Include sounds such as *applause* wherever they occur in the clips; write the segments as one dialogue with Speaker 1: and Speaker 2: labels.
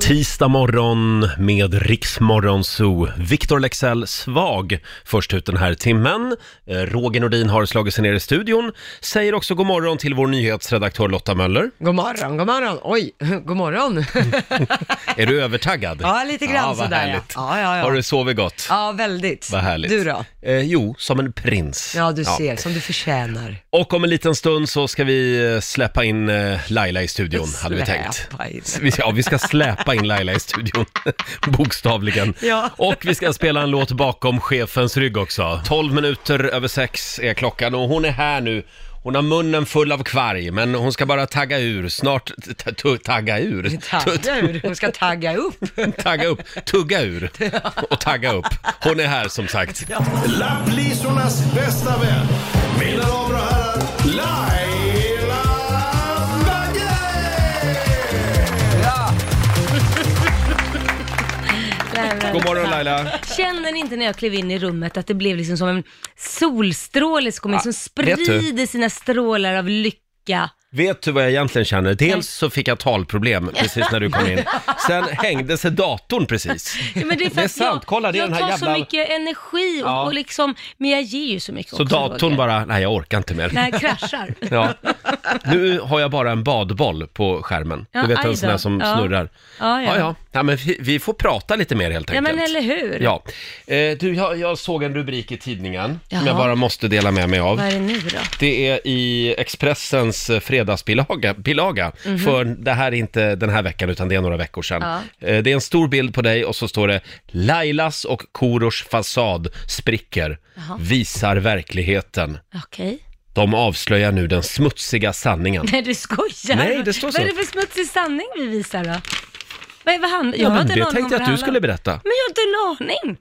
Speaker 1: Tisdag morgon med Riksmorgon Zoo. Victor Lexell Svag först ut den här timmen. Eh, Roger Nordin har slagit sig ner i studion. Säger också god morgon till vår nyhetsredaktör Lotta Möller.
Speaker 2: God morgon, god morgon. Oj, *laughs*
Speaker 1: *laughs*
Speaker 2: god morgon.
Speaker 1: Är du övertaggad?
Speaker 2: *laughs* Ja, lite grann
Speaker 1: vad
Speaker 2: sådär, ja.
Speaker 1: härligt.
Speaker 2: Ja, ja, ja.
Speaker 1: Har du sovit gott?
Speaker 2: ja, väldigt.
Speaker 1: Vad härligt.
Speaker 2: Du då?
Speaker 1: Eh, jo, som en prins.
Speaker 2: Ja, du ser, som du förtjänar.
Speaker 1: Och om en liten stund så ska vi eh, släppa in eh, Laila i studion, hade vi tänkt.
Speaker 2: Släpa in.
Speaker 1: Vi- Ja, vi ska släpa in Laila i studion, *laughs* bokstavligen.
Speaker 2: Ja.
Speaker 1: Och vi ska spela en låt bakom chefens rygg också. 12 minuter över sex är klockan och hon är här nu. Hon har munnen full av kvarg, men hon ska bara tagga ur snart. t- t- Tagga ur? T-
Speaker 2: Tagga ur, hon ska tagga upp.
Speaker 1: *laughs* Tagga upp, tugga
Speaker 2: *laughs*
Speaker 1: ur och tagga upp. Hon är här som sagt.
Speaker 3: Lapplisornas bästa vän. Mina damer och herrar, Laila Bagge!
Speaker 1: God morgon Laila.
Speaker 4: Känner ni inte när jag klev in i rummet att det blev liksom som en solstråle som kom in,
Speaker 1: Ah,
Speaker 4: som
Speaker 1: vet du?
Speaker 4: sprider sina strålar av lycka.
Speaker 1: Vet du vad jag egentligen känner? Dels så fick jag talproblem precis när du kom
Speaker 4: *laughs*
Speaker 1: in. Sen hängde sig datorn precis.
Speaker 4: Ja, men det, är för
Speaker 1: Det är
Speaker 4: att
Speaker 1: sant,
Speaker 4: jag,
Speaker 1: kolla, det är
Speaker 4: jag
Speaker 1: den här
Speaker 4: tar
Speaker 1: jävla-
Speaker 4: så mycket energi och,
Speaker 1: Ja.
Speaker 4: och liksom, men jag ger ju så mycket
Speaker 1: Så
Speaker 4: också,
Speaker 1: datorn
Speaker 4: Roger.
Speaker 1: bara, nej jag orkar inte mer.
Speaker 4: Nej, jag kraschar.
Speaker 1: *laughs* Ja. Nu har jag bara en badboll på skärmen.
Speaker 4: Ja,
Speaker 1: Du vet en
Speaker 4: aj
Speaker 1: sån här
Speaker 4: då.
Speaker 1: som
Speaker 4: Ja.
Speaker 1: snurrar.
Speaker 4: Ja, ja.
Speaker 1: Ja, ja. ja men vi, vi får prata lite mer helt
Speaker 4: Ja,
Speaker 1: enkelt.
Speaker 4: men eller hur?
Speaker 1: Ja. Eh, du, jag, jag såg en rubrik i tidningen som
Speaker 4: Jaha.
Speaker 1: jag bara måste dela med mig av.
Speaker 4: Vad är det nu då?
Speaker 1: Det är i Expressens eh, fredagsbilaga, bilaga,
Speaker 4: Mhm.
Speaker 1: för det här är inte den här veckan utan det är några veckor sedan. Eh, Det är en stor bild på dig och så står det Lailas och Korosh fasad spricker, visar verkligheten.
Speaker 4: Okej.
Speaker 1: De avslöjar nu den smutsiga
Speaker 4: *laughs*
Speaker 1: sanningen.
Speaker 4: Nej, du skojar?
Speaker 1: Nej, det står så.
Speaker 4: Vad är det för smutsig sanning vi visar då? Vad är vad han... Jag
Speaker 1: Ja,
Speaker 4: har
Speaker 1: men
Speaker 4: inte en
Speaker 1: det
Speaker 4: aning om
Speaker 1: tänkte
Speaker 4: vad
Speaker 1: jag att du
Speaker 4: handlar om.
Speaker 1: skulle berätta.
Speaker 4: Men jag har inte en aning.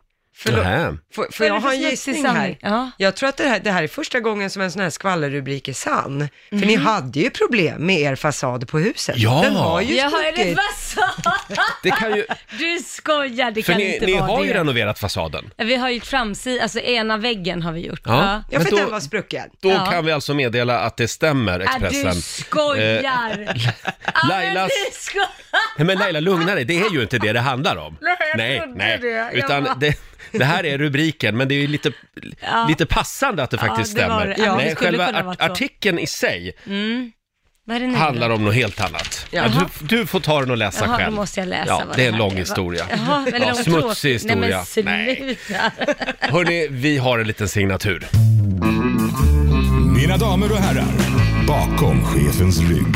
Speaker 1: Nähä.
Speaker 2: Får, får
Speaker 4: Vad är
Speaker 2: jag
Speaker 4: det för
Speaker 2: ha en
Speaker 4: smutsig
Speaker 2: gissning här?
Speaker 4: sanning? Ja.
Speaker 2: Jag tror att det här, det här är första gången som en sån här skvallerrubrik är sann. För
Speaker 4: Mm.
Speaker 2: ni hade ju problem med er fasad på huset.
Speaker 1: Ja.
Speaker 2: Den har ju
Speaker 4: Jaha, är det
Speaker 2: stuckit.
Speaker 4: vad
Speaker 1: Det kan ju,
Speaker 4: Du skojar, det
Speaker 1: för
Speaker 4: kan
Speaker 1: ni,
Speaker 4: inte
Speaker 1: ni
Speaker 4: vara
Speaker 1: har
Speaker 4: det.
Speaker 1: ju renoverat fasaden.
Speaker 4: Vi har gjort framsidan, alltså ena väggen har vi gjort.
Speaker 1: Ja.
Speaker 2: Ja, för
Speaker 1: Men då-
Speaker 2: den var sprucken.
Speaker 1: Då
Speaker 4: Ja.
Speaker 1: kan vi alltså meddela att det stämmer,
Speaker 4: Äh,
Speaker 1: Expressen.
Speaker 4: du skojar! Äh,
Speaker 1: Eh, Lailas-
Speaker 4: du skojar!
Speaker 1: Nej, Eh, men Laila, lugna dig. Det är ju inte det det handlar om.
Speaker 4: Nej, *laughs* jag trodde det. Jag
Speaker 1: Utan
Speaker 4: bara-
Speaker 1: det, det här
Speaker 4: *laughs*
Speaker 1: är rubriken, men det är ju lite, lite passande att det faktiskt
Speaker 4: det var
Speaker 1: stämmer.
Speaker 4: det. Ja, det
Speaker 1: Nej,
Speaker 4: skulle
Speaker 1: själva
Speaker 4: kunna varit så. Mm.
Speaker 1: artikeln i sig
Speaker 4: Vad är det nu?
Speaker 1: handlar om något helt annat. Ja, du, du får ta den och läsa
Speaker 4: Jaha,
Speaker 1: själv.
Speaker 4: då måste jag läsa
Speaker 1: ja,
Speaker 4: vad
Speaker 1: det är en
Speaker 4: här
Speaker 1: lång
Speaker 4: va?
Speaker 1: historia.
Speaker 4: Jaha, eller
Speaker 1: Ja,
Speaker 4: lång
Speaker 1: smutsig
Speaker 4: tråkig.
Speaker 1: historia.
Speaker 4: Nej
Speaker 1: Nej.
Speaker 4: men sluta.
Speaker 1: Hörni, vi har en liten signatur.
Speaker 3: Mina damer och herrar, bakom chefens rygg.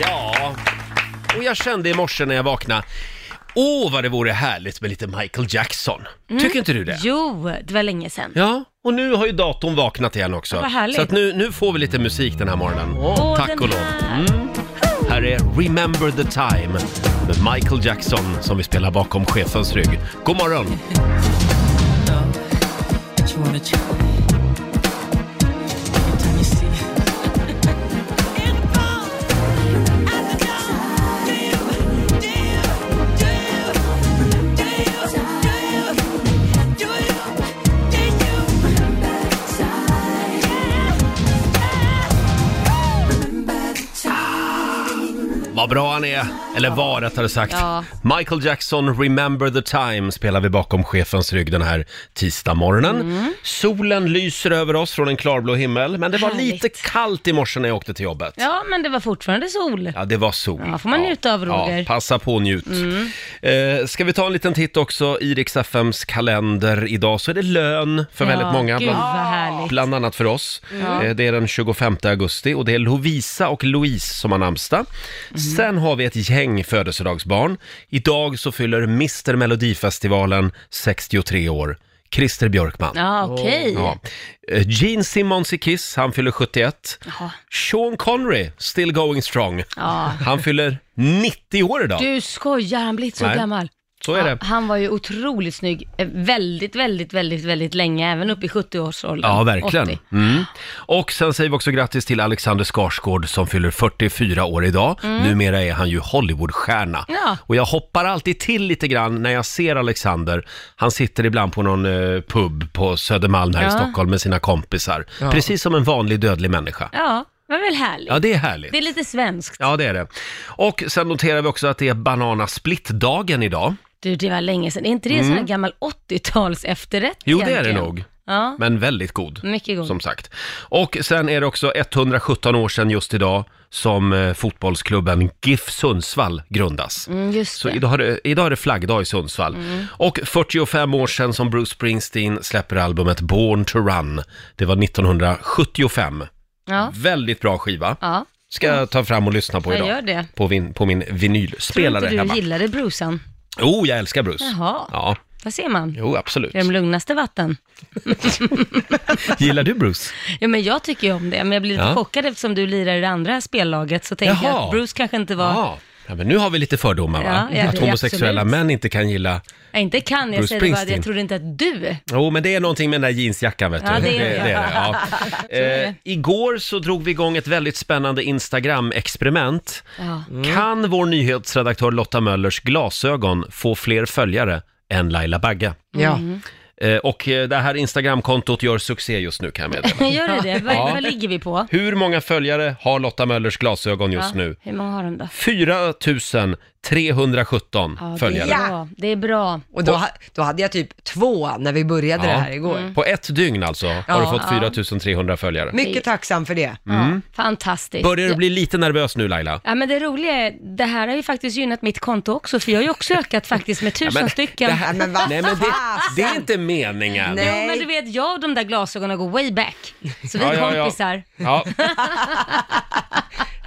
Speaker 1: Ja, och jag kände i morse när jag vaknade, åh vad det vore härligt med lite Michael Jackson. Tycker inte du det?
Speaker 4: Mm. Jo, det var länge sedan.
Speaker 1: Ja, och nu har ju datorn vaknat igen också.
Speaker 4: Ja, vad härligt.
Speaker 1: så att nu, nu får vi lite musik den här morgonen.
Speaker 4: Åh,
Speaker 1: Tack
Speaker 4: den
Speaker 1: och lov. Mm.
Speaker 4: här.
Speaker 1: Här är Remember the time med Michael Jackson som vi spelar bakom chefens rygg. God
Speaker 4: *laughs*
Speaker 1: morgon! Vad bra han är, eller var rättare sagt.
Speaker 4: Ja.
Speaker 1: Michael Jackson, Remember the time spelar vi bakom chefens rygg den här tisdagmorgonen.
Speaker 4: Mm.
Speaker 1: Solen lyser över oss från en klarblå himmel, men det var
Speaker 4: Härligt.
Speaker 1: lite kallt i morse när jag åkte till jobbet.
Speaker 4: Ja, men det var fortfarande sol.
Speaker 1: Ja, det var sol.
Speaker 4: Ja, får man njuta av, Roger. Mm.
Speaker 1: Ja, passa på och njut. Eh, ska vi ta en liten titt också i Rix FMs kalender. Idag så är det lön för väldigt
Speaker 4: ja,
Speaker 1: många.
Speaker 4: Gud vad
Speaker 1: Bland,
Speaker 4: härligt. Mm.
Speaker 1: bland annat för oss. Eh, det är den 25 augusti och det är Lovisa och Louise som har namnsdag.
Speaker 4: Mhm.
Speaker 1: Sen har vi ett gäng födelsedagsbarn. Idag så fyller Mr Melodifestivalen 63 år. Christer Björkman.
Speaker 4: Ja, okej.
Speaker 1: Ja. Eh, Gene Simmons i Kiss, han fyller 71.
Speaker 4: Jaha.
Speaker 1: Sean Connery, still going strong.
Speaker 4: Ja.
Speaker 1: Han fyller 90 år idag.
Speaker 4: Du skojar, han blir inte så
Speaker 1: Nej.
Speaker 4: gammal.
Speaker 1: Så är det.
Speaker 4: Ja, han var ju otroligt snygg eh, väldigt, väldigt, väldigt, väldigt länge, även upp i 70-årsåldern.
Speaker 1: Ja, verkligen.
Speaker 4: 80.
Speaker 1: Mm. Och sen säger vi också grattis till Alexander Skarsgård som fyller 44 år idag. Numera är han ju Hollywoodstjärna.
Speaker 4: Mm. Ja.
Speaker 1: Och jag hoppar alltid till lite grann när jag ser Alexander. Han sitter ibland på någon eh, pub på Södermalm här i
Speaker 4: Ja.
Speaker 1: Stockholm med sina kompisar. Precis som en vanlig dödlig människa.
Speaker 4: Ja, Det var väl härligt?
Speaker 1: Ja, det är härligt.
Speaker 4: Det är lite svenskt.
Speaker 1: Ja, det är det. Och sen noterar vi också att det är bananasplittdagen idag.
Speaker 4: Du, det var länge sedan. Är inte det en sån här gammal 80-tals efterrätt
Speaker 1: Mm. Jo, det är det
Speaker 4: egentligen?
Speaker 1: nog.
Speaker 4: Ja,
Speaker 1: Men väldigt god.
Speaker 4: mycket god.
Speaker 1: Som sagt. Och sen är det också 117 år sedan just idag som eh, fotbollsklubben GIF Sundsvall grundas.
Speaker 4: Mm, just
Speaker 1: Så
Speaker 4: det. Mm.
Speaker 1: idag är, det, idag är det flaggdag i Sundsvall. Och 45 år sedan som Bruce Springsteen släpper albumet Born to Run. Det var 1975.
Speaker 4: Ja,
Speaker 1: Väldigt bra skiva.
Speaker 4: ja.
Speaker 1: Ska jag ta fram och lyssna på
Speaker 4: Jag
Speaker 1: idag.
Speaker 4: gör det.
Speaker 1: På, min, på min
Speaker 4: Tror
Speaker 1: vinylspelare
Speaker 4: inte du
Speaker 1: hemma.
Speaker 4: gillade brusan?
Speaker 1: Oh, jag älskar Bruce.
Speaker 4: Jaha,
Speaker 1: Ja,
Speaker 4: vad ser man?
Speaker 1: jo absolut.
Speaker 4: Det är de lugnaste vatten.
Speaker 1: Gillar du Bruce?
Speaker 4: Ja, men jag tycker ju om det, men jag blir lite
Speaker 1: Ja.
Speaker 4: chockad eftersom du lirar i det andra spellaget, så tänker jag
Speaker 1: Jaha.
Speaker 4: att Bruce kanske inte var...
Speaker 1: Ja. ja, men nu har vi lite fördomar va?
Speaker 4: Ja, ja,
Speaker 1: att
Speaker 4: det-
Speaker 1: homosexuella
Speaker 4: absolut.
Speaker 1: män inte kan gilla...
Speaker 4: Jag inte kan, jag
Speaker 1: Bruce
Speaker 4: säger bara att
Speaker 1: Springsteen.
Speaker 4: jag trodde inte att du...
Speaker 1: Jo, men det är någonting med den där jeansjackan vet du.
Speaker 4: Ja, det är det. *laughs*
Speaker 1: ja. Eh, igår så drog vi igång ett väldigt spännande Instagram-experiment.
Speaker 4: Ja. Mm.
Speaker 1: Kan vår nyhetsredaktör Lotta Möllers glasögon få fler följare än Laila Bagge?
Speaker 4: Mm.
Speaker 2: Ja.
Speaker 1: Eh, och eh, det här Instagramkontot gör succé just nu kan jag meddela.
Speaker 4: *laughs* Gör det det? Vad,
Speaker 1: Ja.
Speaker 4: vad ligger vi på?
Speaker 1: Hur många följare har Lotta Möllers glasögon just
Speaker 4: Ja.
Speaker 1: nu?
Speaker 4: Hur många har de då?
Speaker 1: 4 317
Speaker 4: Ja, det är
Speaker 1: följare.
Speaker 4: bra. Det är bra.
Speaker 2: Och då, ha- då hade jag typ två när vi började
Speaker 1: Ja. Mm.
Speaker 2: det här igår.
Speaker 4: Mm.
Speaker 1: På ett dygn alltså har du
Speaker 2: Ja.
Speaker 1: fått 4300 följare. Mm.
Speaker 2: Mycket tacksam för det.
Speaker 4: Ja, fantastiskt.
Speaker 1: Börjar du bli lite nervös nu Laila?
Speaker 4: Ja men det roliga är, det här har ju faktiskt gynnat mitt konto också, för jag har ju också ökat
Speaker 1: *laughs*
Speaker 4: faktiskt med tusen stycken.
Speaker 1: det här-
Speaker 2: Ja, men vad
Speaker 1: Nej, men det,
Speaker 2: fasen!
Speaker 1: det är inte meningen.
Speaker 2: Nej.
Speaker 4: Jo men du vet, jag och de där glasögonen går way back. Så vi
Speaker 1: Ja,
Speaker 4: är
Speaker 1: ja, ja.
Speaker 4: kompisar.
Speaker 1: Ja.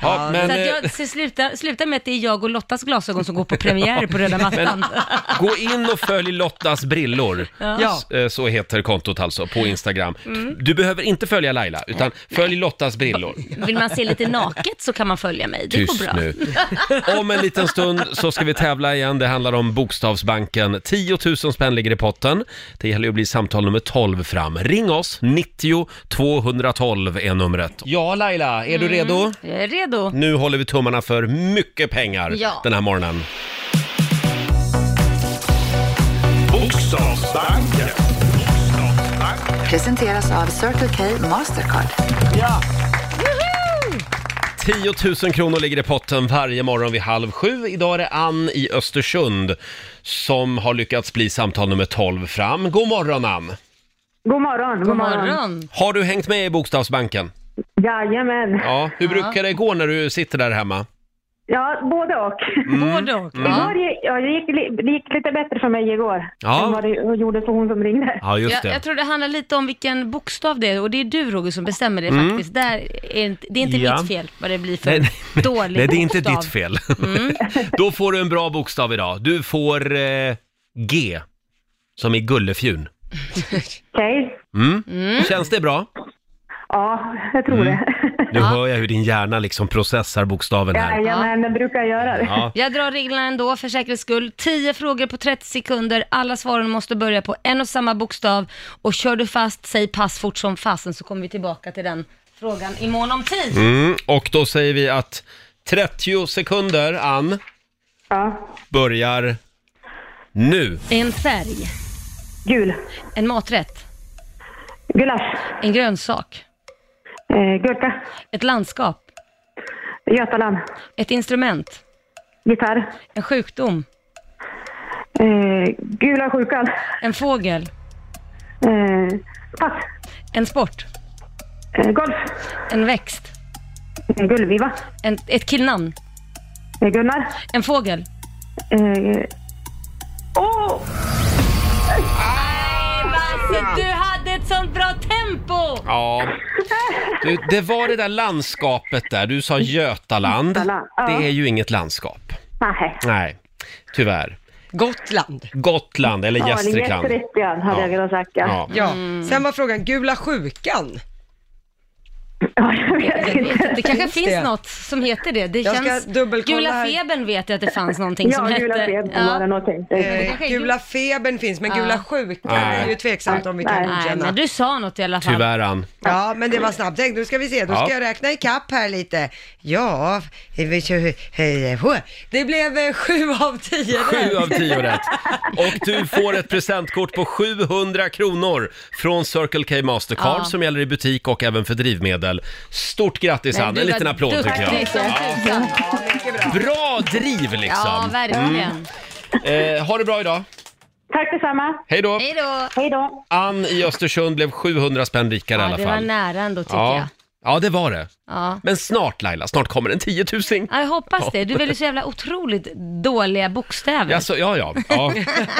Speaker 1: Ja, men,
Speaker 4: Så att
Speaker 1: eh,
Speaker 4: jag, så sluta, sluta med att det är jag och Lottas glasögon som går på premiär på röda mattan.
Speaker 1: gå in och följ Lottas brillor.
Speaker 2: Ja.
Speaker 1: S- eh, Så heter kontot alltså på Instagram. Du behöver inte följa Laila, utan följ Lottas brillor.
Speaker 4: Vill man se lite naket så kan man följa mig, det går
Speaker 1: Tyst
Speaker 4: bra. *laughs*
Speaker 1: nu. Om en liten stund så ska vi tävla igen. Det handlar om Bokstavsbanken. 10 000 spänn ligger i potten. Det gäller ju att bli samtal nummer 12 fram. Ring oss, 90 212 är numret. Ja, Laila, är du redo?
Speaker 4: Mm, Jag är redo.
Speaker 1: Nu håller vi tummarna för mycket pengar
Speaker 4: Ja.
Speaker 1: den här morgonen.
Speaker 3: Bokstavsbanken.
Speaker 5: Presenteras av Circle K Mastercard.
Speaker 1: 10 000 kronor ligger i potten varje morgon vid halv sju. Idag är det Ann i Östersund som har lyckats bli samtal nummer 12 fram. God morgon Ann!
Speaker 6: God morgon. God,
Speaker 4: God
Speaker 6: morgon.
Speaker 4: morgon.
Speaker 1: Har du hängt med i Bokstavsbanken?
Speaker 6: Jajamän.
Speaker 1: Ja, hur brukar det gå när du sitter där hemma? Mm.
Speaker 6: Ja, både och.
Speaker 4: Både och.
Speaker 6: Igår gick, ja, det, gick, li- det gick lite bättre för mig igår
Speaker 1: Ja.
Speaker 6: än vad det gjorde för hon som ringde.
Speaker 1: Ja, just
Speaker 4: Jag,
Speaker 1: det.
Speaker 4: jag tror det handlar lite om vilken bokstav det är och det är du Roger som bestämmer det faktiskt. Där är, inte- det är inte
Speaker 1: Mm. Ja.
Speaker 4: mitt fel vad det blir för
Speaker 1: Nej, nej,
Speaker 4: dålig
Speaker 1: nej, det är Mm. inte
Speaker 4: bokstav.
Speaker 1: ditt fel. *laughs* Då får du en bra bokstav idag. Du får eh, G, som i Gullefjun. Mm.
Speaker 6: Okej.
Speaker 1: Känns det bra?
Speaker 6: Ja, jag
Speaker 1: Mm.
Speaker 6: tror det.
Speaker 1: Nu hör jag hur din hjärna liksom processar bokstaven här.
Speaker 6: Jajamän, det brukar jag göra. det.
Speaker 1: Ja.
Speaker 4: Jag drar reglerna ändå för säkerhets skull. 10 frågor på 30 sekunder. Alla svaren måste börja på en och samma bokstav. Och kör du fast, säg pass fort som fasen så kommer vi tillbaka till den frågan i mån om tid.
Speaker 1: Mm, och då säger vi att 30 sekunder, Ann,
Speaker 6: Ja.
Speaker 1: börjar nu.
Speaker 4: En färg,
Speaker 6: Gul.
Speaker 4: en maträtt,
Speaker 6: Gulasch.
Speaker 4: en grönsak,
Speaker 6: Eh, gurka.
Speaker 4: ett landskap,
Speaker 6: Götaland.
Speaker 4: ett instrument,
Speaker 6: Gitarr.
Speaker 4: en sjukdom,
Speaker 6: Eh, gula sjukan.
Speaker 4: en fågel,
Speaker 6: Eh, pass.
Speaker 4: en sport,
Speaker 6: Eh, golf.
Speaker 4: en växt,
Speaker 6: Eh, Gullviva.
Speaker 4: en, ett killnamn,
Speaker 6: Eh, Gunnar.
Speaker 4: en fågel.
Speaker 6: Eh, oh!
Speaker 4: Basse, du hade ett sånt bra tempo!
Speaker 1: Ja. Du, det var det där landskapet där. Du sa Götaland.
Speaker 6: Götaland, ja.
Speaker 1: Det är ju inget landskap.
Speaker 6: Nej.
Speaker 1: Nej, tyvärr.
Speaker 2: Gotland.
Speaker 1: Gotland eller
Speaker 6: Ja, det är
Speaker 1: Gästrikland.
Speaker 6: Gästrikland hade
Speaker 1: Ja.
Speaker 6: jag kunnat sagt. Ja.
Speaker 1: Ja.
Speaker 2: Ja. Sen var frågan, gula sjukan.
Speaker 6: Ja, jag
Speaker 4: Jag
Speaker 6: vet inte.
Speaker 4: vet inte, det kanske
Speaker 2: Finns
Speaker 4: finns
Speaker 2: det?
Speaker 4: något som heter det. det
Speaker 2: Jag ska
Speaker 4: känns...
Speaker 2: dubbelkolla
Speaker 4: Gula
Speaker 2: här.
Speaker 4: febern vet jag att det fanns någonting som
Speaker 6: Ja,
Speaker 4: hette.
Speaker 6: gula febern var det någonting.
Speaker 4: det
Speaker 2: Eh,
Speaker 4: kanske är
Speaker 2: gula febern finns, men gula sjukan
Speaker 1: Nej.
Speaker 2: är ju tveksamt om vi kan
Speaker 6: Nej.
Speaker 4: Nej,
Speaker 2: godkänna.
Speaker 4: men du sa något i alla fall.
Speaker 1: Tyvärr Ann.
Speaker 2: Ja, men det var snabbt tänkt. Nu ska vi se, då
Speaker 1: Ja.
Speaker 2: ska jag räkna ikapp här lite. Ja, vi kör- hej, hå. det blev eh, sju av tio
Speaker 1: Sju
Speaker 2: rätt.
Speaker 1: av tio
Speaker 6: *laughs*
Speaker 1: rätt. Och du får ett presentkort på 700 kronor från Circle K Mastercard
Speaker 4: Ja.
Speaker 1: som gäller i butik och även för drivmedel. Stort grattis
Speaker 4: Nej,
Speaker 1: Ann,
Speaker 4: du
Speaker 1: en
Speaker 4: var
Speaker 1: liten applåd tycker jag.
Speaker 4: duktig som tusan.
Speaker 1: Bra driv
Speaker 4: Ja,
Speaker 1: liksom!
Speaker 4: verkligen.
Speaker 1: eh, ha det bra idag,
Speaker 6: Tack detsamma.
Speaker 1: hej då!
Speaker 4: Hej då.
Speaker 6: Hej då.
Speaker 1: Ann i Östersund blev 700 spänn rikare i
Speaker 4: Ja,
Speaker 1: alla
Speaker 4: det var
Speaker 1: fall.
Speaker 4: nära ändå tycker jag.
Speaker 1: ja. ja, det var det.
Speaker 4: Ja.
Speaker 1: Men snart Laila, snart kommer en tiotusing.
Speaker 4: Ja, jag hoppas det. Du väljer så jävla otroligt dåliga bokstäver.
Speaker 1: Jaså, ja, ja, ja.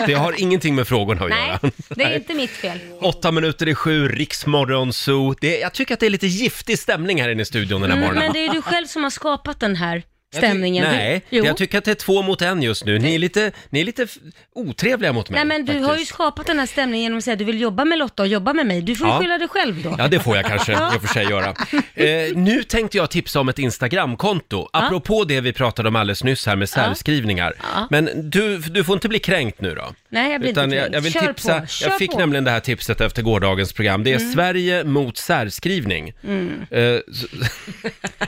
Speaker 1: Det har ingenting med frågorna att
Speaker 4: Nej,
Speaker 1: göra.
Speaker 4: det är
Speaker 1: Nej.
Speaker 4: inte mitt fel.
Speaker 1: Åtta minuter i sju, Riksmorgon Zoo. Det, jag tycker att det är lite giftig stämning här inne i studion den här
Speaker 4: Mm,
Speaker 1: morgonen.
Speaker 4: men det är ju du själv som har skapat den här
Speaker 1: Jag ty-
Speaker 4: stämningen. Du-
Speaker 1: Nej,
Speaker 4: jo.
Speaker 1: jag tycker att det är två mot en just nu. Ni är lite, ni är lite f- otrevliga mot mig.
Speaker 4: Nej men du har ju
Speaker 1: faktiskt.
Speaker 4: skapat den här stämningen genom att säga att du vill jobba med Lotta och jobba med mig. Du får ju
Speaker 1: Ja.
Speaker 4: skylla dig själv då.
Speaker 1: Ja, det får jag kanske i och för sig göra. Eh, nu tänkte jag tipsa om ett Instagramkonto, apropå det vi pratade om alldeles nyss här med särskrivningar. Men du, du får inte bli kränkt nu då.
Speaker 4: Nej, jag blir inte
Speaker 1: jag,
Speaker 4: kränkt.
Speaker 1: jag vill
Speaker 4: Kör
Speaker 1: tipsa,
Speaker 4: på, kör
Speaker 1: jag fick
Speaker 4: på. Mm.
Speaker 1: nämligen det här tipset efter gårdagens program. Det är Sverige mot särskrivning. Eh, så-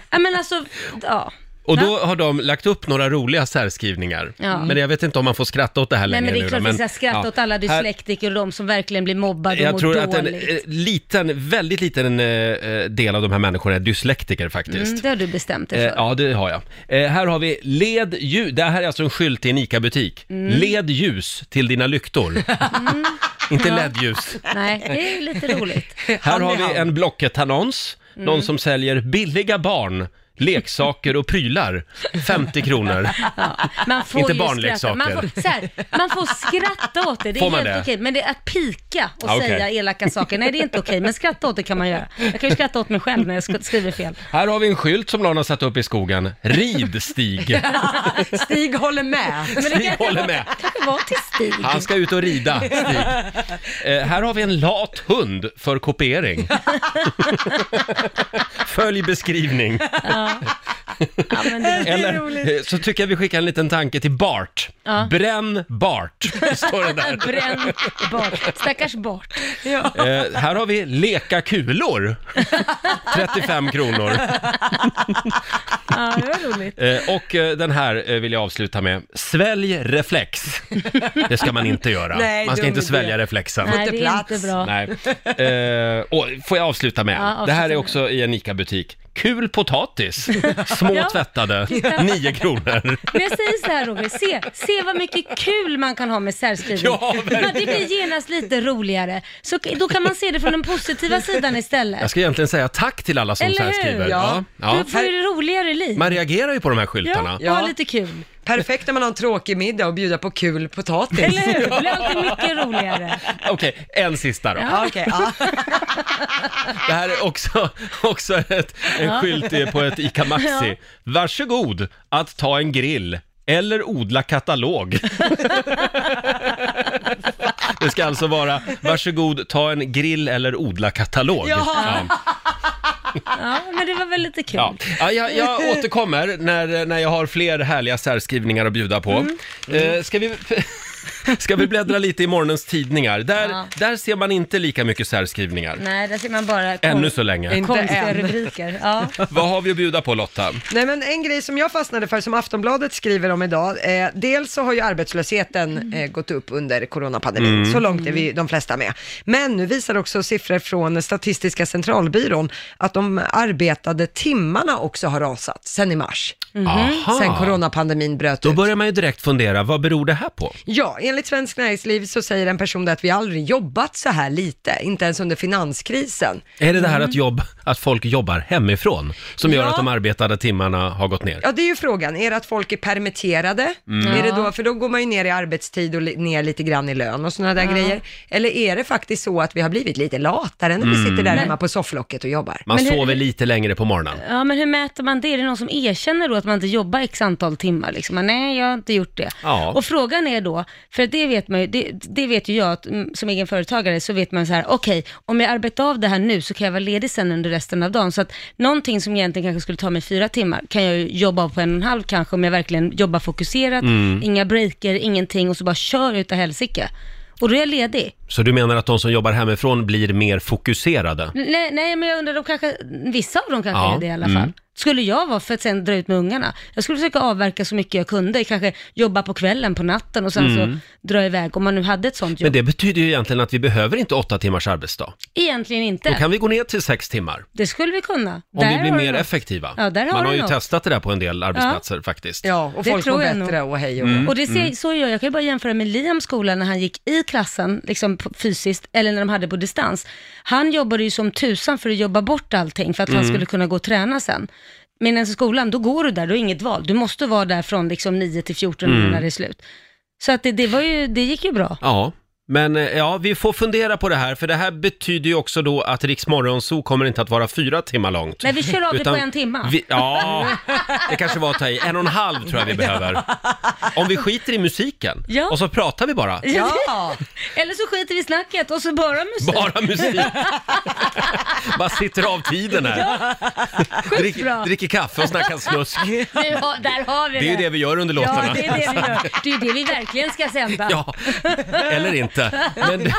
Speaker 4: Ja men alltså, ja.
Speaker 1: *laughs* och då har de lagt upp några roliga särskrivningar.
Speaker 4: Ja.
Speaker 1: Men jag vet inte om man får skratta åt det här
Speaker 4: Nej
Speaker 1: längre
Speaker 4: men det
Speaker 1: nu
Speaker 4: är
Speaker 1: då,
Speaker 4: klart vi ska skratta
Speaker 1: ja.
Speaker 4: åt alla
Speaker 1: Här-
Speaker 4: dyslektiker och de som verkligen blir mobbade och
Speaker 1: Jag
Speaker 4: mår
Speaker 1: tror
Speaker 4: dåligt.
Speaker 1: att en eh, liten, väldigt liten eh, eh, del av de här människorna är dyslektiker faktiskt.
Speaker 4: mm, det har du bestämt dig
Speaker 1: Eh,
Speaker 4: för.
Speaker 1: ja, det har jag. Eh, här har vi led ljus. Det här är alltså en skylt i en ICA-butik.
Speaker 4: Mm.
Speaker 1: Led ljus till dina
Speaker 4: *laughs*
Speaker 1: lyktor. Inte LED-ljus.
Speaker 4: Nej, det är lite roligt.
Speaker 1: Här
Speaker 2: Hand i
Speaker 1: har vi
Speaker 2: hand.
Speaker 1: en Blocket-annons.
Speaker 4: Mm.
Speaker 1: Någon som säljer billiga barn, leksaker och prylar. 50 kronor.
Speaker 4: Ja. Man får
Speaker 1: Inte
Speaker 4: ju
Speaker 1: barnleksaker.
Speaker 4: skratta. Man får, så här, man får skratta åt det, det är
Speaker 1: Får man
Speaker 4: helt
Speaker 1: det?
Speaker 4: okej. Men det är att pika och
Speaker 1: Ja, okej.
Speaker 4: säga elaka saker, nej det är inte okej. Men skratta åt det kan man göra. Jag kan ju skratta åt mig själv när jag sk- skriver fel.
Speaker 1: Här har vi en skylt som någon har satt upp i skogen. Rid Stig.
Speaker 2: *laughs* Stig håller med.
Speaker 1: Stig håller med.
Speaker 4: kanske var till Stig.
Speaker 1: Han ska ut och rida,
Speaker 4: *laughs*
Speaker 1: Stig. Eh, här har vi en lat hund för
Speaker 4: *laughs*
Speaker 1: kopiering. Följ beskrivning.
Speaker 4: Ja, men det,
Speaker 1: Eller eh, så tycker jag vi skickar en liten tanke till Bart.
Speaker 4: Ja.
Speaker 1: Bränn Bart, *laughs* står det där.
Speaker 4: bränn bort. Stackars bort.
Speaker 1: Eh, här har vi leka
Speaker 4: *laughs*
Speaker 1: kulor. 35 kronor.
Speaker 4: Ja, det var roligt.
Speaker 1: Eh, och eh, den här eh, vill jag avsluta med. Svälj reflex. Det ska man inte göra.
Speaker 2: Nej,
Speaker 1: man ska
Speaker 2: dum
Speaker 1: inte
Speaker 2: idé.
Speaker 1: svälja reflexen.
Speaker 4: Nej,
Speaker 2: inte
Speaker 4: det är
Speaker 2: plats.
Speaker 4: inte bra.
Speaker 1: Nej. Eh, och får jag avsluta med?
Speaker 4: Ja, avsluta
Speaker 1: det här är
Speaker 4: med.
Speaker 1: också i en ICA-butik. Kul
Speaker 4: *laughs*
Speaker 1: potatis, små
Speaker 4: Ja.
Speaker 1: tvättade, 9 kronor.
Speaker 4: Men jag säger så här Roger, se, se vad mycket kul man kan ha med särskrivning.
Speaker 1: Ja, verkligen.
Speaker 4: Men det blir genast lite roligare. Så k- då kan man se det från den positiva sidan
Speaker 1: Jag
Speaker 4: istället.
Speaker 1: ska egentligen säga tack till alla som
Speaker 4: Eller hur?
Speaker 1: särskriver.
Speaker 2: Ja.
Speaker 1: Ja.
Speaker 4: Då får ju det roligare liv.
Speaker 1: Man reagerar ju på de här
Speaker 4: Ja,
Speaker 1: skyltarna.
Speaker 4: ja. ha lite kul.
Speaker 2: Perfekt när man har en tråkig middag och bjuda på kul potatis.
Speaker 4: Eller hur? Det
Speaker 2: *laughs*
Speaker 4: blir alltid mycket roligare.
Speaker 1: Okej, en sista då.
Speaker 2: Ja, okej, ja.
Speaker 1: Det här är också, *laughs* också ett, en skylt på ett ICA Maxi.
Speaker 4: Ja.
Speaker 1: Varsågod att ta en grill eller odla
Speaker 4: *laughs*
Speaker 1: katalog. Det ska alltså vara, varsågod ta en grill eller odla katalog.
Speaker 2: Jaha.
Speaker 1: Ja.
Speaker 4: Ja, men det var väl lite kul.
Speaker 1: Ja. Ja, jag,
Speaker 4: *laughs*
Speaker 1: jag återkommer när, när jag har fler härliga särskrivningar att bjuda på.
Speaker 4: Mm.
Speaker 1: Eh, ska, vi, *laughs* ska vi bläddra lite i morgonens tidningar? Där,
Speaker 4: Ja.
Speaker 1: där ser man inte lika mycket särskrivningar.
Speaker 4: Nej, där ser man bara kon-
Speaker 1: Ännu så länge.
Speaker 2: In-
Speaker 4: konstiga
Speaker 2: Inte än.
Speaker 4: rubriker. Ja.
Speaker 1: Vad har vi att bjuda på Lotta?
Speaker 2: *laughs* Nej men en grej som jag fastnade för som Aftonbladet skriver om idag, eh, dels så har ju
Speaker 4: Mm.
Speaker 2: arbetslösheten eh, gått upp under coronapandemin,
Speaker 1: Mm.
Speaker 2: så långt är vi de flesta med. Men nu visar också siffror från Statistiska centralbyrån att de arbetade timmarna också har rasat sen i mars,
Speaker 4: Mm. Mhm.
Speaker 1: Aha.
Speaker 2: sen coronapandemin bröt
Speaker 1: Då
Speaker 2: ut.
Speaker 1: börjar man ju direkt fundera, vad beror det här på?
Speaker 2: Ja, enligt Svensk Näringsliv så säger en person där att vi aldrig jobbat så här lite, inte ens under finanskrisen.
Speaker 1: Är det det här
Speaker 4: Mm.
Speaker 1: att, jobb, att folk jobbar hemifrån som gör
Speaker 2: Ja.
Speaker 1: att de arbetade timmarna har gått ner?
Speaker 2: Ja, det är ju frågan. Är det att folk är permitterade?
Speaker 1: Mm.
Speaker 2: Är det då, för då går man ju ner i arbetstid och li, ner lite grann i lön och sådana där grejer. Eller är det faktiskt så att vi har blivit lite latare när vi sitter där hemma på sofflocket och jobbar?
Speaker 1: Mm. Man
Speaker 4: Men hur-
Speaker 1: sover lite längre på morgonen.
Speaker 4: ja, men hur mäter man det? Är det någon som erkänner då att man inte jobbar x antal timmar? Liksom? Men Nej, jag har inte gjort det.
Speaker 1: Ja.
Speaker 4: Och frågan är då, för det vet man ju, det, det vet ju jag att, mm, som egen företagare, så vet man så här, okej, om jag arbetar av det här nu så kan jag vara ledig sen under resten av dagen. Så att någonting som egentligen kanske skulle ta mig fyra timmar kan jag ju jobba av på en och en halv kanske om jag verkligen jobbar fokuserat,
Speaker 1: Mm.
Speaker 4: inga breaker, ingenting och så bara kör utav helsike. Och då är jag ledig.
Speaker 1: Så du menar att de som jobbar hemifrån blir mer fokuserade?
Speaker 4: Nej, nej men jag undrar, de kanske, vissa av dem kanske
Speaker 1: Ja,
Speaker 4: är det i alla fall.
Speaker 1: mm.
Speaker 4: skulle jag vara för att sen dra ut med ungarna? Jag skulle försöka avverka så mycket jag kunde, kanske jobba på kvällen, på natten och sen så dra iväg, om man nu hade ett sånt jobb.
Speaker 1: Mm. Men det betyder ju egentligen att vi behöver inte åtta timmars arbetsdag.
Speaker 4: Egentligen
Speaker 1: Då
Speaker 4: inte.
Speaker 1: kan vi gå ner till sex timmar.
Speaker 4: Det skulle vi kunna.
Speaker 1: Om vi
Speaker 4: Där
Speaker 1: blir
Speaker 4: har du
Speaker 1: mer
Speaker 4: något.
Speaker 1: effektiva.
Speaker 4: Ja, där har
Speaker 1: Man har
Speaker 4: du
Speaker 1: ju
Speaker 4: något.
Speaker 1: testat det där på en del arbetsplatser faktiskt.
Speaker 2: Ja, och
Speaker 4: Det
Speaker 2: folk mår
Speaker 4: tror jag
Speaker 2: bättre och hej och
Speaker 1: Mm.
Speaker 4: Och det ser, så gör jag, jag kan ju bara jämföra med Liams skola när han gick i klassen, liksom p- fysiskt, eller när de hade på distans. Han jobbade ju som tusan för att jobba bort allting, för att
Speaker 1: Mm.
Speaker 4: han skulle kunna gå och träna sen. Men i skolan, då går du där, du har inget val. Du måste vara där från liksom 9 till 14
Speaker 1: Mm.
Speaker 4: när det är slut. Så att det, det, var ju, det gick ju bra.
Speaker 1: Ja, men eh, ja, vi får fundera på det här, för det här betyder ju också då att Rix Morgonzoo kommer inte att vara fyra timmar långt.
Speaker 4: Nej, vi kör av det
Speaker 1: Utan
Speaker 4: på en timma.
Speaker 1: Vi,
Speaker 4: *laughs*
Speaker 1: ja, det kanske var att ta i. En och en halv tror jag vi behöver. Om vi skiter i musiken
Speaker 4: Ja.
Speaker 1: och så pratar vi bara.
Speaker 2: Ja,
Speaker 4: *laughs* Eller så skiter vi i snacket och så bara musik.
Speaker 1: Bara musik.
Speaker 4: *laughs*
Speaker 1: Bara sitter av tiden här. Drick,
Speaker 4: bra.
Speaker 1: dricker kaffe och snackar
Speaker 4: *laughs*
Speaker 1: snusk.
Speaker 4: Nu har, där har vi
Speaker 1: Det är ju det vi gör under låtarna.
Speaker 4: Ja, det är det vi gör. Det är ju det vi verkligen ska sända.
Speaker 1: Ja, eller inte. Men du-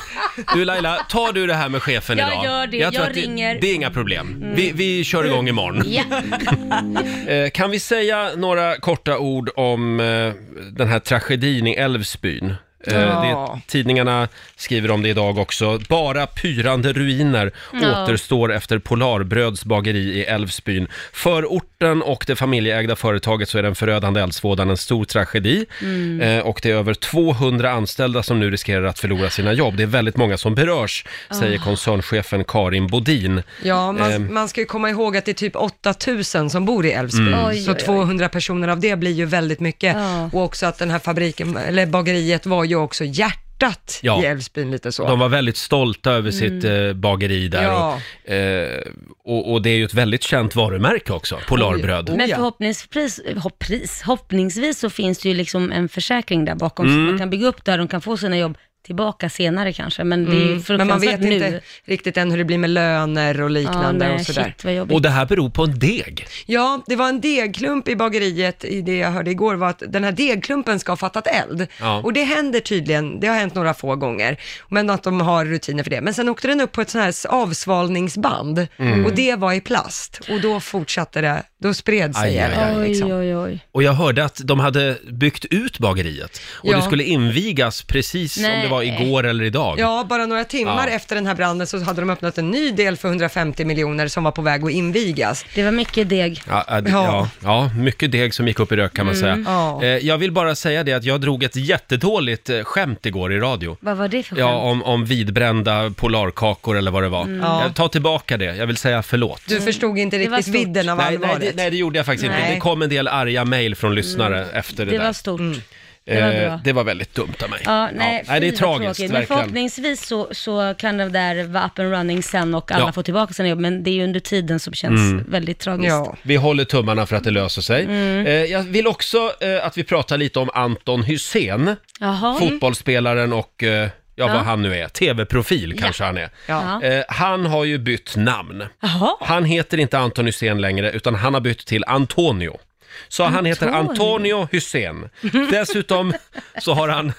Speaker 1: du Laila, tar du det här med chefen
Speaker 4: Jag
Speaker 1: idag?
Speaker 4: gör det.
Speaker 1: tror
Speaker 4: Jag
Speaker 1: att det,
Speaker 4: ringer. Mm.
Speaker 1: Det är inga problem. Vi, vi kör igång imorgon.
Speaker 4: Ja.
Speaker 1: *laughs* Eh, kan vi säga några korta ord om eh, den här tragedin i Älvsbyn? Eh,
Speaker 2: Ja.
Speaker 1: det, tidningarna skriver om det idag också. Bara pyrande ruiner
Speaker 4: Ja.
Speaker 1: återstår efter Polarbröds bageri i Älvsbyn. För orten och det familjeägda företaget så är den förödande eldsvådan en stor tragedi.
Speaker 4: Mm.
Speaker 1: Eh, och det är över 200 anställda som nu riskerar att förlora sina jobb. Det är väldigt många som berörs, säger koncernchefen Karin Bodin. Eh,
Speaker 2: ja
Speaker 1: Ehm.
Speaker 2: man, man ska ju komma ihåg att det är typ 8000 som bor i Älvsbyn,
Speaker 4: Mm. Oj, oj,
Speaker 2: så
Speaker 4: oj.
Speaker 2: 200 personer av det blir ju väldigt mycket.
Speaker 4: Ja.
Speaker 2: Och också att den här fabriken, eller bageriet var ju också hjärtat
Speaker 1: Ja.
Speaker 2: i Älvsbyn lite så.
Speaker 1: De var väldigt stolta över sitt eh, bageri där.
Speaker 2: Ja.
Speaker 1: Och, eh, och, och det är ju ett väldigt känt varumärke också, Polarbröd.
Speaker 2: Oj, oj.
Speaker 4: Men
Speaker 2: Oh, ja.
Speaker 4: förhoppningsvis, hoppris, hoppningsvis så finns det ju liksom en försäkring där bakom
Speaker 1: Mm.
Speaker 4: som man kan bygga upp där de kan få sina jobb tillbaka senare kanske. Men Mm. det är
Speaker 1: Mm.
Speaker 4: ju
Speaker 2: Mm. Men man vet
Speaker 4: fruktansvärt nu.
Speaker 2: inte riktigt än hur det blir med löner och
Speaker 4: Ja,
Speaker 2: liknande
Speaker 4: nej,
Speaker 2: och sådär.
Speaker 4: shit vad jobbigt.
Speaker 1: Och det här beror på en deg.
Speaker 2: Ja, det var en degklump i bageriet i det jag hörde igår var att den här degklumpen ska ha fattat eld.
Speaker 1: Ja.
Speaker 2: Och det händer tydligen, det har hänt några få gånger, men att de har rutiner för det. Men sen åkte den upp på ett sånt här avsvalningsband
Speaker 1: Mm.
Speaker 2: och det var i plast och då fortsatte det, då spred
Speaker 1: Aj,
Speaker 2: sig
Speaker 1: aj, aj.
Speaker 2: elden. Liksom.
Speaker 4: Oj, oj, oj.
Speaker 1: Och jag hörde att de hade byggt ut bageriet och
Speaker 2: Ja.
Speaker 1: det skulle invigas precis som
Speaker 4: Nej.
Speaker 1: det var igår eller idag.
Speaker 2: Ja, bara några timmar
Speaker 1: Ja.
Speaker 2: efter den här branden så hade de öppnat en ny del för 150 miljoner som var på väg att invigas.
Speaker 4: Det var mycket deg.
Speaker 1: Ja, ja, ja.
Speaker 2: Ja.
Speaker 1: ja, mycket deg som gick upp i rök kan man säga.
Speaker 2: Ja.
Speaker 1: Eh, Jag vill bara säga det att jag drog ett jättedåligt eh, skämt igår i radio.
Speaker 4: Vad var det för skämt?
Speaker 1: Ja, om, om vidbrända polarkakor eller vad det
Speaker 4: Mm.
Speaker 1: var.
Speaker 2: Ja.
Speaker 1: Jag tar tillbaka det, jag vill säga förlåt.
Speaker 2: Du förstod inte
Speaker 4: Det var
Speaker 2: riktigt
Speaker 4: stort.
Speaker 2: vidden av
Speaker 1: Nej, nej,
Speaker 2: allvaret.
Speaker 1: det, nej, det gjorde jag faktiskt inte.
Speaker 2: Nej.
Speaker 1: Det kom en del arga mejl från lyssnare efter det,
Speaker 4: Mm. det
Speaker 1: där. Eh,
Speaker 4: var stort.
Speaker 1: Mm.
Speaker 4: Det var bra.
Speaker 1: det var väldigt dumt av mig.
Speaker 4: Ja, nej,
Speaker 1: det är
Speaker 4: fy, vad
Speaker 1: tragiskt
Speaker 4: tråkigt. Men
Speaker 1: verkligen.
Speaker 4: förhoppningsvis så, så kan det där vara up and running sen och alla
Speaker 1: Ja. Mm.
Speaker 4: får tillbaka sina jobb, men det är ju under tiden som känns väldigt tragiskt. Mm.
Speaker 2: Ja.
Speaker 1: Vi håller tummarna för att det löser sig. Eh, jag vill också eh, att vi pratar lite om Anton Hysén,
Speaker 4: Jaha.
Speaker 1: fotbollsspelaren och eh, ja, vad
Speaker 4: Ja.
Speaker 1: han nu är, tv-profil kanske han är.
Speaker 2: Ja.
Speaker 4: Ja.
Speaker 1: Eh, han har ju bytt namn.
Speaker 4: Jaha.
Speaker 1: Han heter inte Anton Hysén längre, utan han har bytt till Antonio. Så han heter Antonio Hysén. Dessutom så har han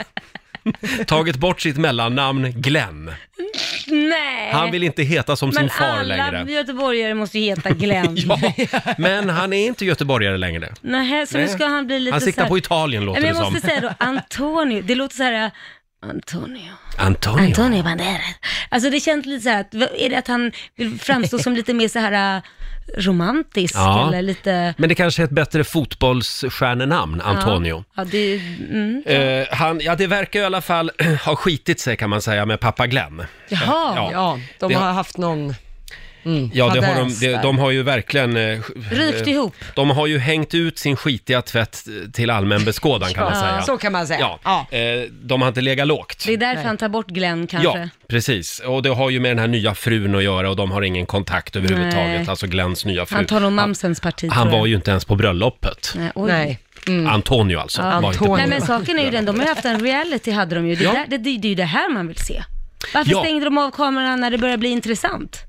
Speaker 1: tagit bort sitt mellannamn Glenn.
Speaker 4: Nej.
Speaker 1: Han vill inte heta som sin
Speaker 4: men
Speaker 1: far
Speaker 4: alla
Speaker 1: längre.
Speaker 4: göteborgare måste ju
Speaker 1: *laughs*
Speaker 4: heta Glenn.
Speaker 1: Ja, men han är inte göteborgare längre.
Speaker 4: Nähä, så nu ska han bli lite
Speaker 1: Han
Speaker 4: så
Speaker 1: siktar
Speaker 4: här...
Speaker 1: på Italien låter
Speaker 4: Men
Speaker 1: det
Speaker 4: jag
Speaker 1: som.
Speaker 4: måste säga då, Antonio, det låter så här... eh, Antonio.
Speaker 1: Antonio.
Speaker 4: Antonio Banderas. Alltså det känns lite så här, att, är det att han vill framstå som lite mer så här äh, romantisk
Speaker 1: Ja.
Speaker 4: eller lite...
Speaker 1: Men det kanske är ett bättre fotbollsstjärnenamn, Antonio.
Speaker 4: Ja, det är, mm.
Speaker 1: Eh, han, ja, det verkar i alla fall *clears throat* ha skitit sig kan man säga med pappa Glenn.
Speaker 4: Jaha.
Speaker 1: Ja.
Speaker 2: Ja, de
Speaker 1: Det-
Speaker 2: har haft någon... Mm,
Speaker 1: Ja, det har de,
Speaker 2: fadäs
Speaker 1: de,
Speaker 2: där.
Speaker 1: de har ju verkligen... eh,
Speaker 4: Rykt ihop.
Speaker 1: De har ju hängt ut sin skitiga tvätt eh, till allmän beskådan kan man säga.
Speaker 2: Så kan man säga.
Speaker 1: Ja,
Speaker 2: Ja.
Speaker 1: Eh, de har inte legat lågt.
Speaker 4: Det är därför han tar bort Glenn kanske.
Speaker 1: Ja, precis. Och det har ju med den här nya frun att göra och de har ingen kontakt överhuvudtaget,
Speaker 4: Nej.
Speaker 1: alltså Glens nya fru.
Speaker 4: Han tar nog mamsens parti
Speaker 1: Han
Speaker 4: tror jag.
Speaker 1: var ju inte ens på bröllopet.
Speaker 4: Nej, oj.
Speaker 2: Nej.
Speaker 1: Antonio alltså.
Speaker 4: Ja.
Speaker 1: var inte på
Speaker 2: Antonio.
Speaker 4: Nej men
Speaker 1: bröllopet.
Speaker 4: saken är ju den, de har ju haft en reality hade de ju. Det,
Speaker 1: Ja.
Speaker 4: är där, det, det, det är ju det här man vill se. Varför
Speaker 1: Ja.
Speaker 4: stängde de av kameran när det började bli intressant?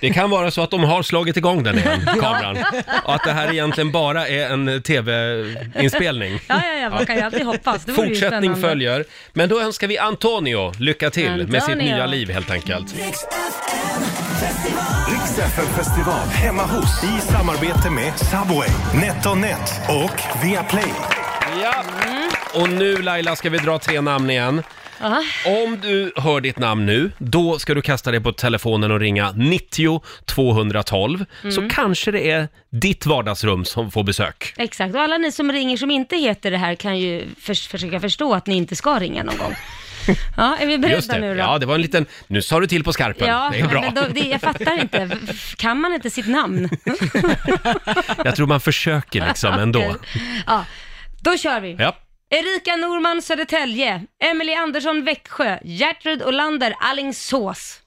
Speaker 1: Det kan vara så att de har slagit igång den
Speaker 4: *laughs*
Speaker 1: igen, kameran. Och att det här egentligen bara är en tv-inspelning.
Speaker 4: *laughs* Ja, ja, ja, man kan ju alltid hoppas. Det vore ju
Speaker 1: Fortsättning
Speaker 4: spännande.
Speaker 1: följer. Men då önskar vi Antonio lycka till med sitt
Speaker 4: Antonio.
Speaker 1: nya liv helt enkelt.
Speaker 3: Rix FM festival hemma hos i samarbete med Subway, NetOnNet och Viaplay.
Speaker 1: Ja. Och nu Laila ska vi dra tre namn igen.
Speaker 4: Ja.
Speaker 1: Om du hör ditt namn nu, då ska du kasta dig på telefonen och ringa 90 212.
Speaker 4: Mm.
Speaker 1: Så kanske det är ditt vardagsrum som får besök.
Speaker 4: Exakt, och alla ni som ringer som inte heter det här kan ju förs- försöka förstå att ni inte ska ringa någon *laughs* gång. Ja, är vi
Speaker 1: Just
Speaker 4: beredda
Speaker 1: det.
Speaker 4: nu då?
Speaker 1: Ja, det var en liten... Nu sa du till på skarpen.
Speaker 4: Ja,
Speaker 1: det är bra.
Speaker 4: men då, det, jag fattar inte. V- Kan man inte sitt namn?
Speaker 1: *laughs* Jag tror man försöker *laughs* liksom
Speaker 4: *laughs*
Speaker 1: ändå.
Speaker 4: Ja, då kör vi.
Speaker 1: Ja.
Speaker 4: Erika Norman, Södertälje. Emily Andersson, Växjö. Gertrud Olander, Alingsås.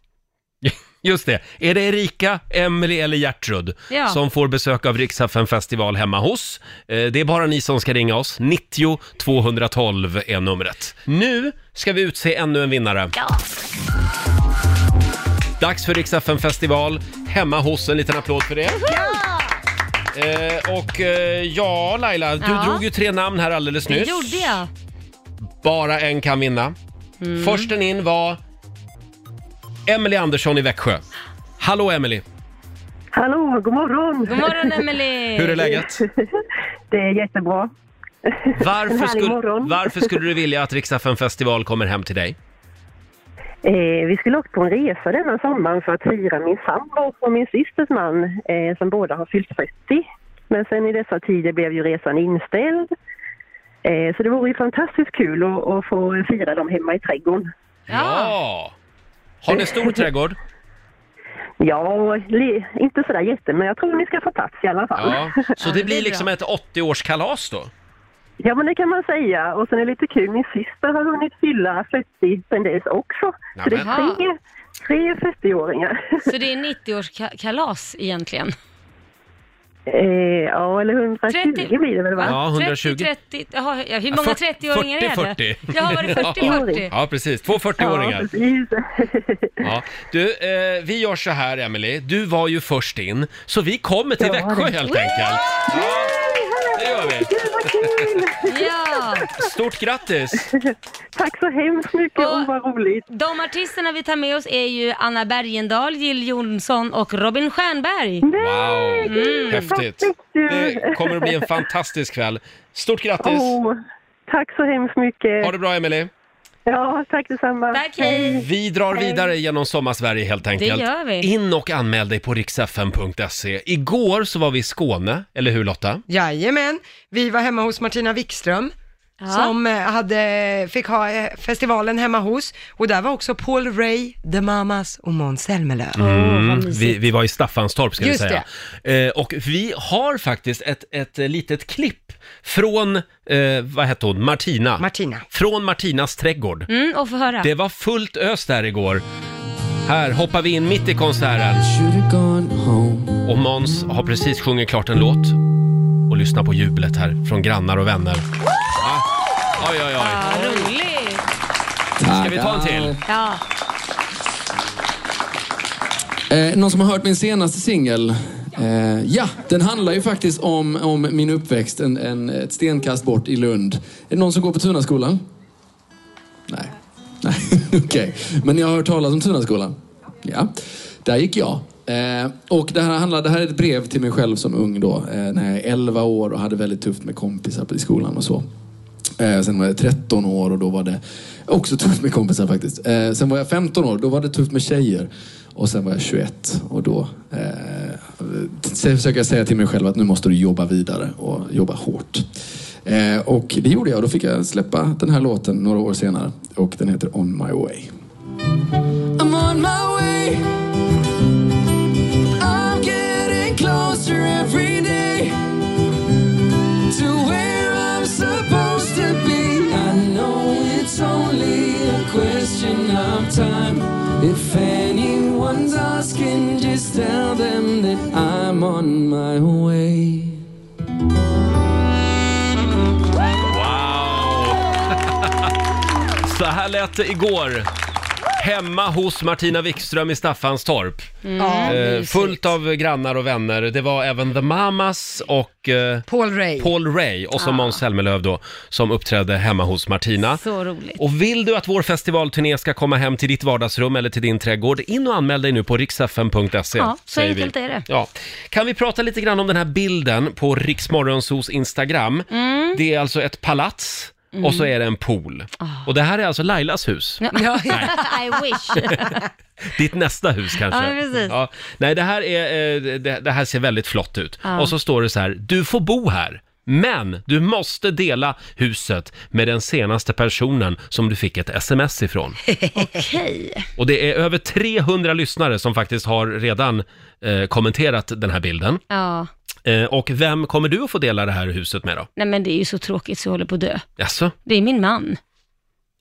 Speaker 1: Just det. Är det Erika, Emily eller Gertrud
Speaker 4: Ja.
Speaker 1: som får besök av Riksdagen festival hemma hos? Eh, Det är bara ni som ska ringa oss. 90 212 är numret. Nu ska vi utse ännu en vinnare.
Speaker 4: Ja.
Speaker 1: Dags för Riksdagen festival hemma hos. En liten applåd för det. Eh, och eh, ja, Laila, du
Speaker 4: Ja.
Speaker 1: drog ju tre namn här alldeles
Speaker 4: Det
Speaker 1: nyss.
Speaker 4: gjorde jag. Mm.
Speaker 1: Bara en kan vinna. Försten in var Emily Andersson i Växjö. Hallå Emily,
Speaker 6: Hallå, god morgon.
Speaker 4: God morgon Emily.
Speaker 1: hur är läget?
Speaker 6: Det är jättebra.
Speaker 1: Varför,
Speaker 6: härlig
Speaker 1: skulle,
Speaker 6: morgon.
Speaker 1: varför skulle du vilja att Riksdagen festival kommer hem till dig?
Speaker 6: Eh, vi skulle åka på en resa denna sommaren för att fira min sambo och min systers man eh, som båda har fyllt 30. Men sen i dessa tider blev ju resan inställd. Eh, så det vore ju fantastiskt kul att, att få fira dem hemma i trädgården.
Speaker 4: Ja.
Speaker 1: Har ni stor trädgård?
Speaker 6: Ja, li- inte sådär jätte, men jag tror ni ska få plats i alla fall.
Speaker 1: Ja. Så det
Speaker 4: Ja,
Speaker 6: *laughs*
Speaker 4: det
Speaker 1: blir
Speaker 4: blir
Speaker 1: liksom
Speaker 4: bra.
Speaker 1: ett 80-årskalas då?
Speaker 6: Ja, men det kan man säga. Och sen är det lite kul, min syster har hunnit fylla 40 sen dess också. Så det
Speaker 1: Nämen.
Speaker 6: är tre, tre 40-åringar.
Speaker 4: Så det är 90-årskalas egentligen.
Speaker 6: Eh, ja, eller 120
Speaker 4: 30.
Speaker 6: blir det väl va?
Speaker 1: Ja, 120.
Speaker 4: 30, 30, jaha, ja, hur många
Speaker 1: 40,
Speaker 4: 30-åringar är det?
Speaker 1: 40.
Speaker 4: Ja, var det 40-40?
Speaker 1: Ja, precis. Två 40-åringar.
Speaker 6: precis.
Speaker 1: Ja. Du, eh, vi gör så här Emily. du var ju först in, så vi kommer till Växjö helt enkelt. Ja, det gör vi.
Speaker 6: Gud vad kul!
Speaker 4: Ja,
Speaker 1: Stort grattis!
Speaker 6: Tack så hemskt mycket,
Speaker 4: Och-
Speaker 6: och vad roligt.
Speaker 4: de artisterna vi tar med oss är ju Anna Bergendahl, Jill Johnson och Robin Stjernberg.
Speaker 1: Wow,
Speaker 4: Mm.
Speaker 1: häftigt.
Speaker 6: Tack mycket.
Speaker 1: Det kommer att bli en fantastisk kväll. Stort grattis!
Speaker 4: Oh.
Speaker 6: Åh, tack så hemskt mycket.
Speaker 1: Ha det bra Emily.
Speaker 6: Ja, tack detsamma.
Speaker 4: Tack, hej!
Speaker 1: Vi drar vidare genom sommarsverige helt enkelt.
Speaker 4: gör vi.
Speaker 1: In och anmäl dig på riksfn.se. Igår så var vi i Skåne, eller hur Lotta?
Speaker 2: Jajamän, vi var hemma hos Martina Wikström.
Speaker 4: Ja.
Speaker 2: Som eh, hade, fick ha eh, festivalen hemma hos och där var också Paul Ray, The Mamas och Måns Zelmerlöw.
Speaker 4: Åh, vad mysigt.
Speaker 1: Mm. Vi, vi var i Staffanstorp ska
Speaker 2: Just
Speaker 1: vi säga. Eh, och vi har faktiskt ett, ett eh, litet klipp från, eh, vad hette hon, Martina.
Speaker 2: Martina.
Speaker 1: Från Martinas trädgård.
Speaker 4: Mm, och få höra.
Speaker 1: Det var fullt ös där igår. Här hoppar vi in mitt i konserten. Och Måns har precis sjungit klart en låt. Och lyssna på jublet här från grannar och vänner. Ja. Oj, oj, oj.
Speaker 4: Ja, roligt!
Speaker 1: Ska vi ta en till?
Speaker 4: Ja,
Speaker 7: Eh, någon som har hört min senaste singel? Eh, ja, den handlar ju faktiskt om, om min uppväxt en, en, ett stenkast bort i Lund. Är det någon som går på Tunaskolan? Nej. Nej, *laughs* okej. Men jag har hört talas om Tunaskolan? Ja. Där gick jag. Eh, och det här, handlar, det här är ett brev till mig själv som ung då. Eh, när jag är 11 år och hade väldigt tufft med kompisar på- i skolan och så. Eh, sen var jag 13 år och då var det också tufft med kompisar faktiskt. Eh, sen var jag 15 år, då var det tufft med tjejer. Och sen var jag 21 och då eh, sen försöker jag säga till mig själv att nu måste du jobba vidare och jobba hårt. Eh, och det gjorde jag och då fick jag släppa den här låten några år senare. Och den heter On My Way. I'm on my way I'm getting closer every day to where I'm supposed to be. I know it's only a question of time. If anyone's asking, just tell them that I'm on my way.
Speaker 1: Wow! Så här lät det igår hemma hos Martina Wikström i Staffanstorp.
Speaker 2: Ja.
Speaker 1: Eh,
Speaker 4: Mm. mysigt.
Speaker 1: fullt av grannar och vänner. Det var även The Mamas och eh,
Speaker 2: Paul Ray.
Speaker 1: Paul Ray och
Speaker 4: Ah.
Speaker 1: så Måns Zelmerlöw då, som uppträdde hemma hos Martina.
Speaker 4: Så roligt.
Speaker 1: Och vill du att vår festivalturné ska komma hem till ditt vardagsrum eller till din trädgård, in och anmäl dig nu på riksfm.se.
Speaker 4: Ja, så
Speaker 1: säger
Speaker 4: enkelt är det.
Speaker 1: Ja. Kan vi prata lite grann om den här bilden på Riksmorgonsos Instagram?
Speaker 4: Mm.
Speaker 1: Det är alltså ett palats och så är det en pool.
Speaker 4: Ah.
Speaker 1: Och det här är alltså Lailas hus.
Speaker 4: *laughs* I
Speaker 1: *laughs*
Speaker 4: wish.
Speaker 1: Ditt nästa hus kanske?
Speaker 4: Ja, precis.
Speaker 1: Ja. Nej, det här, är, eh, det, det här ser väldigt flott ut.
Speaker 4: Ah.
Speaker 1: Och så står det så här, du får bo här. Men du måste dela huset med den senaste personen som du fick ett sms
Speaker 4: *laughs*
Speaker 1: ifrån.
Speaker 4: Okej.
Speaker 1: Och det är över 300 lyssnare som faktiskt har redan eh, kommenterat den här bilden.
Speaker 4: Ja.
Speaker 1: Eh, och vem kommer du att få dela det här huset med då?
Speaker 4: Nej men det är ju så tråkigt så jag håller på att dö.
Speaker 1: Jaså?
Speaker 4: Det är min man.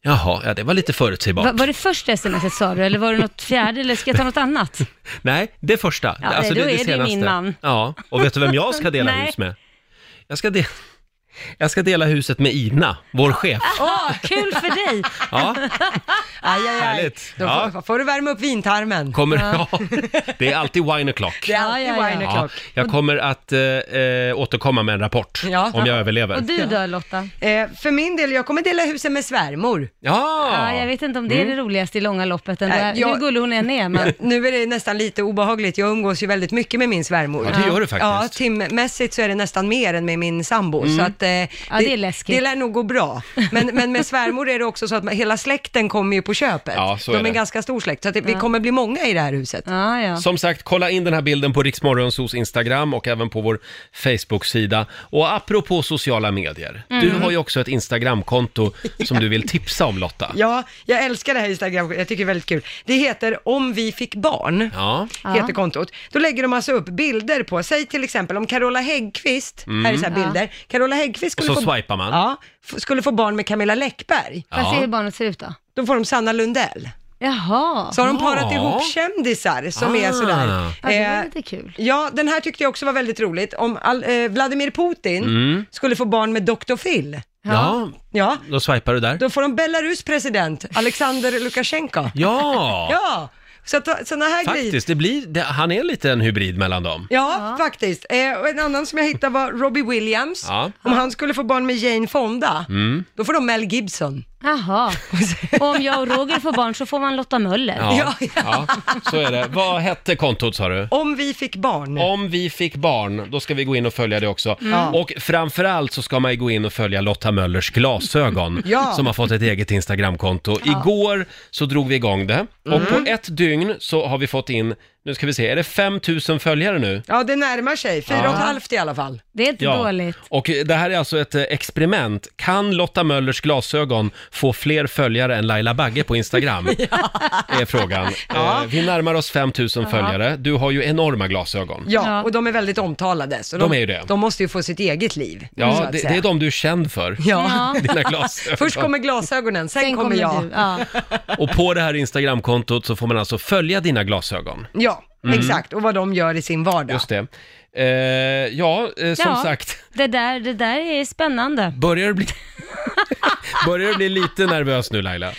Speaker 1: Jaha, ja det var lite förutsägbart.
Speaker 4: Va, var det första smset sa du, eller var det något fjärde, eller ska jag ta något annat?
Speaker 1: Nej, det första.
Speaker 4: Ja, då är det ju min man.
Speaker 1: Ja, och vet du vem jag ska dela
Speaker 4: *laughs* Nej.
Speaker 1: hus med? Jag ska, de- jag ska dela huset med Ina, vår chef.
Speaker 4: Åh, Ah, kul för dig!
Speaker 1: *laughs* Ja,
Speaker 2: Aj, aj, aj.
Speaker 1: Härligt.
Speaker 2: Då
Speaker 1: Ja.
Speaker 2: får, får du värma upp vintarmen.
Speaker 1: kommer, ja. det är alltid wine
Speaker 2: Det
Speaker 1: o'clock.
Speaker 2: är alltid
Speaker 4: *laughs* Ja, ja, ja.
Speaker 2: wine
Speaker 1: *laughs* Ja,
Speaker 2: o'clock.
Speaker 1: jag kommer att eh, eh, återkomma med en rapport
Speaker 2: Ja.
Speaker 1: om jag
Speaker 4: Och
Speaker 1: överlever.
Speaker 4: du då Lotta?
Speaker 2: Eh, för min del, jag kommer dela huset med svärmor.
Speaker 1: *laughs* Ja! Mm.
Speaker 4: Ja, jag vet inte om det är det roligaste i långa loppet ändå.
Speaker 2: Nej, Äh, jag-
Speaker 4: Hur gullig hon än är, men
Speaker 2: Nu är det nästan lite obehagligt, jag umgås ju väldigt mycket med min svärmor.
Speaker 1: *laughs* Ja, det gör du faktiskt. Mm.
Speaker 2: Ja, timmässigt så är det nästan mer än med min sambo. Så att, eh, ja,
Speaker 4: det är läskigt.
Speaker 2: Det lär nog gå bra. Men, men med svärmor är det också så att man- hela släkten kommer ju på köpet.
Speaker 1: Ja, så
Speaker 2: De
Speaker 1: är
Speaker 2: är
Speaker 1: det.
Speaker 2: en ganska stor släkt, så att det, vi kommer bli många i det här huset.
Speaker 4: ja, ja.
Speaker 1: Som sagt, kolla in den här bilden på Riksmorgonsos Instagram och även på vår Facebook-sida. Och apropå sociala medier,
Speaker 4: Mm.
Speaker 1: du har ju också ett Instagramkonto som du vill tipsa om Lotta.
Speaker 2: Ja, jag älskar det här Instagram, jag tycker det är väldigt kul. Det heter Om vi fick barn.
Speaker 1: Ja.
Speaker 2: heter kontot. Då lägger de alltså upp bilder på, säg till exempel om Carola Häggkvist, här är så här
Speaker 4: Mm.
Speaker 2: bilder, Carola Häggkvist skulle,
Speaker 1: Och så
Speaker 2: få,
Speaker 1: swipar man.
Speaker 2: Ja, f- skulle få barn med Camilla Läckberg.
Speaker 4: Får jag se hur barnet ser ut då?
Speaker 2: Då får de Sanna Lundell.
Speaker 4: Jaha,
Speaker 2: Så har de
Speaker 1: Ja.
Speaker 2: parat ihop kändisar som
Speaker 1: Ah.
Speaker 2: är sådär.
Speaker 4: ja, det var
Speaker 2: eh,
Speaker 4: lite kul.
Speaker 2: Ja, den här tyckte jag också var väldigt roligt. Om all, eh, Vladimir Putin skulle få barn med Dr. Phil.
Speaker 1: Mm. Ja,
Speaker 2: Ja,
Speaker 1: då swipar du där.
Speaker 2: då får de Belarus president, Alexander Lukasjenko.
Speaker 1: Ja,
Speaker 2: *laughs* Ja, så att sådana här grejer.
Speaker 1: faktiskt. Det blir, det, han är lite en hybrid mellan dem.
Speaker 2: Ja, faktiskt. Eh, och en annan som jag hittade var Robbie Williams.
Speaker 1: Ja.
Speaker 2: Om han skulle få barn med Jane Fonda,
Speaker 1: Mm.
Speaker 2: då får de Mel Gibson. *laughs*
Speaker 4: Jaha. Och om jag och Roger får barn så får man Lotta Möller.
Speaker 1: Ja,
Speaker 2: Ja,
Speaker 1: ja. så är det. Vad hette kontot sa du?
Speaker 2: Om vi fick barn.
Speaker 1: Om vi fick barn, då ska vi gå in och följa det också.
Speaker 2: Mm.
Speaker 1: Och framförallt så ska man ju gå in och följa Lotta Möllers glasögon,
Speaker 2: *laughs* Ja.
Speaker 1: som har fått ett eget Instagramkonto. Igår så drog vi igång det, och
Speaker 2: Mm.
Speaker 1: på ett dygn så har vi fått in, nu ska vi se, är det 5000 följare nu?
Speaker 2: Ja, det närmar sig. Fyra och ett halvt i alla fall.
Speaker 4: Det är inte dåligt.
Speaker 1: och det här är alltså ett eh, experiment. Kan Lotta Möllers glasögon få fler följare än Laila Bagge på
Speaker 2: *laughs*
Speaker 1: Instagram? Är frågan. Eh, vi närmar oss 5000 följare. Du har ju enorma glasögon.
Speaker 2: Ja,
Speaker 4: Ja.
Speaker 2: och de är väldigt omtalade. Så
Speaker 1: De är ju det.
Speaker 2: De måste ju få sitt eget liv. så
Speaker 1: Ja,
Speaker 2: att
Speaker 1: det,
Speaker 2: säga.
Speaker 1: det är de du är känd för.
Speaker 2: *laughs* Ja.
Speaker 1: *laughs* Dina glasögon.
Speaker 2: Först kommer glasögonen, sen, kommer jag.
Speaker 4: du. Ja.
Speaker 1: Och på det här Instagramkontot så får man alltså följa dina glasögon.
Speaker 2: Ja,
Speaker 1: Mm.
Speaker 2: exakt. Och vad de gör i sin vardag.
Speaker 1: Just det. Eh, ja, eh, som
Speaker 4: Ja.
Speaker 1: sagt.
Speaker 4: Det, där, det där är spännande.
Speaker 1: Börjar du bli... *laughs* Börjar du bli lite nervös nu Laila?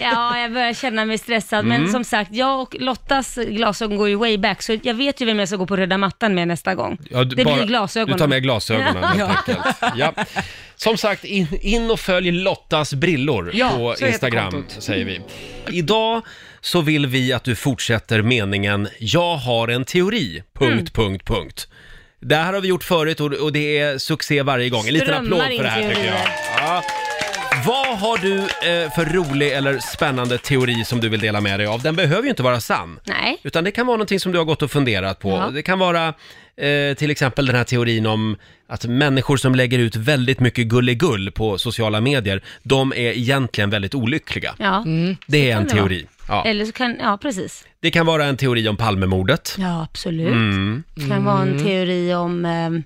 Speaker 4: Ja, jag börjar känna mig stressad.
Speaker 1: Mm.
Speaker 4: Men som sagt, jag och Lottas glasögon går ju way back, så jag vet ju vem jag ska gå på röda mattan med nästa gång.
Speaker 1: Ja, du-
Speaker 4: det
Speaker 1: bara-
Speaker 4: blir glasögonen.
Speaker 1: Du tar med
Speaker 4: *laughs*
Speaker 1: glasögonen helt enkelt. Ja. Som sagt, in, in och följ Lottas brillor
Speaker 2: Ja, så
Speaker 1: på
Speaker 2: heter
Speaker 1: Instagram,
Speaker 2: kontot.
Speaker 1: säger vi. Idag så vill vi att du fortsätter meningen “Jag har en teori...”
Speaker 4: Mm.
Speaker 1: punkt, punkt, punkt. Det här har vi gjort förut och, och det är succé varje gång. En liten
Speaker 4: Strömmar
Speaker 1: applåd för det här
Speaker 4: in
Speaker 1: tycker jag.
Speaker 4: teorier.
Speaker 1: Ja. Vad har du eh, för rolig eller spännande teori som du vill dela med dig av? Den behöver ju inte vara sann.
Speaker 4: Nej.
Speaker 1: Utan det kan vara någonting som du har gått och funderat på.
Speaker 4: Ja.
Speaker 1: Det kan vara eh, till exempel den här teorin om att människor som lägger ut väldigt mycket gulligull på sociala medier, de är egentligen väldigt olyckliga.
Speaker 4: Ja.
Speaker 2: Mm.
Speaker 1: det är en
Speaker 4: det vara.
Speaker 1: teori. Ja.
Speaker 4: Eller så kan, ja precis.
Speaker 1: Det kan vara en teori om Palmemordet.
Speaker 4: Ja, absolut.
Speaker 1: Mm.
Speaker 4: Det kan vara
Speaker 2: Mm.
Speaker 4: en teori om, ehm,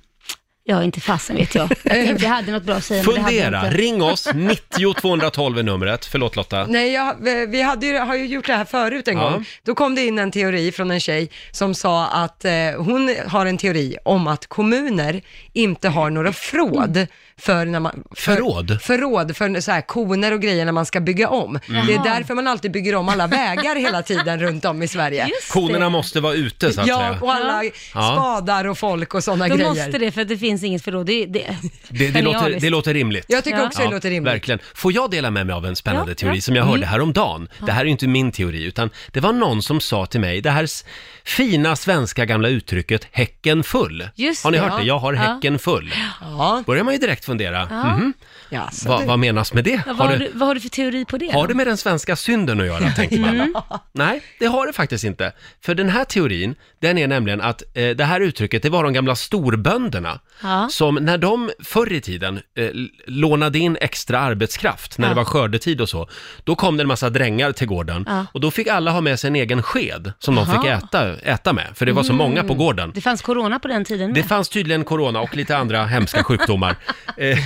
Speaker 4: ja inte fasen vet jag. Jag tänkte jag hade något bra att säga, men det hade
Speaker 1: Fundera,
Speaker 4: jag inte.
Speaker 1: ring oss, 90 212 är numret. Förlåt Lotta.
Speaker 2: *laughs* Nej, jag, eh, vi hade ju, har ju gjort det här förut en
Speaker 1: Ja.
Speaker 2: gång. Då kom det in en teori från en tjej som sa att eh, hon har en teori om att kommuner inte har några fråd för när man...
Speaker 1: Förråd?
Speaker 2: Förråd för så här koner och grejer när man ska bygga om.
Speaker 1: Mm.
Speaker 2: Det är därför man alltid bygger om alla vägar hela tiden runt om i Sverige.
Speaker 4: Just
Speaker 1: Konerna
Speaker 4: det.
Speaker 1: måste vara ute så att
Speaker 2: Ja,
Speaker 1: säga.
Speaker 2: och alla
Speaker 4: Ja.
Speaker 2: spadar och folk och sådana
Speaker 4: Då
Speaker 2: grejer.
Speaker 4: måste det, för att det finns inget förråd. Det, det,
Speaker 1: Det, det, låter,
Speaker 4: genialiskt.
Speaker 1: det låter rimligt.
Speaker 2: Jag tycker
Speaker 4: Ja.
Speaker 2: också det låter rimligt.
Speaker 1: Verkligen. Får jag dela med mig av en spännande
Speaker 4: Ja, Mm.
Speaker 1: teori
Speaker 4: ja.
Speaker 1: som jag hörde häromdagen? Det här är ju inte min teori, utan det var någon som sa till mig, det här s- fina svenska gamla uttrycket häcken full.
Speaker 4: Just
Speaker 1: har ni
Speaker 4: det,
Speaker 1: hört
Speaker 4: ja.
Speaker 1: det? Jag har
Speaker 4: Ja.
Speaker 1: häcken full.
Speaker 2: Ja,
Speaker 1: Börjar man ju direkt fundera, mhm,
Speaker 2: ja så
Speaker 1: vad,
Speaker 2: det-
Speaker 1: vad menas med det?
Speaker 4: Ja,
Speaker 1: Har
Speaker 4: vad, har
Speaker 1: det,
Speaker 4: du, vad har du för teori på det?
Speaker 1: har
Speaker 4: då?
Speaker 1: det med den svenska synden att göra, tänker man. Nej, det har det faktiskt inte. För den här teorin, den är nämligen att eh, det här uttrycket, det var de gamla storbönderna
Speaker 4: Ja.
Speaker 1: som när de förr i tiden eh, l- lånade in extra arbetskraft när det var skördetid och så, då kom det en massa drängar till gården
Speaker 4: Ja.
Speaker 1: och då fick alla ha med sig en egen sked som de
Speaker 4: Aha. Mm.
Speaker 1: fick äta, äta med, för det var så många på gården.
Speaker 4: Det fanns corona på den tiden
Speaker 1: Det
Speaker 4: med.
Speaker 1: fanns tydligen corona och lite andra hemska
Speaker 4: *laughs*
Speaker 1: sjukdomar. Eh,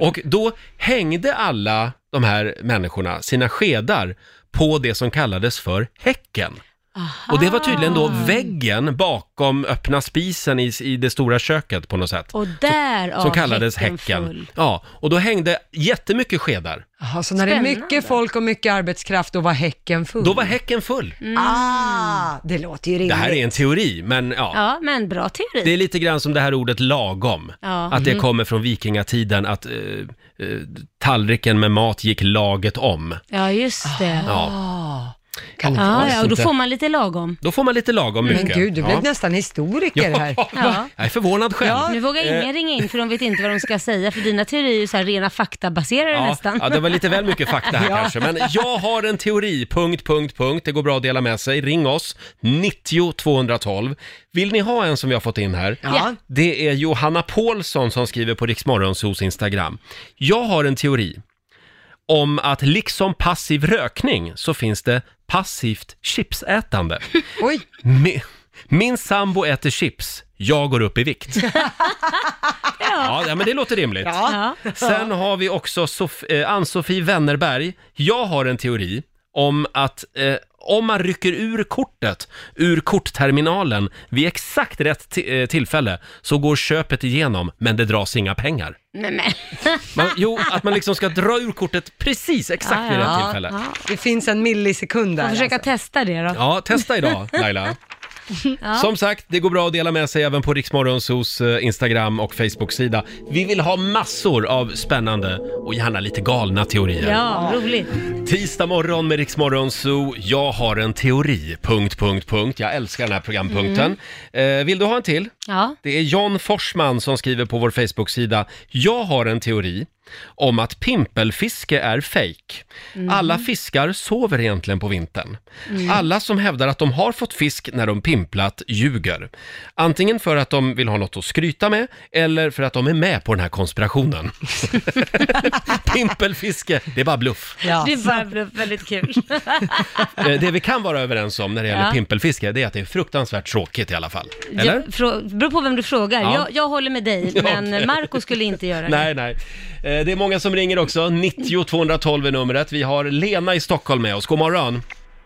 Speaker 1: och då hängde alla de här människorna sina skedar på det som kallades för häcken. Och det var tydligen då väggen bakom öppna spisen i, i det stora köket på något sätt.
Speaker 4: Och där
Speaker 1: Som kallades häcken.
Speaker 4: Full.
Speaker 1: Ja, och då hängde jättemycket skedar.
Speaker 2: Jaha, så när det är mycket folk och mycket arbetskraft, då var häcken full? Mm.
Speaker 1: Då var häcken full.
Speaker 2: Ah, det låter ju rimligt.
Speaker 1: Det här är en teori, men ja.
Speaker 4: Ja, men bra teori.
Speaker 1: Det är lite grann som det här ordet lagom.
Speaker 4: Ja.
Speaker 1: Att
Speaker 4: Mm.
Speaker 2: Mm.
Speaker 1: det kommer från vikingatiden, att eh, eh, tallriken med mat gick laget om.
Speaker 4: Ja, just det. Ja,
Speaker 1: Ja.
Speaker 2: Ah. Kan det
Speaker 4: ja,
Speaker 2: vara så?
Speaker 4: och då
Speaker 1: inte.
Speaker 4: får man lite lagom.
Speaker 1: Då får man lite lagom mycket.
Speaker 2: Men gud, du blev
Speaker 1: ja.
Speaker 2: nästan historiker här.
Speaker 1: Ja. *laughs* Jag är förvånad själv. Eh.
Speaker 4: Nu vågar ingen ringa in för de vet inte vad de ska säga, för dina teorier är ju så här rena faktabaserade
Speaker 1: Ja,
Speaker 4: nästan.
Speaker 1: ja, det var lite väl mycket fakta
Speaker 4: *laughs*
Speaker 1: här kanske. Men jag har en teori, punkt, punkt, punkt. Det går bra att dela med sig. Ring oss, 90 212. Vill ni ha en som vi har fått in här?
Speaker 2: Ja.
Speaker 1: Det är Johanna Paulsson som skriver på Riksmorgonsos Instagram. Jag har en teori om att liksom passiv rökning så finns det passivt chipsätande.
Speaker 2: Oj,
Speaker 1: Min, min sambo äter chips, jag går upp i vikt. ja. ja, men det låter rimligt.
Speaker 4: Ja.
Speaker 1: Sen har vi också Sof- eh, Ann-Sofie Wennerberg. Jag har en teori om att eh, om man rycker ur kortet ur kortterminalen vid exakt rätt ti- eh, tillfälle så går köpet igenom men det dras inga pengar.
Speaker 4: Nej,
Speaker 1: *laughs*
Speaker 4: men.
Speaker 1: Man, jo, att man liksom ska dra ur kortet precis exakt vid
Speaker 4: Ja,
Speaker 1: rätt
Speaker 4: Ah, ja.
Speaker 1: tillfälle.
Speaker 4: Ja.
Speaker 2: det finns en millisekund där.
Speaker 4: Jag försöka
Speaker 2: alltså.
Speaker 4: testa det då.
Speaker 1: Ja, testa
Speaker 4: *laughs*
Speaker 1: idag Laila. Som sagt, det går bra att dela med sig även på Riksmorgonsos eh, Instagram och Facebook-sida. Vi vill ha massor av spännande och gärna lite galna teorier.
Speaker 4: Ja, roligt.
Speaker 1: Tisdag morgon med Riksmorgonso. Jag har en teori. Punkt, punkt, punkt. Jag älskar den här programpunkten. Eh, vill du ha en till?
Speaker 4: Ja.
Speaker 1: Det är John Forsman som skriver på vår Facebook-sida. Jag har en teori om att pimpelfiske är fejk. Alla fiskar sover egentligen på vintern. Alla som hävdar att de har fått fisk när de pimplat ljuger. Antingen för att de vill ha något att skryta med eller för att de är med på den här konspirationen. Pimpelfiske, det är bara bluff.
Speaker 2: Ja.
Speaker 4: Det var väldigt kul.
Speaker 1: Eh, Det vi kan vara överens om när det gäller
Speaker 4: Ja.
Speaker 1: pimpelfiske, det är att det är fruktansvärt tråkigt i alla fall. Eller?
Speaker 4: *laughs* Jag, frå, beror på vem du frågar.
Speaker 1: Ja.
Speaker 4: Jag, jag håller med dig,
Speaker 1: *laughs* Ja,
Speaker 4: men
Speaker 1: okej.
Speaker 4: Marco skulle inte göra det.
Speaker 1: Nej, nej. Eh, Det är många som ringer också. 90 212 är numret. Vi har Lena i Stockholm med oss. God morgon.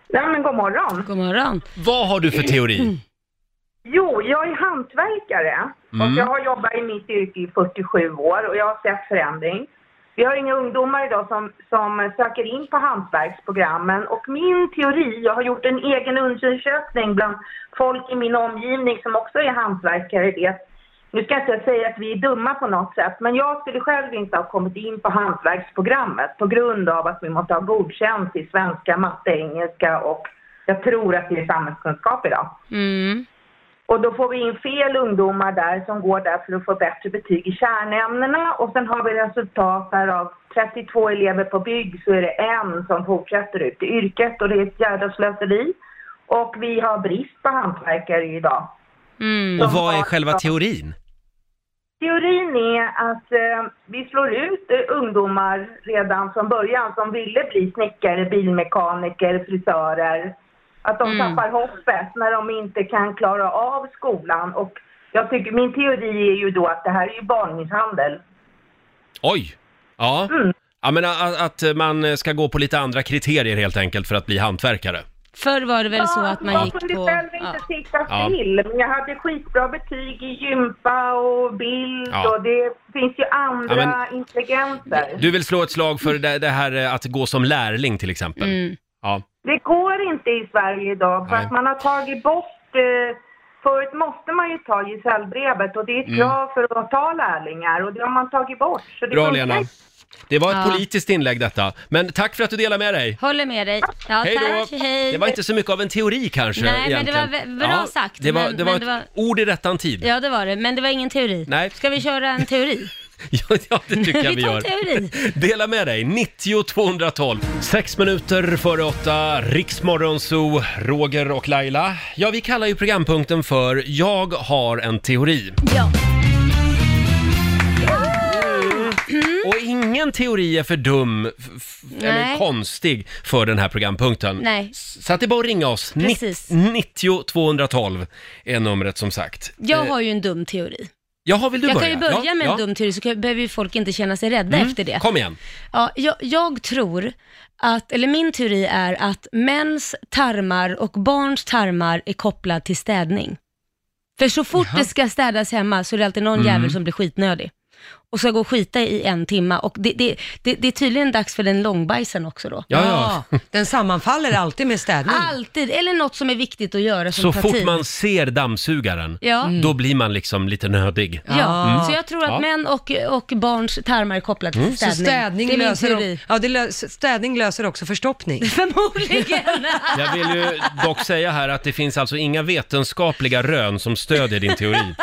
Speaker 8: Nej, men god morgon.
Speaker 4: God morgon.
Speaker 1: Vad har du för teori?
Speaker 8: Jo, jag är hantverkare och jag har jobbat i mitt yrke i 47 år och jag har sett förändring. Vi har inga ungdomar idag som, som söker in på hantverksprogrammen och min teori, jag har gjort en egen undersökning bland folk i min omgivning som också är hantverkare, vet. Nu ska jag inte säga att vi är dumma på något sätt, men jag skulle själv inte ha kommit in på hantverksprogrammet på grund av att vi måste ha godkänt i svenska, matte, engelska och jag tror att det är samhällskunskap idag.
Speaker 4: Mm.
Speaker 8: Och då får vi in fel ungdomar där som går där för att få bättre betyg i kärnämnena och sen har vi resultat där av 32 elever på bygg så är det en som fortsätter ut i yrket och det är ett jävla slöseri. Och vi har brist på hantverkare idag.
Speaker 4: Mm.
Speaker 1: Och vad är själva teorin?
Speaker 8: Teorin är att eh, vi slår ut eh, ungdomar redan från början som ville bli snickare, bilmekaniker, frisörer. Att
Speaker 4: Mm.
Speaker 8: de tappar hoppet när de inte kan klara av skolan. Och jag tycker, min teori är ju då att det här är ju barnmisshandel.
Speaker 1: Oj! Mm. eh, Ja. Ja, men a- a- att man ska gå på lite andra kriterier helt enkelt för att bli hantverkare.
Speaker 4: Förr var det väl så att man gick
Speaker 8: Jag
Speaker 4: på...
Speaker 8: kunde själv
Speaker 4: ja.
Speaker 8: inte sitta
Speaker 1: Ja.
Speaker 8: still, men jag hade skitbra betyg i gympa och bild
Speaker 1: Ja.
Speaker 8: och det finns ju andra
Speaker 1: Ja, men-
Speaker 8: intelligenser.
Speaker 1: Du vill slå ett slag för det, det här eh, att gå som lärling till exempel?
Speaker 4: Mm.
Speaker 1: Ja.
Speaker 8: Det går inte i Sverige idag för
Speaker 1: Nej.
Speaker 8: att man har tagit bort... Eh, förut måste man ju ta gesällbrevet och det är
Speaker 1: Mm.
Speaker 8: ett krav för att ta lärlingar och det har man tagit bort. Så det
Speaker 1: Bra
Speaker 8: funkar
Speaker 1: Lena.
Speaker 8: inte.
Speaker 1: Det var ett
Speaker 4: Ja.
Speaker 1: politiskt inlägg detta. Men tack för att du delade med dig.
Speaker 4: Håller med dig. Ja,
Speaker 1: Hej
Speaker 4: tack,
Speaker 1: då!
Speaker 4: hej.
Speaker 1: Det var inte så mycket av en teori kanske
Speaker 4: Nej, men det
Speaker 1: egentligen.
Speaker 4: var vä- bra sagt,
Speaker 1: Det var,
Speaker 4: men-
Speaker 1: det var
Speaker 4: men det
Speaker 1: ett ord i rättan tid. Ja,
Speaker 4: Ja, det var det, men det var ingen teori.
Speaker 1: Nej. Mm.
Speaker 4: Ska vi köra en teori?
Speaker 1: ja det tycker jag vi
Speaker 4: *laughs* vi tar
Speaker 1: gör.
Speaker 4: teori.
Speaker 1: *laughs* Dela med dig, 90 212. Sex minuter före åtta, Riksmorgonzoo, Roger och Laila. Ja, vi kallar ju programpunkten för “Jag har en teori”.
Speaker 4: Ja. *laughs*
Speaker 1: Och ingen teori är för dum f- f- eller
Speaker 4: Mm. Nej.
Speaker 1: konstig för den här programpunkten.
Speaker 4: Nej.
Speaker 1: Så att det är bara att ringa oss.
Speaker 4: Precis.
Speaker 1: 90 212 är numret som sagt.
Speaker 4: Jag har ju en dum teori.
Speaker 1: Jaha, vill du
Speaker 4: Jag kan
Speaker 1: börja?
Speaker 4: ju börja
Speaker 1: Eh. Ja,
Speaker 4: med en
Speaker 1: ja. Mm.
Speaker 4: dum teori så kan- behöver ju folk inte känna sig rädda efter det.
Speaker 1: Kom igen.
Speaker 4: Ja, jag, jag tror att, eller min teori är att mäns tarmar och barns tarmar är kopplad till städning. För så fort det ska städas hemma så är det alltid någon
Speaker 1: Mm.
Speaker 4: jävel som blir skitnödig och ska gå och skita i en timma. Och det, det, det, det är tydligen dags för den långbajsen också då.
Speaker 1: Ja, ja.
Speaker 2: Den sammanfaller alltid med städning.
Speaker 4: Alltid, eller något som är viktigt att göra som
Speaker 1: Så
Speaker 4: tar
Speaker 1: fort
Speaker 4: tid.
Speaker 1: man ser dammsugaren,
Speaker 4: Ja.
Speaker 1: då blir man liksom lite nödig. Mm.
Speaker 4: Ja, så jag tror att
Speaker 1: Ja. Mm.
Speaker 4: män och, och barns tarmar är kopplade till
Speaker 2: Så
Speaker 4: städning.
Speaker 2: städning,
Speaker 4: det är min
Speaker 2: löser,
Speaker 4: teori.
Speaker 2: o- ja, det lö, städning löser också
Speaker 4: *laughs*
Speaker 2: förstoppning.
Speaker 4: Förmodligen.
Speaker 1: Jag vill ju dock säga här att det finns alltså inga vetenskapliga rön som stödjer din
Speaker 4: *laughs*
Speaker 1: teori.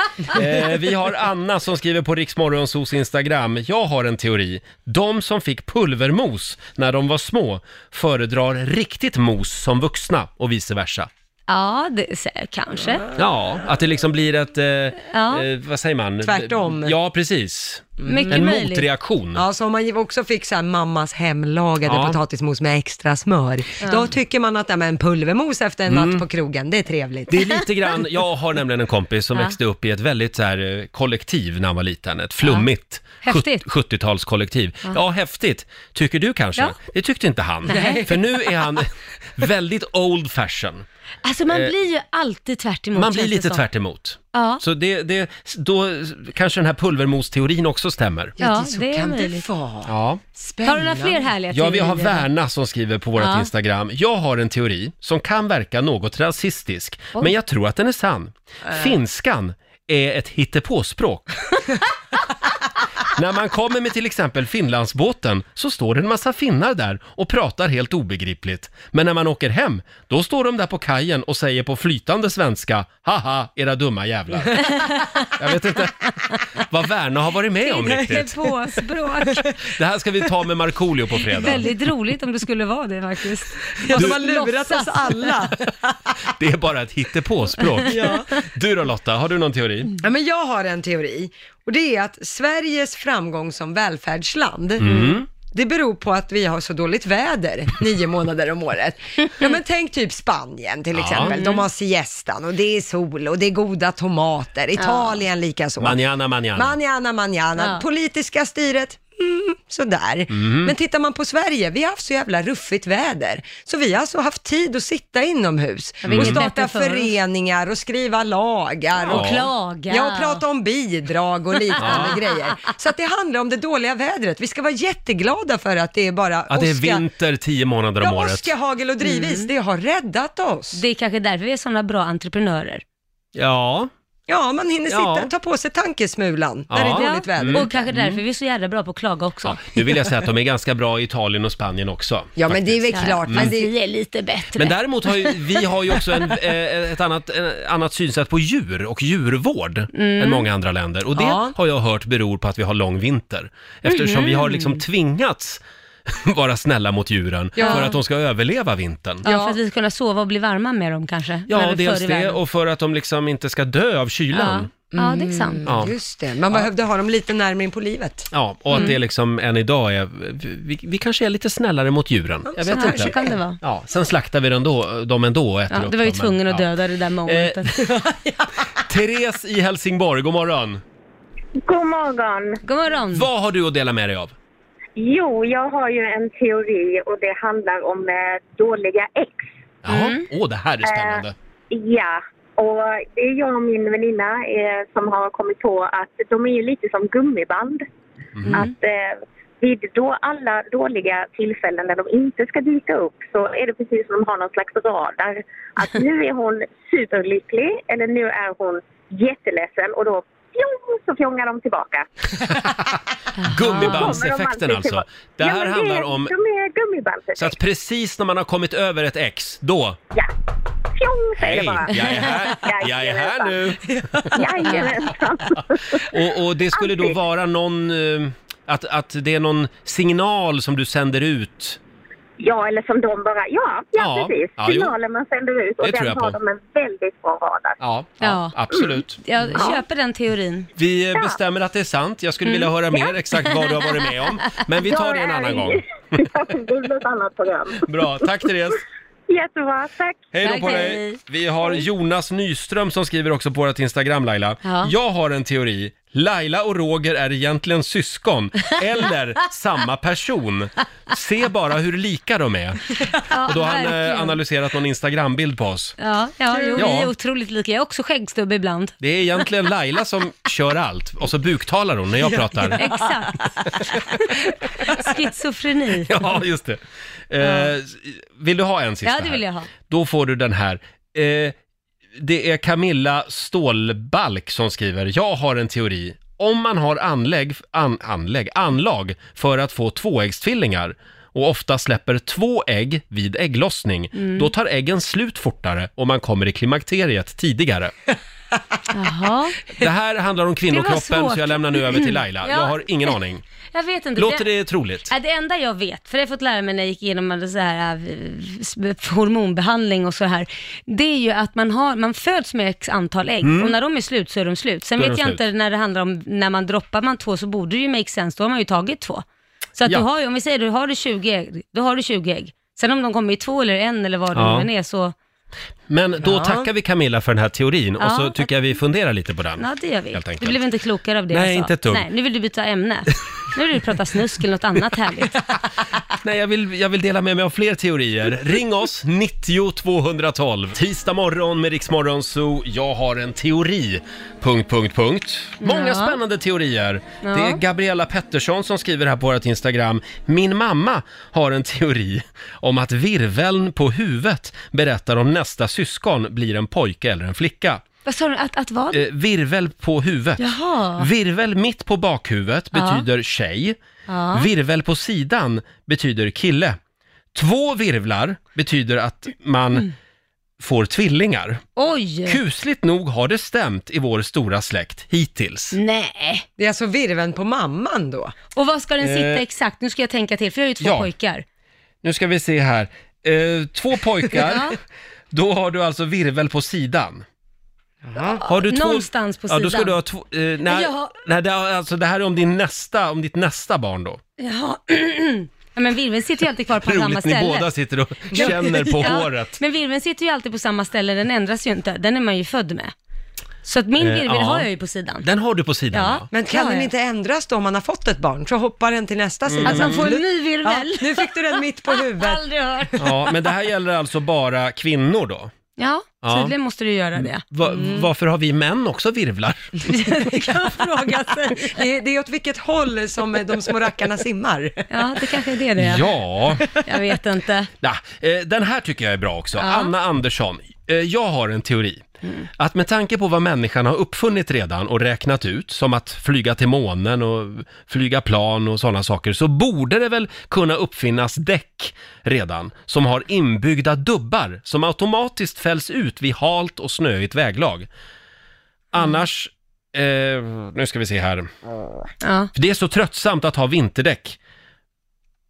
Speaker 1: Eh, vi har Anna som skriver på Riksmorgonsos Instagram. Jag har en teori. De som fick pulvermos när de var små föredrar riktigt mos som vuxna och vice versa.
Speaker 4: ja, det, sä- kanske.
Speaker 1: Ja, att det liksom blir ett, eh,
Speaker 4: Ja.
Speaker 1: eh, vad säger man?
Speaker 2: Tvärtom.
Speaker 1: Ja, precis.
Speaker 4: Mycket
Speaker 1: En
Speaker 4: möjligt.
Speaker 1: motreaktion.
Speaker 2: Mm. Ja, så om man ju också fick så här mammas hemlagade
Speaker 1: Ja.
Speaker 2: potatismos med extra smör, då tycker man att ja, men pulvermos efter en natt på krogen, det är trevligt.
Speaker 1: Mm. Det är lite
Speaker 2: *laughs*
Speaker 4: *laughs*
Speaker 1: grann, jag har nämligen en kompis som
Speaker 4: Ja.
Speaker 1: växte upp i ett väldigt så här, eh, kollektiv när han var liten. Ett flummigt
Speaker 4: Häftigt.
Speaker 1: 70, 70-talskollektiv. Ja. häftigt. Tycker du kanske?
Speaker 4: Ja.
Speaker 1: Det tyckte inte han. För nu är han *laughs* väldigt old fashion.
Speaker 4: Alltså man blir ju alltid tvärt emot,
Speaker 1: Eh, Man blir
Speaker 4: känns det
Speaker 1: lite
Speaker 4: som.
Speaker 1: tvärt emot.
Speaker 4: Ja.
Speaker 1: Så det, det, då kanske den här pulvermosteorin också stämmer.
Speaker 4: Ja,
Speaker 2: så
Speaker 4: det är
Speaker 2: kan
Speaker 4: möjligt.
Speaker 2: det vara.
Speaker 1: Ja.
Speaker 4: Har
Speaker 2: Spännande.
Speaker 4: du några fler härliga
Speaker 1: Ja, vi har
Speaker 4: teorier?
Speaker 1: Värna som skriver på vårt
Speaker 4: Ja.
Speaker 1: Instagram. Jag har en teori som kan verka något rasistisk, men jag tror att den är sann.
Speaker 4: Äh.
Speaker 1: Finskan är ett
Speaker 4: *laughs*
Speaker 1: hittepåspråk. När man kommer med till exempel Finlandsbåten så står det en massa finnar där och pratar helt obegripligt. Men när man åker hem, då står de där på kajen och säger på flytande svenska “Haha, era dumma jävlar”.
Speaker 4: *laughs*
Speaker 1: Jag vet inte vad Värna har varit med om riktigt.
Speaker 4: på språk.
Speaker 1: Det här ska vi ta med Markoolio *laughs* på fredag.
Speaker 4: Väldigt roligt om det skulle vara det faktiskt.
Speaker 2: Ja, de
Speaker 4: Du-
Speaker 2: har lurat oss
Speaker 4: Låtsas. *laughs*
Speaker 2: alla.
Speaker 1: Det är bara ett hittepåspråk. Du då Lotta, har du någon teori?
Speaker 2: Ja, men jag har en teori och det är att Sveriges framgång som välfärdsland
Speaker 1: Mm.
Speaker 2: Det beror på att vi har så dåligt väder nio månader om året. Ja, men tänk typ Spanien till exempel. De har siestan och det är sol och det är goda tomater. Italien likaså.
Speaker 1: Manjana, manjana.
Speaker 2: Manjana, manjana.
Speaker 4: Ja.
Speaker 2: Politiska styret, mm, sådär. Men tittar man på Sverige, vi har haft så jävla ruffigt väder. Så vi har alltså haft tid att sitta inomhus
Speaker 4: vi är
Speaker 2: och
Speaker 4: inget
Speaker 2: starta
Speaker 4: bättre för oss.
Speaker 2: föreningar och skriva lagar.
Speaker 1: Ja.
Speaker 4: Och klaga.
Speaker 2: Ja, och prata om bidrag och liknande grejer. Så att det handlar om det dåliga vädret. Vi ska vara jätteglada för att det är bara
Speaker 1: Ja, det är
Speaker 2: åska-
Speaker 1: vinter tio månader om
Speaker 2: Ja,
Speaker 1: året.
Speaker 2: åska, hagel och drivis, det har räddat oss.
Speaker 4: Mm. Det är kanske därför vi är sådana bra entreprenörer.
Speaker 1: Ja,
Speaker 2: Ja, man hinner sitta
Speaker 1: Ja.
Speaker 2: och ta på sig tankesmulan när det
Speaker 1: Ja. Mm.
Speaker 2: är dåligt väder.
Speaker 4: Och kanske därför vi är så jävla bra på att klaga också.
Speaker 1: ja. Nu vill jag säga att de är ganska bra i Italien och Spanien också.
Speaker 2: Ja, men det är väl
Speaker 4: Ja,
Speaker 2: klart.
Speaker 4: Fast
Speaker 2: Men det,
Speaker 4: vi är lite bättre.
Speaker 1: Men däremot har ju, vi har ju också en, eh, ett annat, en, annat synsätt på djur och djurvård
Speaker 4: Mm.
Speaker 1: än många andra länder. Och det
Speaker 2: Ja.
Speaker 1: har jag hört beror på att vi har lång vinter. Eftersom vi
Speaker 4: Mm.
Speaker 1: har liksom tvingats *laughs* vara snälla mot djuren för att de ska överleva vintern.
Speaker 4: ja, för att vi ska kunna sova och bli varma med dem kanske. När
Speaker 1: Ja,
Speaker 4: vi
Speaker 1: dels
Speaker 4: förr i
Speaker 1: det
Speaker 4: världen.
Speaker 1: och för att de liksom inte ska dö av kylan.
Speaker 4: ja. ja, det är sant.
Speaker 1: Ja.
Speaker 2: Mm. Just det, man behövde ha dem lite närmare in på livet.
Speaker 1: Ja, och att
Speaker 4: Mm.
Speaker 1: det liksom än idag är, vi, vi kanske är lite snällare mot djuren. Jag vet
Speaker 4: Ja,
Speaker 1: inte.
Speaker 4: så kan det vara.
Speaker 1: Ja, sen slaktar vi den då, dem ändå och äter
Speaker 4: Ja,
Speaker 1: upp
Speaker 4: du var ju
Speaker 1: dem,
Speaker 4: tvungen
Speaker 1: men-
Speaker 4: att
Speaker 1: ja. Eh,
Speaker 4: döda det där momentet.
Speaker 1: Therese i Helsingborg, god
Speaker 4: Mm.
Speaker 1: morgon.
Speaker 6: God morgon!
Speaker 4: God morgon.
Speaker 1: Vad har du att dela med dig av?
Speaker 6: Jo, jag har ju en teori och det handlar om eh, dåliga ex.
Speaker 1: Jaha,
Speaker 4: Mm.
Speaker 1: åh det här är spännande.
Speaker 9: Ja, och det är jag och min väninna eh, som har kommit på att de är ju lite som gummiband. Att eh, vid då alla dåliga tillfällen när de inte ska dyka upp så är det precis som de har någon slags radar. Att nu är hon superlycklig eller nu är hon jätteledsen och då fjong, så fjongar de tillbaka.
Speaker 1: Gummibandseffekten
Speaker 9: alltid
Speaker 1: alltså.
Speaker 9: tillbaka.
Speaker 1: Det
Speaker 9: Ja,
Speaker 1: här
Speaker 9: men
Speaker 1: handlar
Speaker 9: är,
Speaker 1: om...
Speaker 9: De är gummiband.
Speaker 1: Så att precis när man har kommit över ett ex, då...
Speaker 9: Ja. Fjong säger
Speaker 1: Hej,
Speaker 9: det bara.
Speaker 1: jag är här, jag är här nu!
Speaker 9: Jajamensan.
Speaker 1: Och, och det skulle då
Speaker 9: Alltid.
Speaker 1: vara någon... eh, Att, att det är någon signal som du sänder ut.
Speaker 9: Ja, eller som de bara, ja, ja,
Speaker 1: Ja,
Speaker 9: precis.
Speaker 1: ja, jo.
Speaker 9: Signalen man sänder ut och
Speaker 1: Det tror
Speaker 9: den
Speaker 1: jag
Speaker 9: har
Speaker 1: på.
Speaker 9: de en väldigt bra radar.
Speaker 1: Ja,
Speaker 4: Ja. Mm.
Speaker 1: absolut.
Speaker 4: Jag köper Mm. den teorin.
Speaker 1: Vi eh, bestämmer att det är sant. Jag skulle vilja höra mer exakt vad du har varit med om. Men vi tar det en annan gång.
Speaker 9: *laughs* det blir ett annat program.
Speaker 1: Bra, tack Therese.
Speaker 9: Jättebra, tack.
Speaker 1: Hej då
Speaker 4: Tack,
Speaker 1: på dig!
Speaker 4: hej.
Speaker 1: Vi har Jonas Nyström som skriver också på vårt Instagram Laila.
Speaker 4: Ja.
Speaker 1: Jag har en teori. Laila och Roger är egentligen syskon eller samma person. Se bara hur lika de är.
Speaker 4: Ja,
Speaker 1: Och då har han
Speaker 4: verkligen.
Speaker 1: eh, analyserat någon Instagrambild på oss.
Speaker 4: Ja, ja, jo,
Speaker 1: Ja.
Speaker 4: vi är otroligt lika. Jag är också skäggstubb ibland.
Speaker 1: Det är egentligen Laila som kör allt och så buktalar hon när jag pratar.
Speaker 9: *laughs*
Speaker 4: Exakt. Schizofreni.
Speaker 1: *laughs* Ja, just det. Eh, vill du ha en sista
Speaker 4: Ja, det vill
Speaker 1: här?
Speaker 4: jag ha.
Speaker 1: Då får du den här. Eh, det är Camilla Stålbalk som skriver. Jag har en teori. Om man har anlägg, an, anlägg, anlag för att få tvåäggstvillingar och ofta släpper två ägg vid ägglossning,
Speaker 4: Mm.
Speaker 1: då tar äggen slut fortare och man kommer i klimakteriet tidigare.
Speaker 4: Jaha.
Speaker 1: Det här
Speaker 4: *laughs*
Speaker 1: handlar om kvinnokroppen
Speaker 4: svårt.
Speaker 1: så jag lämnar nu över till Laila.
Speaker 4: Ja.
Speaker 1: Jag har ingen aning.
Speaker 4: *laughs* Jag vet inte.
Speaker 1: Låter det troligt?
Speaker 4: Ja, det enda jag vet, för det har jag fått lära mig när jag gick igenom alla så här, eh, hormonbehandling och så här, det är ju att man, har, man föds med x antal ägg och när de är slut så är de slut. Sen
Speaker 1: Mm. Då är
Speaker 4: vet
Speaker 1: de
Speaker 4: jag
Speaker 1: slut.
Speaker 4: inte när det handlar om, när man droppar man två så borde det ju make sense, då har man ju tagit två. Så att
Speaker 1: Ja.
Speaker 4: du har ju, om vi säger du har du 20 ägg, då har du 20 ägg. Sen om de kommer i två eller en eller vad det
Speaker 1: Ja.
Speaker 4: nu än är så,
Speaker 1: Men då tackar vi Camilla för den här teorin och
Speaker 4: Ja,
Speaker 1: så tycker jag vi funderar lite på den.
Speaker 4: ja det gör vi.
Speaker 1: Helt enkelt.
Speaker 4: Du blev inte klokare av det
Speaker 1: Nej,
Speaker 4: jag sa.
Speaker 1: inte ett dugg.
Speaker 4: Nej, nu vill du byta ämne. Nu vill du prata snusk eller något
Speaker 1: *laughs*
Speaker 4: annat härligt.
Speaker 1: Nej, jag vill, jag vill dela med mig av fler teorier. Ring oss, 90 212. Tisdag morgon med Riksmorgon Zoo. Jag har en teori. Punkt, punkt, punkt. Många
Speaker 4: Ja.
Speaker 1: spännande teorier.
Speaker 4: Ja.
Speaker 1: Det är Gabriella Pettersson som skriver här på vårt Instagram. Min mamma har en teori om att virveln på huvudet berättar om nästa syskon blir en pojke eller en flicka.
Speaker 4: Vad sa du, att, att vad?
Speaker 1: Eh, virvel på huvudet.
Speaker 4: Jaha.
Speaker 1: Virvel mitt på bakhuvudet betyder tjej.
Speaker 4: Ja.
Speaker 1: Virvel på sidan betyder kille. Två virvlar betyder att man
Speaker 4: Mm.
Speaker 1: får tvillingar.
Speaker 4: Oj!
Speaker 1: Kusligt nog har det stämt i vår stora släkt hittills.
Speaker 4: Nej.
Speaker 2: Det är alltså virven på mamman då?
Speaker 4: Och var ska den sitta
Speaker 1: Eh.
Speaker 4: exakt? Nu ska jag tänka till, för jag har ju två
Speaker 1: Ja.
Speaker 4: pojkar.
Speaker 1: Nu ska vi se här. Eh, två
Speaker 4: *laughs*
Speaker 1: pojkar, då har du alltså virvel på sidan. Har du
Speaker 4: Någonstans på
Speaker 1: Ja, då ska
Speaker 4: sidan.
Speaker 1: du ha två... Eh, nej,
Speaker 4: Jag har-
Speaker 1: nej, det, har- alltså, det här är om, din nästa, om ditt nästa barn då.
Speaker 4: Jaha. *clears throat* ja, men virveln sitter ju alltid kvar på samma
Speaker 1: Roligt, ni
Speaker 4: ställe.
Speaker 1: båda sitter och känner på
Speaker 4: *laughs* Ja,
Speaker 1: håret.
Speaker 4: Men virveln sitter ju alltid på samma ställe, den ändras ju inte. Den är man ju född med. Så att min
Speaker 1: Eh,
Speaker 4: virvel
Speaker 1: ja.
Speaker 4: har jag ju på sidan.
Speaker 1: Den har du på sidan
Speaker 4: Ja.
Speaker 1: ja.
Speaker 2: Men kan
Speaker 4: Ja,
Speaker 2: den
Speaker 4: ja.
Speaker 2: inte ändras då om man har fått ett barn? Så hoppar den till nästa sida.
Speaker 4: Att man får en
Speaker 2: *laughs*
Speaker 4: ny
Speaker 2: Ja,
Speaker 4: virvel.
Speaker 2: nu fick du den
Speaker 4: *laughs*
Speaker 2: mitt på huvudet.
Speaker 4: Aldrig hört.
Speaker 1: Ja, men det här gäller alltså bara kvinnor då?
Speaker 4: Ja,
Speaker 1: Ja.
Speaker 4: tydligen måste du göra det.
Speaker 1: Va,
Speaker 4: Mm.
Speaker 1: Varför har vi män också virvlar?
Speaker 4: Det kan *laughs* man fråga sig.
Speaker 2: Det är, det är åt vilket håll som eh, de små rackarna simmar.
Speaker 4: Ja, det kanske är det det är.
Speaker 1: Ja,
Speaker 4: Jag vet inte.
Speaker 1: nah, eh, den här tycker jag är bra också. Anna Andersson, eh, jag har en teori.
Speaker 4: Mm.
Speaker 1: Att med tanke på vad människan har uppfunnit redan och räknat ut, som att flyga till månen och flyga plan och sådana saker, så borde det väl kunna uppfinnas däck redan, som har inbyggda dubbar som automatiskt fälls ut vid halt och snöigt väglag. Annars, eh, nu ska vi se här.
Speaker 4: Ja.
Speaker 1: För det är så tröttsamt att ha vinterdäck.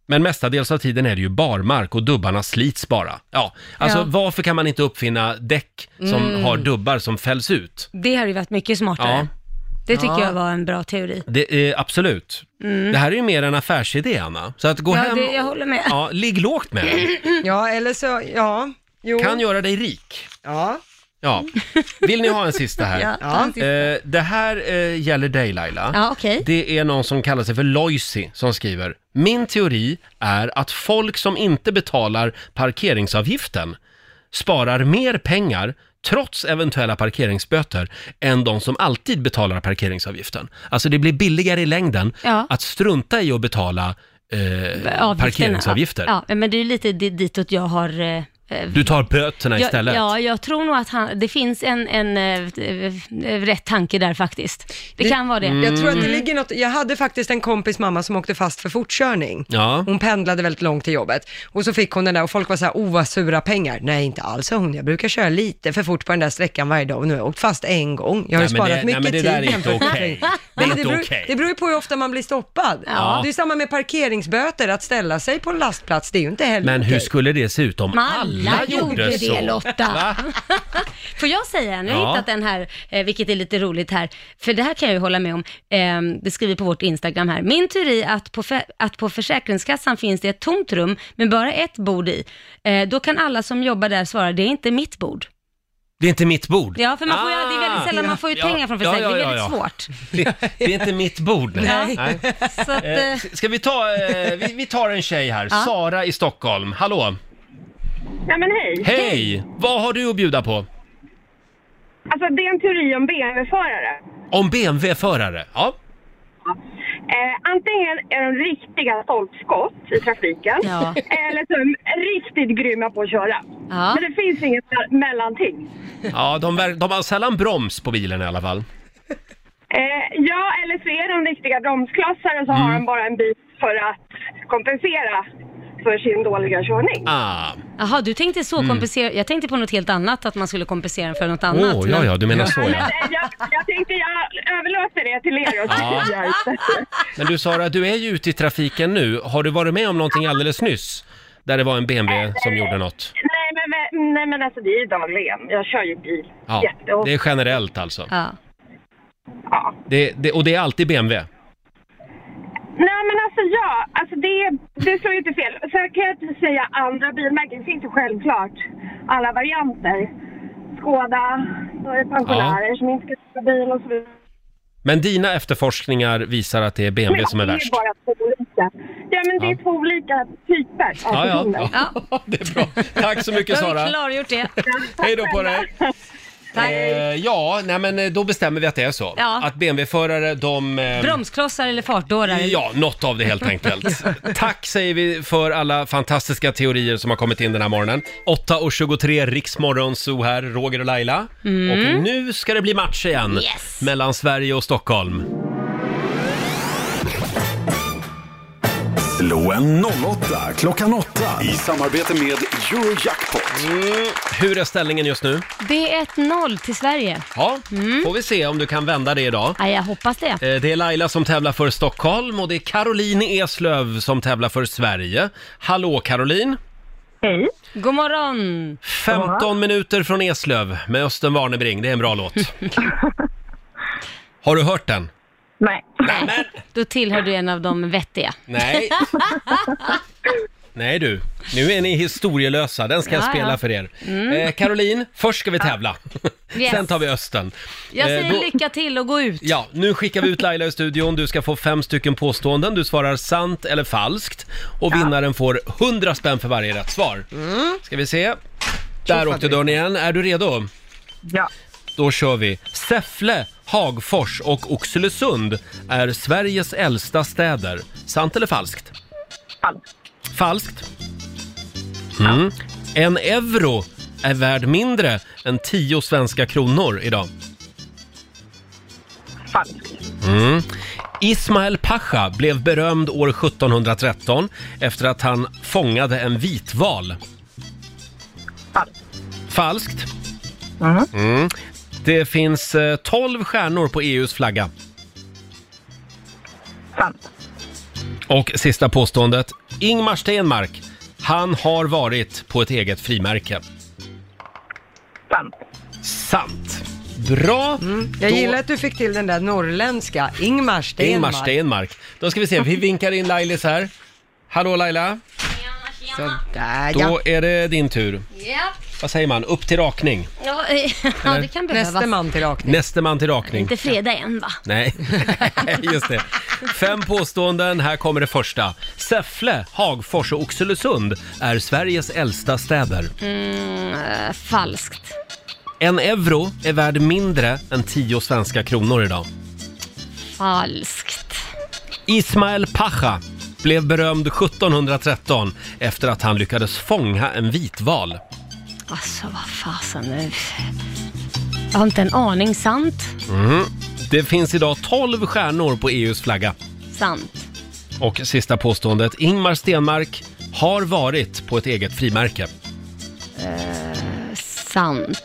Speaker 1: Men mestadels av tiden är det ju barmark och dubbarna slits bara. Ja, alltså
Speaker 4: Ja. Mm.
Speaker 1: varför kan man inte uppfinna däck som har dubbar som fälls ut?
Speaker 4: Det hade ju varit mycket smartare.
Speaker 1: Ja.
Speaker 4: Det tycker
Speaker 2: Ja.
Speaker 4: jag var en bra teori. Mm.
Speaker 1: Det är, absolut. Det här är ju mer en affärsidé, Anna. Så att gå
Speaker 4: Ja,
Speaker 1: hem
Speaker 4: det, jag håller med.
Speaker 1: Ja, ligg lågt med den.
Speaker 2: Ja, eller så, ja. Jo.
Speaker 1: Kan göra dig rik.
Speaker 2: Ja.
Speaker 1: Ja. Vill ni ha en sista här?
Speaker 4: *laughs* Ja,
Speaker 2: Ja.
Speaker 4: ja.
Speaker 1: Eh, det här eh, gäller dig, Laila.
Speaker 4: ja okej.
Speaker 1: Det är någon som kallar sig för Loisy som skriver Min teori är att folk som inte betalar parkeringsavgiften sparar mer pengar trots eventuella parkeringsböter än de som alltid betalar parkeringsavgiften. Alltså det blir billigare i längden
Speaker 4: Ja.
Speaker 1: att strunta i att betala eh, parkeringsavgifter.
Speaker 4: Ja, ja, men det är ju lite di- ditåt jag har... eh, eh,
Speaker 1: Du tar böterna
Speaker 4: jag,
Speaker 1: istället.
Speaker 4: Ja, jag tror nog att han, det finns en, en eh, eh, rätt tanke där faktiskt. Det, kan vara det.
Speaker 1: Mm.
Speaker 4: Mm.
Speaker 2: Jag tror att det ligger något, jag hade faktiskt en kompis mamma som åkte fast för fortkörning.
Speaker 1: Ja.
Speaker 2: Hon pendlade väldigt långt till jobbet och så fick hon den där och folk var så här, oh vad sura pengar. Nej inte alls sa hon, jag brukar köra lite för fort på den där sträckan varje dag och nu har jag åkt fast en gång. Jag har ju
Speaker 1: Nej, men
Speaker 2: sparat
Speaker 1: det- nej,
Speaker 2: mycket
Speaker 1: men det
Speaker 2: tid.
Speaker 1: där är inte
Speaker 2: jämfört med
Speaker 1: okej.
Speaker 2: dig.
Speaker 1: Det är
Speaker 2: Nej,
Speaker 1: inte
Speaker 2: beror,
Speaker 1: okej.
Speaker 2: det beror ju på hur ofta man blir stoppad.
Speaker 4: Ja.
Speaker 2: Det är ju samma med parkeringsböter, att ställa sig på en lastplats, det är ju inte heller
Speaker 1: Men hur
Speaker 2: okej.
Speaker 1: skulle det se ut om
Speaker 4: Men
Speaker 1: alla, gjorde
Speaker 4: det
Speaker 1: så?
Speaker 4: Lotta. Får jag säga en? Jag har
Speaker 1: Ja.
Speaker 4: hittat en här, eh, vilket är lite roligt här. För det här kan jag ju hålla med om. Eh, Det skriver på vårt Instagram här. Min teori att på, fe- att på Försäkringskassan finns det ett tomt rum med bara ett bord i. Eh, Då kan alla som jobbar där svara, det är inte mitt bord.
Speaker 1: Det är inte mitt
Speaker 4: *laughs*
Speaker 1: bord.
Speaker 4: Ja, för man får ju, det är väldigt
Speaker 1: Ah.
Speaker 4: sällan man får ut
Speaker 1: Ja.
Speaker 4: pengar från
Speaker 1: Ja, ja,
Speaker 4: försäkringen, det är
Speaker 1: ja,
Speaker 4: väldigt
Speaker 1: ja.
Speaker 4: svårt.
Speaker 1: Det, det är inte mitt bord. Nej. Nej.
Speaker 4: Så att,
Speaker 1: Eh,
Speaker 4: eh,
Speaker 1: s- Ska vi ta, eh, vi, vi tar en tjej här,
Speaker 4: Ja.
Speaker 1: Sara i Stockholm. Hallå!
Speaker 9: Ja, men hej.
Speaker 1: Hej! Vad har du att bjuda på?
Speaker 9: Alltså, det är en teori om BMW-förare.
Speaker 1: Om BMW-förare? Ja.
Speaker 9: Eh, antingen är de riktiga stolpskott i trafiken
Speaker 4: Ja.
Speaker 9: eller så är de riktigt grymma på att köra.
Speaker 4: Ja.
Speaker 9: Men det finns inget me- mellanting.
Speaker 1: Ja, de, ver- de har sällan broms på bilen i alla fall.
Speaker 9: Eh, ja, eller så är de riktiga bromsklossar och så
Speaker 1: Mm.
Speaker 9: har de bara en bit för att kompensera för sin dåliga körning.
Speaker 1: Ah.
Speaker 4: Jaha, du tänkte så
Speaker 1: Mm.
Speaker 4: kompensera, jag tänkte på något helt annat, att man skulle kompensera för något
Speaker 1: Åh,
Speaker 4: annat.
Speaker 1: ja,
Speaker 4: men-
Speaker 1: ja, du menar så ja.
Speaker 9: Eh, Jag, jag tänkte jag överlåter det till er att
Speaker 1: Ja.
Speaker 9: tyda ut.
Speaker 1: Men du Sara, du är ju ute i trafiken nu. Har du varit med om någonting alldeles nyss? Där det var en BMW som gjorde något?
Speaker 9: Nej men, men- nej men alltså det är ju dagligen. Jag kör ju bil
Speaker 1: Ja,
Speaker 9: jätteofta.
Speaker 1: det är generellt alltså.
Speaker 4: Ja.
Speaker 1: Det, det, och det är alltid BMW?
Speaker 9: Nej men alltså ja, alltså det, det slår ju inte fel. Sen kan jag inte säga andra bilmärken, det finns ju självklart alla varianter. Skåda, då är det pensionärer som inte ska köra bil och så vidare.
Speaker 1: Men dina efterforskningar visar att det är BMW som är
Speaker 9: det är
Speaker 1: värst?
Speaker 9: ju bara två olika. Ja men det är
Speaker 1: Ja.
Speaker 9: två olika typer av
Speaker 1: Ja,
Speaker 9: personer.
Speaker 1: ja, ja. Det är bra. Tack så mycket
Speaker 4: Då har vi
Speaker 1: Sara.
Speaker 4: klargjort det.
Speaker 1: Hej då på dig.
Speaker 4: *laughs* Tack.
Speaker 1: Eh, ja, nej men eh, då bestämmer vi att det är så.
Speaker 4: Ja.
Speaker 1: Att BMW-förare, de... eh,
Speaker 4: Bromsklossar eller fartdårar.
Speaker 1: Ja, något av det helt enkelt. Tack säger vi för alla fantastiska teorier som har kommit in den här morgonen. 8.23, Riksmorgon, Zoo här, Roger och Laila. Och nu ska det bli match igen
Speaker 4: Yes.
Speaker 1: mellan Sverige och Stockholm.
Speaker 3: Slå en 08 klockan 8 i samarbete med Eurojackpot.
Speaker 1: Hur är ställningen just nu?
Speaker 4: Det är 1-0 till Sverige.
Speaker 1: Ja, får vi se om du kan vända det idag.
Speaker 4: Ja, jag hoppas det.
Speaker 1: Eh, Det är Laila som tävlar för Stockholm och det är Caroline Eslöv som tävlar för Sverige. Hallå Caroline!
Speaker 9: Hej.
Speaker 4: God morgon!
Speaker 1: 15 minuter från Eslöv med Östen Warnerbring, det är en bra
Speaker 4: *laughs*
Speaker 1: låt. Har du hört den?
Speaker 9: Nej.
Speaker 4: Då tillhör du en av de vettiga.
Speaker 1: Nej. Nej du, nu är ni historielösa. Den ska jag
Speaker 4: Ja,
Speaker 1: spela
Speaker 4: ja.
Speaker 1: för er. Eh, Caroline, först ska vi tävla.
Speaker 4: Ah. Yes.
Speaker 1: Sen tar vi Östen.
Speaker 4: Jag
Speaker 1: Eh,
Speaker 4: säger
Speaker 1: då-
Speaker 4: lycka till och gå ut.
Speaker 1: Ja, nu skickar vi ut Laila i studion. Du ska få fem stycken påståenden. Du svarar sant eller falskt. Och vinnaren får 100 spänn för varje rätt svar.
Speaker 9: Mm.
Speaker 1: Ska vi se. Där åkte dörren igen. Är du redo?
Speaker 9: Ja.
Speaker 1: Då kör vi. Säffle, Hagfors och Oxelösund är Sveriges äldsta städer. Sant eller falskt?
Speaker 9: Falskt.
Speaker 1: Falskt. Mm. En euro är värd mindre än 10 svenska kronor idag.
Speaker 9: Falskt.
Speaker 1: Mm. Ismail Pasha blev berömd år 1713 efter att han fångade en vitval.
Speaker 9: Falskt.
Speaker 1: Falskt. Mm. Det finns eh, 12 stjärnor på EUs flagga.
Speaker 9: Sant.
Speaker 1: Och sista påståendet. Ingmar Stenmark, han har varit på ett eget frimärke.
Speaker 9: Sant.
Speaker 1: Sant. Bra!
Speaker 2: Mm. Jag
Speaker 1: Då-
Speaker 2: gillar att du fick till den där norrländska, Ingmar Stenmark.
Speaker 1: Ingmar Stenmark. Då ska vi se, vi vinkar in Lailis här. Hallå Laila,
Speaker 2: Sådär
Speaker 1: då
Speaker 2: Äh, ja.
Speaker 1: är det din tur.
Speaker 4: Ja,
Speaker 1: Vad säger man? Upp till rakning.
Speaker 4: *laughs* ja, eh, ja det kan behövas.
Speaker 2: Näste man till rakning.
Speaker 1: Näste man till rakning.
Speaker 4: Inte fredag än va?
Speaker 1: Nej, *laughs* just det. Fem påståenden, här kommer det första. Säffle, Hagfors och Oxelösund är Sveriges äldsta städer.
Speaker 4: Mm, eh, falskt.
Speaker 1: En euro är värd mindre än 10 svenska kronor idag.
Speaker 4: Falskt.
Speaker 1: Ismail Pasha blev berömd 1713 efter att han lyckades fånga en vitval.
Speaker 4: Alltså vad fasen nu. Jag har inte en aning. Sant.
Speaker 1: Mhm. Det finns idag 12 stjärnor på EUs flagga.
Speaker 4: Sant.
Speaker 1: Och sista påståendet, Ingmar Stenmark har varit på ett eget frimärke.
Speaker 4: Eh, sant.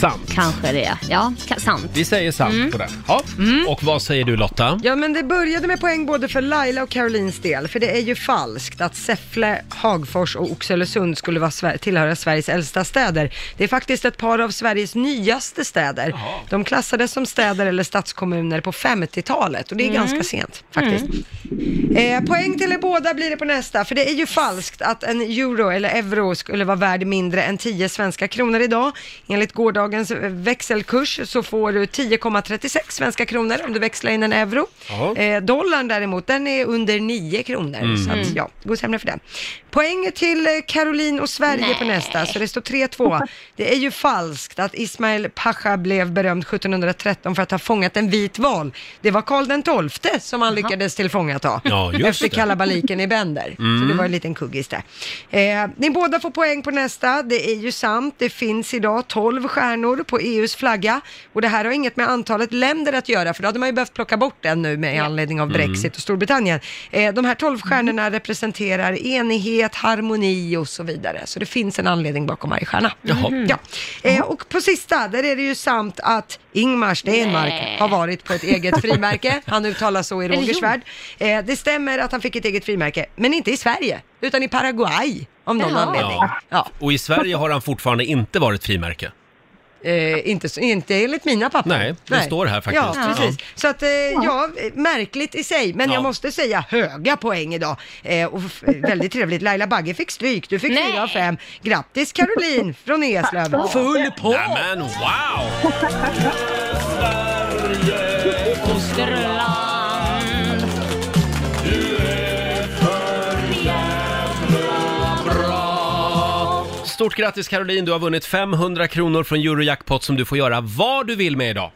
Speaker 1: Sant.
Speaker 4: Kanske det. Ja, ka- sant.
Speaker 1: Vi säger sant
Speaker 4: Mm.
Speaker 1: på den. Ja. Och vad säger du Lotta?
Speaker 2: Ja, men det började med poäng både för Laila och Carolines del, för det är ju falskt att Säffle, Hagfors och Oxelösund skulle vara, Sver- tillhöra Sveriges äldsta städer. Det är faktiskt ett par av Sveriges nyaste städer. De klassades som städer eller stadskommuner på 50-talet och det är
Speaker 10: Mm.
Speaker 2: ganska sent faktiskt.
Speaker 10: Mm.
Speaker 2: Eh, poäng till er båda blir det på nästa, för det är ju falskt att en euro eller euro skulle vara värd mindre än 10 svenska kronor idag. Enligt gårdagens eh, växelkurs så får du 10,36 svenska kronor om du växlar in en euro.
Speaker 10: Ja.
Speaker 2: Eh, dollarn däremot, den är under 9 kronor,
Speaker 10: Mm.
Speaker 2: så att,
Speaker 10: Mm.
Speaker 2: ja, gå sämre för den. Poäng till eh, Caroline och Sverige på nästa, så det står 3-2. Det är ju falskt att Ismail Pasha blev berömd 1713 för att ha fångat en vit val. Det var Karl den XII som han lyckades tillfångata
Speaker 10: Ja, just
Speaker 2: efter
Speaker 10: det.
Speaker 2: kalabaliken i Bender. Så
Speaker 10: Mm.
Speaker 2: det var en liten kuggis där. Eh, ni båda får poäng på nästa. Det är ju sant. Det finns idag 12 stjärnor på EUs flagga. Och det här har inget med antalet länder att göra, för då hade man ju behövt plocka bort den nu med anledning av Brexit
Speaker 10: Mm.
Speaker 2: och Storbritannien. Eh, de här 12 stjärnorna representerar enighet, harmoni och så vidare. Så det finns en anledning bakom varje stjärna.
Speaker 10: Jaha.
Speaker 2: Ja. Eh, och på sista, där är det ju sant att Ingmar Stenmark
Speaker 10: Nej.
Speaker 2: har varit på ett eget frimärke. Han uttalar så i
Speaker 10: Eller
Speaker 2: Rogers
Speaker 10: jo.
Speaker 2: värld. Eh, det stämmer att han fick ett eget frimärke, men inte i Sverige, utan i Paraguay av någon
Speaker 10: Jaha.
Speaker 2: anledning.
Speaker 1: Ja.
Speaker 2: Ja.
Speaker 1: Och i Sverige har han fortfarande inte varit frimärke.
Speaker 2: Eh, inte, så- inte enligt mina papper.
Speaker 1: Nej, det står här faktiskt.
Speaker 2: Ja,
Speaker 1: Ja.
Speaker 2: precis. Så att, eh, ja, märkligt i sig, men
Speaker 1: Ja.
Speaker 2: jag måste säga höga poäng idag. Eh, och f- väldigt trevligt. Laila Bagge fick stryk, du fick
Speaker 10: Nej.
Speaker 2: fyra av fem. Grattis Caroline från Eslöv.
Speaker 10: Tack.
Speaker 2: Full på!
Speaker 1: Nämen, wow! Stort grattis Caroline, du har vunnit 500 kronor från Eurojackpot som du får göra vad du vill med idag.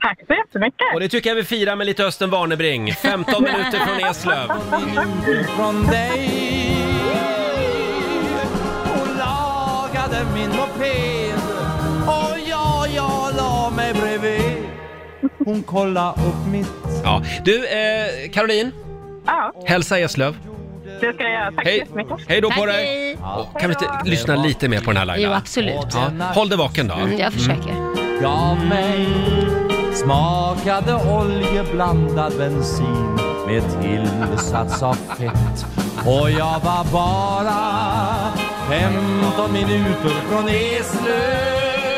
Speaker 10: Tack så jättemycket!
Speaker 1: Och det tycker jag vi firar med lite Östen Warnerbring.
Speaker 10: *laughs*
Speaker 1: 15 minuter från Eslöv.
Speaker 10: Från dig Hon lagade min moped Och jag, jag la mig bredvid Hon kolla upp mitt
Speaker 1: Ja. Du, eh, Caroline,
Speaker 10: Ja,
Speaker 1: hälsa Eslöv.
Speaker 10: det ska jag göra. Tack så
Speaker 1: Hej,
Speaker 10: jättemycket.
Speaker 1: hej då på dig! Och Kan vi inte lyssna lite mer på den här Laila?
Speaker 10: Jo, absolut.
Speaker 1: Ja. Håll dig vaken då.
Speaker 10: Mm, jag försöker.
Speaker 1: Mm.
Speaker 10: Gav mig Smakade oljeblandad bensin Med tillsats av fett Och jag var bara 15 minuter från Eslöv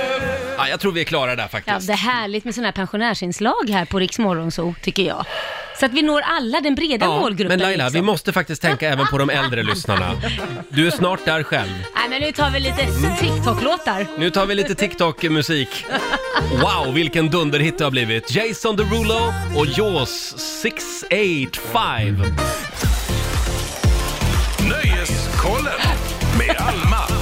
Speaker 1: Ja, jag tror vi är klara där faktiskt.
Speaker 4: Ja, det är härligt med sådana här pensionärsinslag här på Riks Morgonzoo, tycker jag. Så att vi når alla, den breda
Speaker 1: Men
Speaker 4: målgruppen.
Speaker 1: Laila,
Speaker 4: liksom.
Speaker 1: vi måste faktiskt
Speaker 4: *laughs*
Speaker 1: tänka även på de äldre lyssnarna. Du är snart där själv.
Speaker 4: Nej, men nu tar vi lite TikTok-låtar.
Speaker 1: Nu tar vi lite TikTok-musik. Wow, vilken dunderhit det har blivit. Jason Derulo och Jaws 685.
Speaker 3: Nöjeskollen med Alma.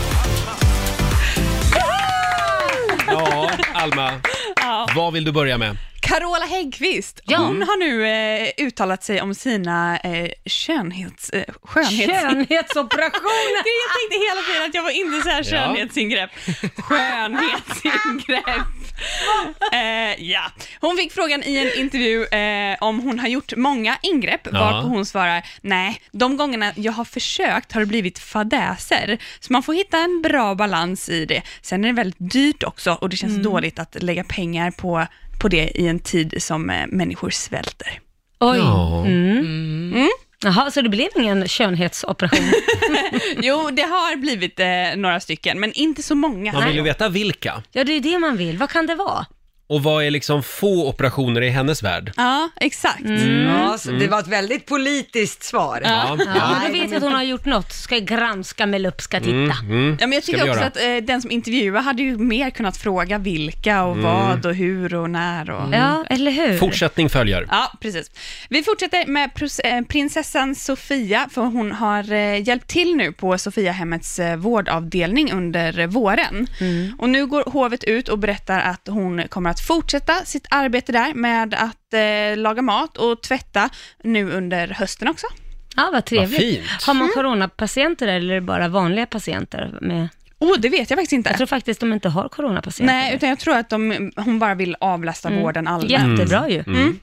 Speaker 1: Ja, Alma,
Speaker 11: Ja.
Speaker 1: vad vill du börja med?
Speaker 11: Carola Häggkvist,
Speaker 1: Ja.
Speaker 11: hon har nu eh, uttalat sig om sina eh, skönhets... Eh, skönhets...
Speaker 4: Skönhetsoperationer!
Speaker 11: Det, jag tänkte hela tiden *laughs* att jag var inte så här
Speaker 10: Ja.
Speaker 11: skönhetsingrepp. Skönhetsingrepp. Eh, ja. Hon fick frågan i en intervju eh, om hon har gjort många ingrepp,
Speaker 10: Ja.
Speaker 11: varpå hon svarar nej, de gångerna jag har försökt har det blivit fadäser. Så man får hitta en bra balans i det. Sen är det väldigt dyrt också och det känns
Speaker 4: Mm.
Speaker 11: dåligt att lägga pengar på, på det i en tid som eh, människor svälter.
Speaker 4: Oj.
Speaker 11: Ja.
Speaker 4: Mm. Mm. Jaha, så det blev ingen skönhetsoperation?
Speaker 11: Jo, det har blivit eh, några stycken, men inte så många.
Speaker 1: Man vill ju veta vilka.
Speaker 4: Ja, det är det man vill. Vad kan det vara?
Speaker 1: och vad är liksom få operationer i hennes värld?
Speaker 11: *laughs* Ja, exakt.
Speaker 2: Ja, så Alltså, det var ett väldigt politiskt svar.
Speaker 1: Mm. Ja. Ja.
Speaker 4: Mm. Ja, men då vet vi att hon har gjort något. Ska granska med lupp, ska titta.
Speaker 1: Mm, mm.
Speaker 11: Ja, men jag
Speaker 1: Ska
Speaker 11: tycker
Speaker 1: vi
Speaker 11: också
Speaker 1: göra.
Speaker 11: att eh, den som intervjuar hade ju mer kunnat fråga vilka och
Speaker 1: Mm.
Speaker 11: vad och hur och när och...
Speaker 4: Ja, eller hur?
Speaker 1: Fortsättning följer.
Speaker 11: Ja, precis. Vi fortsätter med pros- eh, prinsessan Sofia, för hon har eh, hjälpt till nu på Sofiahemmets eh, vårdavdelning under eh, våren.
Speaker 1: Mm.
Speaker 11: Och nu går hovet ut och berättar att hon kommer att fortsätta sitt arbete där med att eh, laga mat och tvätta nu under hösten också.
Speaker 4: Ja, vad trevligt.
Speaker 1: Vad fint.
Speaker 4: Har man coronapatienter där, eller är det bara vanliga patienter? Med...
Speaker 11: Oh, det vet jag faktiskt inte.
Speaker 4: Jag tror faktiskt de inte har coronapatienter.
Speaker 11: Nej, utan jag tror att de, hon bara vill avlasta
Speaker 4: Mm.
Speaker 11: vården allmänt.
Speaker 4: Jättebra ju.
Speaker 11: Mm.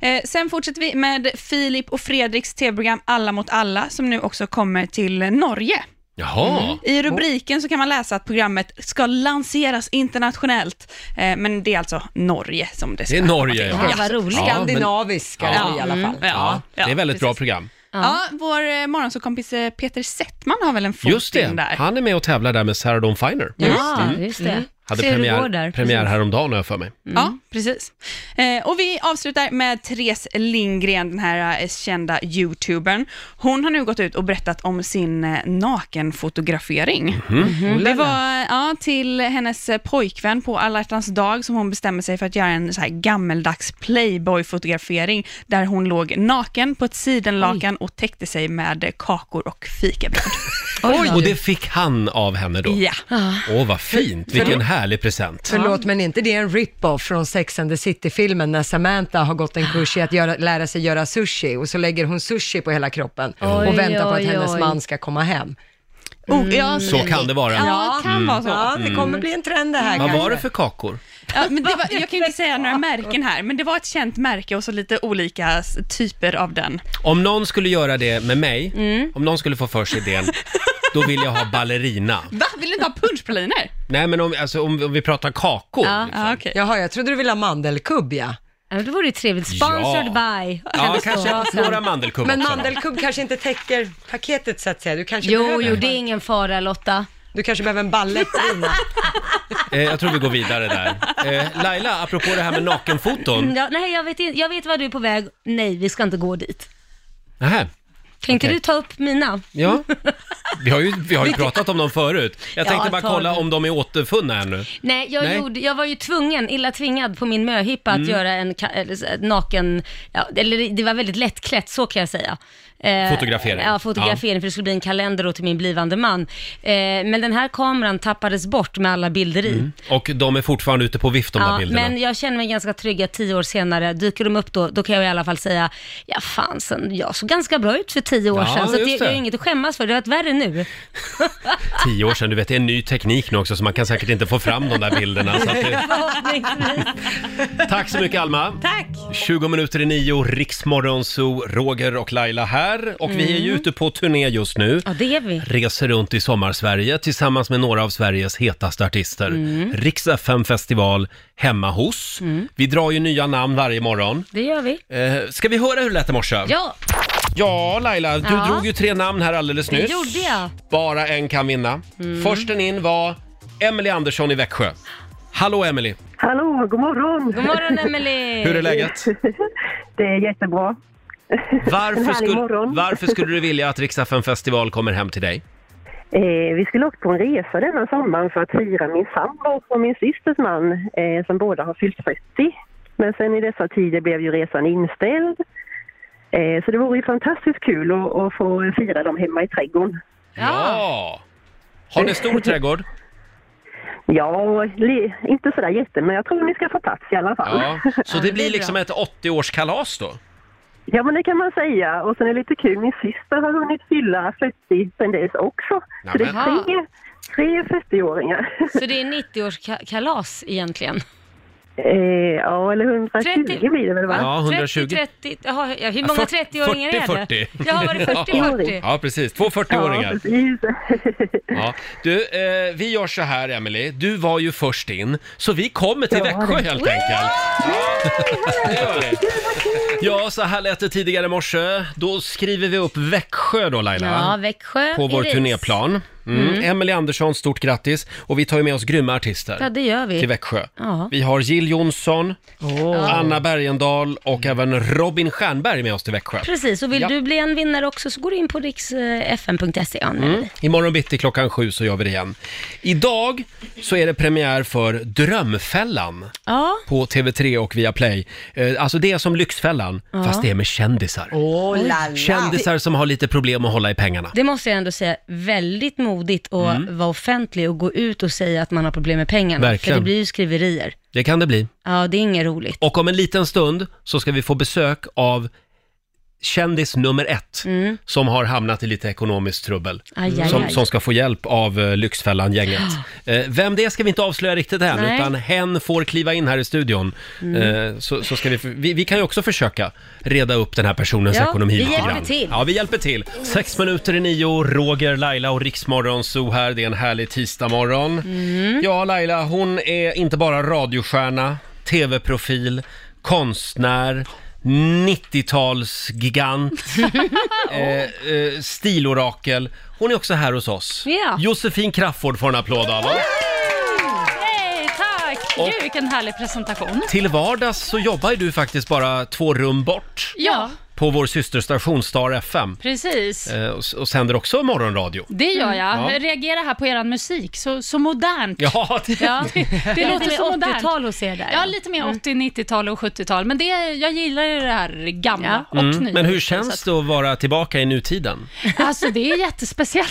Speaker 11: Eh, sen fortsätter vi med Filip och Fredriks tv-program Alla mot alla, som nu också kommer till Norge. Mm.
Speaker 1: Jaha.
Speaker 11: I rubriken så kan man läsa att programmet ska lanseras internationellt, eh, men det är alltså Norge som det ska
Speaker 1: Det är Norge,
Speaker 11: vara.
Speaker 1: ja.
Speaker 4: Ja, vad roligt.
Speaker 2: Skandinaviska
Speaker 1: Ja.
Speaker 2: i alla fall.
Speaker 11: Ja,
Speaker 1: Ja, det är väldigt bra
Speaker 11: precis.
Speaker 1: program.
Speaker 11: Ja, vår eh, morgonsåkompis eh, Peter Settman har väl en fot
Speaker 1: Just
Speaker 11: in
Speaker 1: det,
Speaker 11: där.
Speaker 1: han är med och tävlar där med Sarah Dawn Finer. Mm.
Speaker 4: Ja, just det.
Speaker 1: Hade
Speaker 4: Se hur det går
Speaker 1: premiär,
Speaker 4: där.
Speaker 1: premiär Mm.
Speaker 4: Precis.
Speaker 1: häromdagen har jag för mig.
Speaker 11: Ja, precis. Eh, och vi avslutar med Therese Lindgren, den här eh, kända youtubern. Hon har nu gått ut och berättat om sin eh, nakenfotografering.
Speaker 1: Mhm.
Speaker 11: Mm-hmm. Det var eh, ja, till hennes eh, pojkvän på alla hjärtans dag som hon bestämde sig för att göra en så här gammeldags playboy-fotografering där hon låg naken på ett sidenlakan och täckte sig med eh, kakor och fikabröd.
Speaker 1: Oj. Och det fick han av henne då.
Speaker 11: ja.
Speaker 1: Åh, vad fint. Vilken härlig present.
Speaker 2: Förlåt, men inte det är en rip-off från Sex and the City-filmen när Samantha har gått en kurs i att göra, lära sig göra sushi och så lägger hon sushi på hela kroppen
Speaker 4: Oj,
Speaker 2: och väntar på att
Speaker 4: oj,
Speaker 2: hennes
Speaker 4: oj.
Speaker 2: man ska komma hem.
Speaker 11: Oh, ja,
Speaker 1: Så kan det vara. Mm.
Speaker 11: Ja, det kan vara så.
Speaker 2: Mm. Ja, det kommer bli en trend det här
Speaker 1: Vad
Speaker 2: kanske.
Speaker 1: var det för kakor?
Speaker 11: Ja, men det var, jag kan ju inte säga några märken här, men det var ett känt märke och så lite olika s- typer av den.
Speaker 1: Om någon skulle göra det med mig, om någon skulle få för sig idén, då vill jag ha ballerina.
Speaker 11: Va? Vill du inte ha punschpraliner?
Speaker 1: Nej, men om, alltså, om, om vi pratar kakor.
Speaker 4: Ja.
Speaker 1: liksom.
Speaker 11: Ja, okej.
Speaker 2: Jaha, jag trodde du ville ha mandelkubb ja.
Speaker 4: Ja, men det vore ju trevligt. Sponsored by.
Speaker 1: Ja,
Speaker 4: det stå.
Speaker 1: kanske några mandelkubb
Speaker 2: Men
Speaker 1: också då.
Speaker 2: mandelkubb kanske inte täcker paketet så att säga. Du kanske,
Speaker 4: Jo,
Speaker 2: behöver,
Speaker 4: jo, det är ingen fara Lotta.
Speaker 2: Du kanske behöver en
Speaker 4: *laughs*
Speaker 2: ballettlina.
Speaker 1: Eh, jag tror vi går vidare där. Eh, Laila, apropå det här med nakenfoton.
Speaker 4: Mm, Ja, nej, jag vet, inte- jag vet vad du är på väg. Nej, vi ska inte gå dit.
Speaker 1: Nähä.
Speaker 4: Kan inte
Speaker 1: Okej.
Speaker 4: du ta upp mina?
Speaker 1: Ja, vi har, ju, vi har ju pratat om dem förut. Jag
Speaker 4: Ja,
Speaker 1: tänkte bara
Speaker 4: ta
Speaker 1: kolla
Speaker 4: det.
Speaker 1: om de är återfunna ännu.
Speaker 4: Nej, jag,
Speaker 1: Nej. Mm.
Speaker 4: Gjorde, jag var ju tvungen, illa tvingad på min möhippa att göra en ka- eller så- naken, ja, eller det var väldigt lättklätt, så kan jag säga. Eh,
Speaker 1: Fotografering.
Speaker 4: Ja, fotografering, för det skulle bli en kalender då till min blivande man. Eh, men den här kameran tappades bort med alla bilder i.
Speaker 1: Mm. Och de är fortfarande ute på vift de där
Speaker 4: Ja,
Speaker 1: bilderna.
Speaker 4: men jag känner mig ganska trygg att tio år senare, dyker de upp då, då kan jag i alla fall säga, ja fan, sen, jag såg ganska bra ut för tio år
Speaker 1: Ja,
Speaker 4: sedan, så att det,
Speaker 1: just det.
Speaker 4: jag har inget att skämmas för, det har varit värre nu.
Speaker 1: Tio år sedan, du vet det är en ny teknik nu också så man kan säkert inte få fram de där bilderna. Så att det...
Speaker 4: Förhoppningsvis.
Speaker 1: Tack så mycket Alma.
Speaker 4: Tack!
Speaker 1: 20 minuter i nio, Riksmorgon Zoo, Roger och Laila här. Och vi är
Speaker 4: Mm.
Speaker 1: ju ute på turné just nu.
Speaker 4: Ja, det är vi.
Speaker 1: Reser runt i sommarsverige tillsammans med några av Sveriges hetaste artister.
Speaker 4: Mm.
Speaker 1: Riks FM-festival hemma hos. Vi drar ju nya namn varje morgon.
Speaker 4: Det gör vi.
Speaker 1: Eh, ska vi höra hur det lät i morse?
Speaker 4: Ja,
Speaker 1: Ja, Laila, du
Speaker 4: Ja.
Speaker 1: drog ju tre namn här alldeles
Speaker 4: det
Speaker 1: nyss.
Speaker 4: gjorde jag. Mm.
Speaker 1: Bara en kan vinna. Försten in var Emily Andersson i Växjö. Hallå Emily,
Speaker 6: Hallå, god morgon!
Speaker 4: God morgon Emelie!
Speaker 1: hur är läget?
Speaker 6: *laughs* Det är jättebra. En
Speaker 1: Varför,
Speaker 6: härlig
Speaker 1: skulle,
Speaker 6: morgon.
Speaker 1: varför skulle du vilja att Rix FM festival kommer hem till dig?
Speaker 6: Eh, vi skulle åkt på en resa denna sommaren för att fira min sambo och min systers man eh, som båda har fyllt 30. Men sen i dessa tider blev ju resan inställd. Eh, så det vore ju fantastiskt kul att, att få fira dem hemma i trädgården.
Speaker 4: Ja.
Speaker 1: Har ni stor
Speaker 4: *laughs*
Speaker 1: trädgård?
Speaker 6: Ja, li- inte sådär jätte, men jag tror ni ska få plats i alla fall.
Speaker 1: Ja. Så det
Speaker 6: *laughs*
Speaker 1: blir
Speaker 4: det blir
Speaker 1: liksom
Speaker 4: bra.
Speaker 1: ett 80-årskalas då?
Speaker 6: Ja, men det kan man säga. Och sen är det lite kul, min syster har hunnit fylla 40 sen dess också. Så det
Speaker 4: Nämen.
Speaker 6: är tre, tre 40-åringar.
Speaker 4: Så det är 90-årskalas egentligen?
Speaker 6: Eh, ja, eller 120
Speaker 4: 30.
Speaker 6: blir det väl va?
Speaker 1: *laughs* Ja, 120.
Speaker 4: 30, 30, jaha, ja, hur
Speaker 1: Ja,
Speaker 4: många
Speaker 1: 40,
Speaker 4: 30-åringar är
Speaker 1: 40.
Speaker 4: det? Ja, var det 40-40?
Speaker 1: Ja, precis. Två 40-åringar.
Speaker 6: precis.
Speaker 1: Ja. Du, eh, vi gör så här Emily. du var ju först in, så vi kommer till
Speaker 6: Ja,
Speaker 1: Växjö helt enkelt. Ja, *laughs* det gör vi. Ja, så här lät det tidigare i morse. Då skriver vi upp Växjö då Laila,
Speaker 4: Ja, Växjö
Speaker 1: på
Speaker 4: i
Speaker 1: vår
Speaker 4: Riks.
Speaker 1: turnéplan. Mm.
Speaker 4: Mm.
Speaker 1: Emily Andersson, stort grattis. Och vi tar ju med oss grymma artister.
Speaker 4: Ja, det gör vi.
Speaker 1: Till Växjö.
Speaker 4: Ja.
Speaker 1: Vi har Jill Johnson, Anna Bergendahl och även Robin Stjernberg med oss till Växjö.
Speaker 4: Mm. Precis, och vill
Speaker 1: Ja.
Speaker 4: du bli en vinnare också så går du in på eh, riksfn.se och anmäler
Speaker 1: Mm.
Speaker 4: dig.
Speaker 1: Imorgon bitti klockan sju så gör vi det igen. Idag så är det premiär för Drömfällan
Speaker 4: Ja.
Speaker 1: på TV3 och via Play. Alltså det är som Lyxfällan,
Speaker 4: Ja.
Speaker 1: fast det är med kändisar.
Speaker 4: Åh, la, la.
Speaker 1: Kändisar som har lite problem att hålla i pengarna.
Speaker 4: Det måste jag ändå säga, väldigt modigt att
Speaker 1: Mm.
Speaker 4: vara offentlig och gå ut och säga att man har problem med pengarna.
Speaker 1: Verkligen.
Speaker 4: För det blir ju skriverier.
Speaker 1: Det kan det bli.
Speaker 4: Ja, det är inget roligt.
Speaker 1: Och om en liten stund så ska vi få besök av kändis nummer ett
Speaker 4: Mm.
Speaker 1: som har hamnat i lite ekonomiskt trubbel.
Speaker 4: Aj, aj,
Speaker 1: som,
Speaker 4: aj.
Speaker 1: som ska få hjälp av eh, Lyxfällan-gänget. Eh, vem det är ska vi inte avslöja riktigt än,
Speaker 4: Nej.
Speaker 1: utan hen får kliva in här i studion.
Speaker 4: Mm.
Speaker 1: Eh, så, så ska vi, vi, vi kan ju också försöka reda upp den här personens
Speaker 4: Ja,
Speaker 1: ekonomi
Speaker 4: vi
Speaker 1: lite
Speaker 4: hjälper
Speaker 1: grann.
Speaker 4: till.
Speaker 1: Ja, vi hjälper till. Sex minuter i nio, Roger, Laila och Riksmorgon Zoo här. Det är en härlig tisdagmorgon.
Speaker 4: Mm.
Speaker 1: Ja, Laila, hon är inte bara radiostjärna, tv-profil, konstnär,
Speaker 4: *laughs*
Speaker 1: 90-talsgigant, eh, eh, stilorakel. Hon är också här hos oss.
Speaker 12: Ja.
Speaker 1: Josefin Crafoord får en applåd av oss.
Speaker 12: Hej, tack!
Speaker 1: Och-
Speaker 12: Gud, vilken härlig presentation.
Speaker 1: Till vardags så jobbar ju du faktiskt bara två rum bort
Speaker 12: Ja,
Speaker 1: på vår systerstation Star FM.
Speaker 12: precis.
Speaker 1: Eh, och, s- och sänder också morgonradio.
Speaker 12: Det gör jag.
Speaker 1: Ja.
Speaker 12: Jag reagerar här på er musik, så, så modernt.
Speaker 1: Ja, *laughs* det-
Speaker 12: det,
Speaker 1: Lite
Speaker 12: låter
Speaker 4: mer
Speaker 12: så modernt.
Speaker 4: 80-tal hos er där,
Speaker 12: Ja,
Speaker 4: ja.
Speaker 12: lite mer
Speaker 4: Mm.
Speaker 12: 80, 90-tal och 70-tal. Men det, jag gillar ju det här gamla och
Speaker 1: Mm.
Speaker 12: nya.
Speaker 1: Men hur
Speaker 12: Så
Speaker 1: känns
Speaker 12: att-
Speaker 1: det att vara tillbaka i nutiden?
Speaker 12: Alltså det är jättespeciellt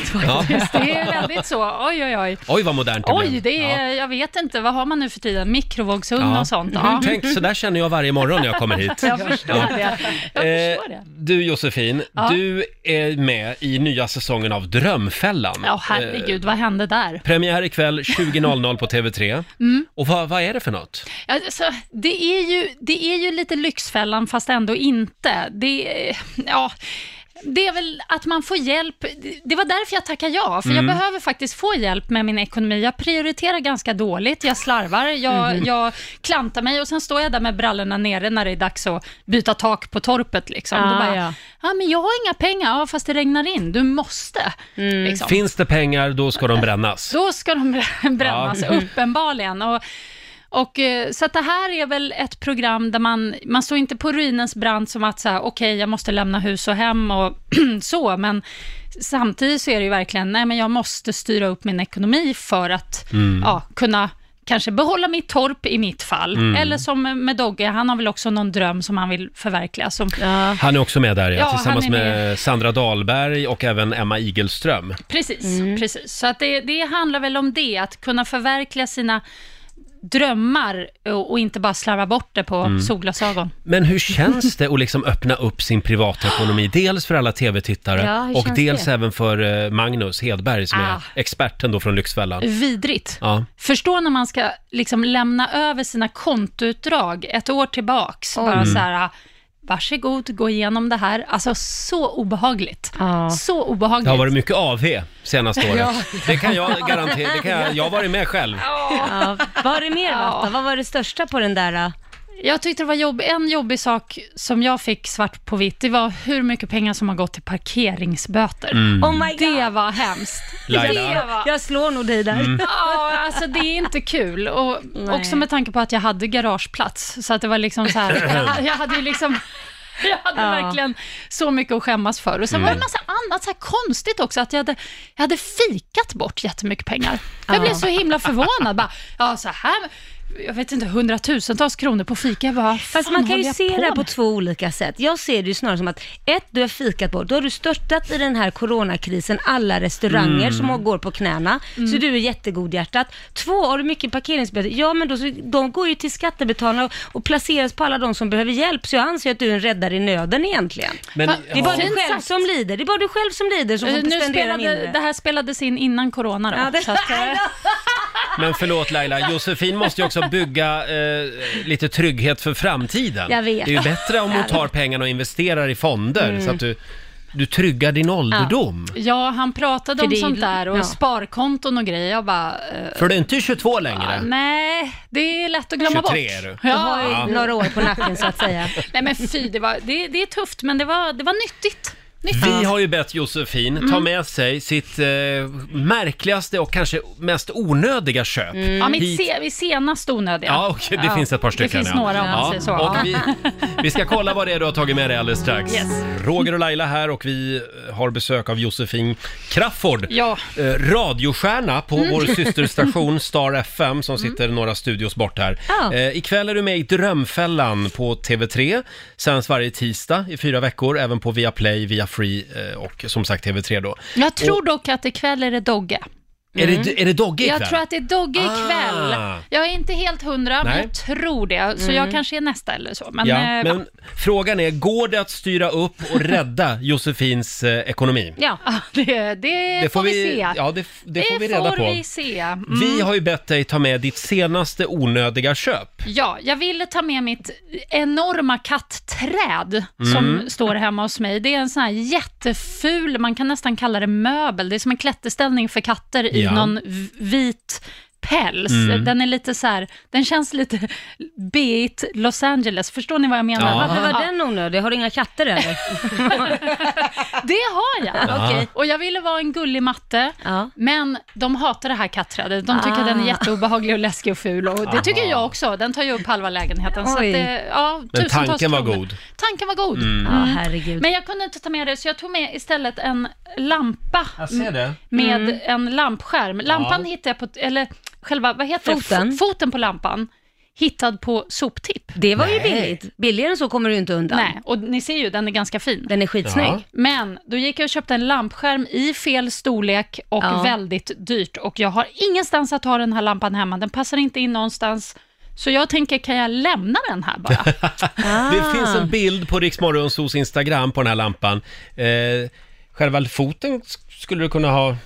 Speaker 1: *laughs*
Speaker 12: faktiskt.
Speaker 1: Ja.
Speaker 12: Det är väldigt så, oj oj oj.
Speaker 1: Oj, vad modernt det
Speaker 12: Oj,
Speaker 1: blev.
Speaker 12: det är, jag vet inte, vad har man nu för tiden? Mikrovågsugn och sånt? Ja.
Speaker 1: Mm. Tänk, så där känner jag varje morgon när jag kommer hit.
Speaker 12: *laughs* Jag förstår
Speaker 1: Ja.
Speaker 12: det.
Speaker 1: Eh, Du Josefin,
Speaker 12: Ja.
Speaker 1: du är med i nya säsongen av Drömfällan.
Speaker 12: Ja, herregud,
Speaker 1: Eh,
Speaker 12: vad hände där?
Speaker 1: Premiär ikväll 20.00 på TV3.
Speaker 12: Mm.
Speaker 1: Och vad, vad är det för något?
Speaker 12: Alltså, det, är ju, det är ju lite Lyxfällan, fast ändå inte. Det, är- ja, det är väl att man får hjälp. Det var därför jag tackade ja, för
Speaker 13: Mm.
Speaker 12: jag behöver faktiskt få hjälp med min ekonomi. Jag prioriterar ganska dåligt, jag slarvar, jag,
Speaker 1: Mm.
Speaker 13: Mhm.
Speaker 12: jag klantar mig och sen står jag där med brallorna nere när det är dags att byta tak på torpet. Liksom.
Speaker 13: Ah,
Speaker 12: Då bara,
Speaker 13: ja.
Speaker 12: ja. men jag har inga pengar, ja, fast det regnar in, du måste.
Speaker 13: Mm.
Speaker 12: Liksom.
Speaker 1: Finns det pengar, då ska de brännas.
Speaker 12: Då ska de brä- *laughs* brännas,
Speaker 1: Ja. *laughs*
Speaker 12: uppenbarligen. Och, och, eh, så att det här är väl ett program där man, man står inte på ruinens brant som att så här, okej, jag måste lämna hus och hem och *clears throat* så, men samtidigt så är det ju verkligen, nej men jag måste styra upp min ekonomi för att
Speaker 13: Mm.
Speaker 12: ja, kunna kanske behålla mitt torp i mitt fall.
Speaker 1: Mm.
Speaker 12: Eller som med Dogge, han har väl också någon dröm som han vill förverkliga. Som,
Speaker 1: Han är också med där, ja,
Speaker 12: Ja, han
Speaker 1: tillsammans
Speaker 12: är med.
Speaker 1: med Sandra Dahlberg och även Emma Igelström.
Speaker 12: Precis, precis. Så att det, det handlar väl om det, att kunna förverkliga sina drömmar och, och inte bara slarva bort det på
Speaker 1: Mm.
Speaker 12: solglasögon.
Speaker 1: Men hur känns det att liksom öppna upp sin privatekonomi? Dels för alla tv-tittare
Speaker 12: Ja, hur
Speaker 1: och
Speaker 12: känns
Speaker 1: dels
Speaker 12: det?
Speaker 1: även för eh, Magnus Hedberg som är
Speaker 12: Ah.
Speaker 1: experten då från Lyxfällan.
Speaker 12: Vidrigt.
Speaker 1: Ja.
Speaker 12: Förstå när man ska liksom lämna över sina kontoutdrag ett år tillbaks. Bara
Speaker 1: Mm.
Speaker 12: så här, "Ah, varsågod, gå igenom det här. Alltså så obehagligt. Så obehagligt.
Speaker 1: Det har varit mycket AV senaste året.
Speaker 12: Ja.
Speaker 1: Det kan jag garantera. Det kan jag, jag har varit med själv.
Speaker 4: Ja, var det mer Lotta? Vad var det största på den där? eh?
Speaker 12: Jag tyckte det var jobb, en jobbig sak som jag fick svart på vitt, det var hur mycket pengar som har gått till parkeringsböter.
Speaker 4: Mm. Oh my
Speaker 12: Det var hemskt.
Speaker 4: Laila.
Speaker 12: Det var...
Speaker 4: Jag slår nog dig där.
Speaker 12: Mm. Ja, alltså det är inte kul. Och
Speaker 4: Nej.
Speaker 12: också med tanke på att jag hade garageplats, så att det var liksom så här, jag- jag hade ju liksom jag hade
Speaker 13: Ja.
Speaker 12: verkligen så mycket att skämmas för. Och sen var det en
Speaker 13: Mm.
Speaker 12: massa annat så här konstigt också, att jag hade, jag hade fikat bort jättemycket pengar. Jag
Speaker 13: Ja.
Speaker 12: blev så himla förvånad. Bara, ja, så här, jag vet inte, hundratusentals kronor på fika. Jag bara,
Speaker 4: Fast man kan ju se det här på två olika sätt. Jag ser det ju snarare som att ett, du har fikat bort, då har du störtat i den här coronakrisen alla restauranger
Speaker 13: Mm.
Speaker 4: som har- går på knäna,
Speaker 12: Mm.
Speaker 4: så du är jättegodhjärtat. Två, har du mycket parkeringsböter? Ja, men då, så- de går ju till skattebetalarna och, och placeras på alla de som behöver hjälp, så jag anser att du är en räddare i nöden egentligen.
Speaker 1: Men-
Speaker 4: Det är bara
Speaker 1: ja.
Speaker 4: du själv som lider, det är bara du själv som lider som
Speaker 12: Eh,
Speaker 4: får
Speaker 12: nu
Speaker 4: spendera
Speaker 12: spelade,
Speaker 4: mindre.
Speaker 12: det här spelades in innan corona då.
Speaker 4: *laughs*
Speaker 12: så att, eh,
Speaker 1: Men förlåt Laila, Josefin måste ju också bygga eh, lite trygghet för framtiden.
Speaker 12: Jag vet.
Speaker 1: Det är ju bättre om hon
Speaker 12: Jag
Speaker 1: tar
Speaker 12: vet.
Speaker 1: pengarna och investerar i fonder
Speaker 12: Mm.
Speaker 1: så att du, du tryggar din ålderdom.
Speaker 12: Ja, han pratade
Speaker 4: För
Speaker 12: om
Speaker 4: det är-
Speaker 12: sånt där och
Speaker 4: ja.
Speaker 12: sparkonton och grejer. Jag bara... eh,
Speaker 1: För du är inte 22 längre.
Speaker 12: Nej, det är lätt att
Speaker 1: 23
Speaker 12: glömma bort.
Speaker 1: är du.
Speaker 4: Du har ju några år på nacken, så att säga.
Speaker 12: Nej men fy, det, var, det, det är tufft men det var, det var nyttigt. Nytt.
Speaker 1: Vi har ju bett Josefin ta
Speaker 12: Mm.
Speaker 1: med sig sitt eh, märkligaste och kanske mest onödiga köp
Speaker 12: Mm. Ja, mitt
Speaker 1: Mm. hit.
Speaker 12: se, vi senast onödiga.
Speaker 1: Ja, okej, det finns ett par stycken,
Speaker 12: Det finns
Speaker 1: ja.
Speaker 12: några om man
Speaker 1: Ja,
Speaker 12: säger så.
Speaker 1: och vi- Vi ska kolla vad det är du har tagit med dig alldeles strax.
Speaker 12: Yes.
Speaker 1: Roger och Laila här och vi eh, har besök av Josefin Crafoord.
Speaker 12: Ja.
Speaker 1: Eh, radiostjärna på
Speaker 12: Mm.
Speaker 1: vår
Speaker 12: *laughs*
Speaker 1: systerstation Star FM som sitter några studios bort här.
Speaker 12: Ja.
Speaker 1: Eh, ikväll är du med i Drömfällan på TV3. Sänds varje tisdag i fyra veckor, även på Viaplay, via Free eh, och som sagt TV3 då.
Speaker 12: Jag tror
Speaker 1: Och,
Speaker 12: dock att ikväll är det Dogge.
Speaker 1: Är
Speaker 12: Mm.
Speaker 1: det- är det Dogge ikväll?
Speaker 12: Jag tror att det är Dogge ikväll.
Speaker 1: Ah.
Speaker 12: Jag är inte helt hundra, men
Speaker 1: Nej.
Speaker 12: jag tror det. Så
Speaker 1: Mm.
Speaker 12: jag kanske är nästa eller så. Men,
Speaker 1: ja,
Speaker 12: eh,
Speaker 1: men frågan är, går det att styra upp
Speaker 12: *laughs*
Speaker 1: och rädda Josefins eh, ekonomi?
Speaker 12: ja *laughs* det, det,
Speaker 1: Det
Speaker 12: får vi, se.
Speaker 1: ja, det, det får vi reda
Speaker 12: får
Speaker 1: på.
Speaker 12: vi se. Mm.
Speaker 1: Vi har ju bett dig ta med ditt senaste onödiga köp.
Speaker 12: Ja, jag ville ta med mitt enorma kattträd som
Speaker 1: Mm.
Speaker 12: står hemma hos mig. Det är en sån här jätteful, man kan nästan kalla det möbel. Det är som en klätterställning för katter i
Speaker 13: Ja.
Speaker 12: någon v- vit päls.
Speaker 13: Mm.
Speaker 12: Den är lite så här, den känns lite beigt Los Angeles. Förstår ni vad jag menar?
Speaker 1: Ja. Varför var
Speaker 12: den onödig? Har du inga katter eller? *laughs* det har jag.
Speaker 1: Ja. Okej.
Speaker 12: Och jag ville vara en gullig matte, men de hatar det här kattträdet. De tycker att den är
Speaker 13: Ah.
Speaker 12: *laughs* jätteobehaglig och läskig och ful. Och det tycker
Speaker 1: Aha.
Speaker 12: jag också. Den tar ju upp halva lägenheten. Så att
Speaker 13: Oj.
Speaker 12: det, ja,
Speaker 1: Men
Speaker 12: tusentals
Speaker 1: tanken var
Speaker 12: kronor.
Speaker 1: god.
Speaker 12: Tanken var god.
Speaker 1: Mm. Ja, herregud.
Speaker 12: Men jag kunde inte ta med det, så jag tog med istället en lampa.
Speaker 1: Jag ser det.
Speaker 12: Med
Speaker 1: Mm.
Speaker 12: en lampskärm. Lampan
Speaker 1: Ja.
Speaker 12: hittade jag på, eller själva, vad heter
Speaker 4: Foten.
Speaker 12: det? F- Foten på lampan. Hittad på soptipp.
Speaker 4: Det var ju billigt.
Speaker 12: Billigare än så kommer du inte undan. Nej, och ni ser ju, den är ganska fin. Den är
Speaker 4: skitsnygg. Ja.
Speaker 12: Men då gick jag och köpte en lampskärm i fel storlek och
Speaker 4: Ja.
Speaker 12: väldigt dyrt. Och jag har ingenstans att ha den här lampan hemma. Den passar inte in någonstans. Så jag tänker, kan jag lämna den här bara? Ah.
Speaker 1: Det finns en bild på Riksmorgonsos Instagram på den här lampan. Eh, själva foten sk- skulle du kunna ha något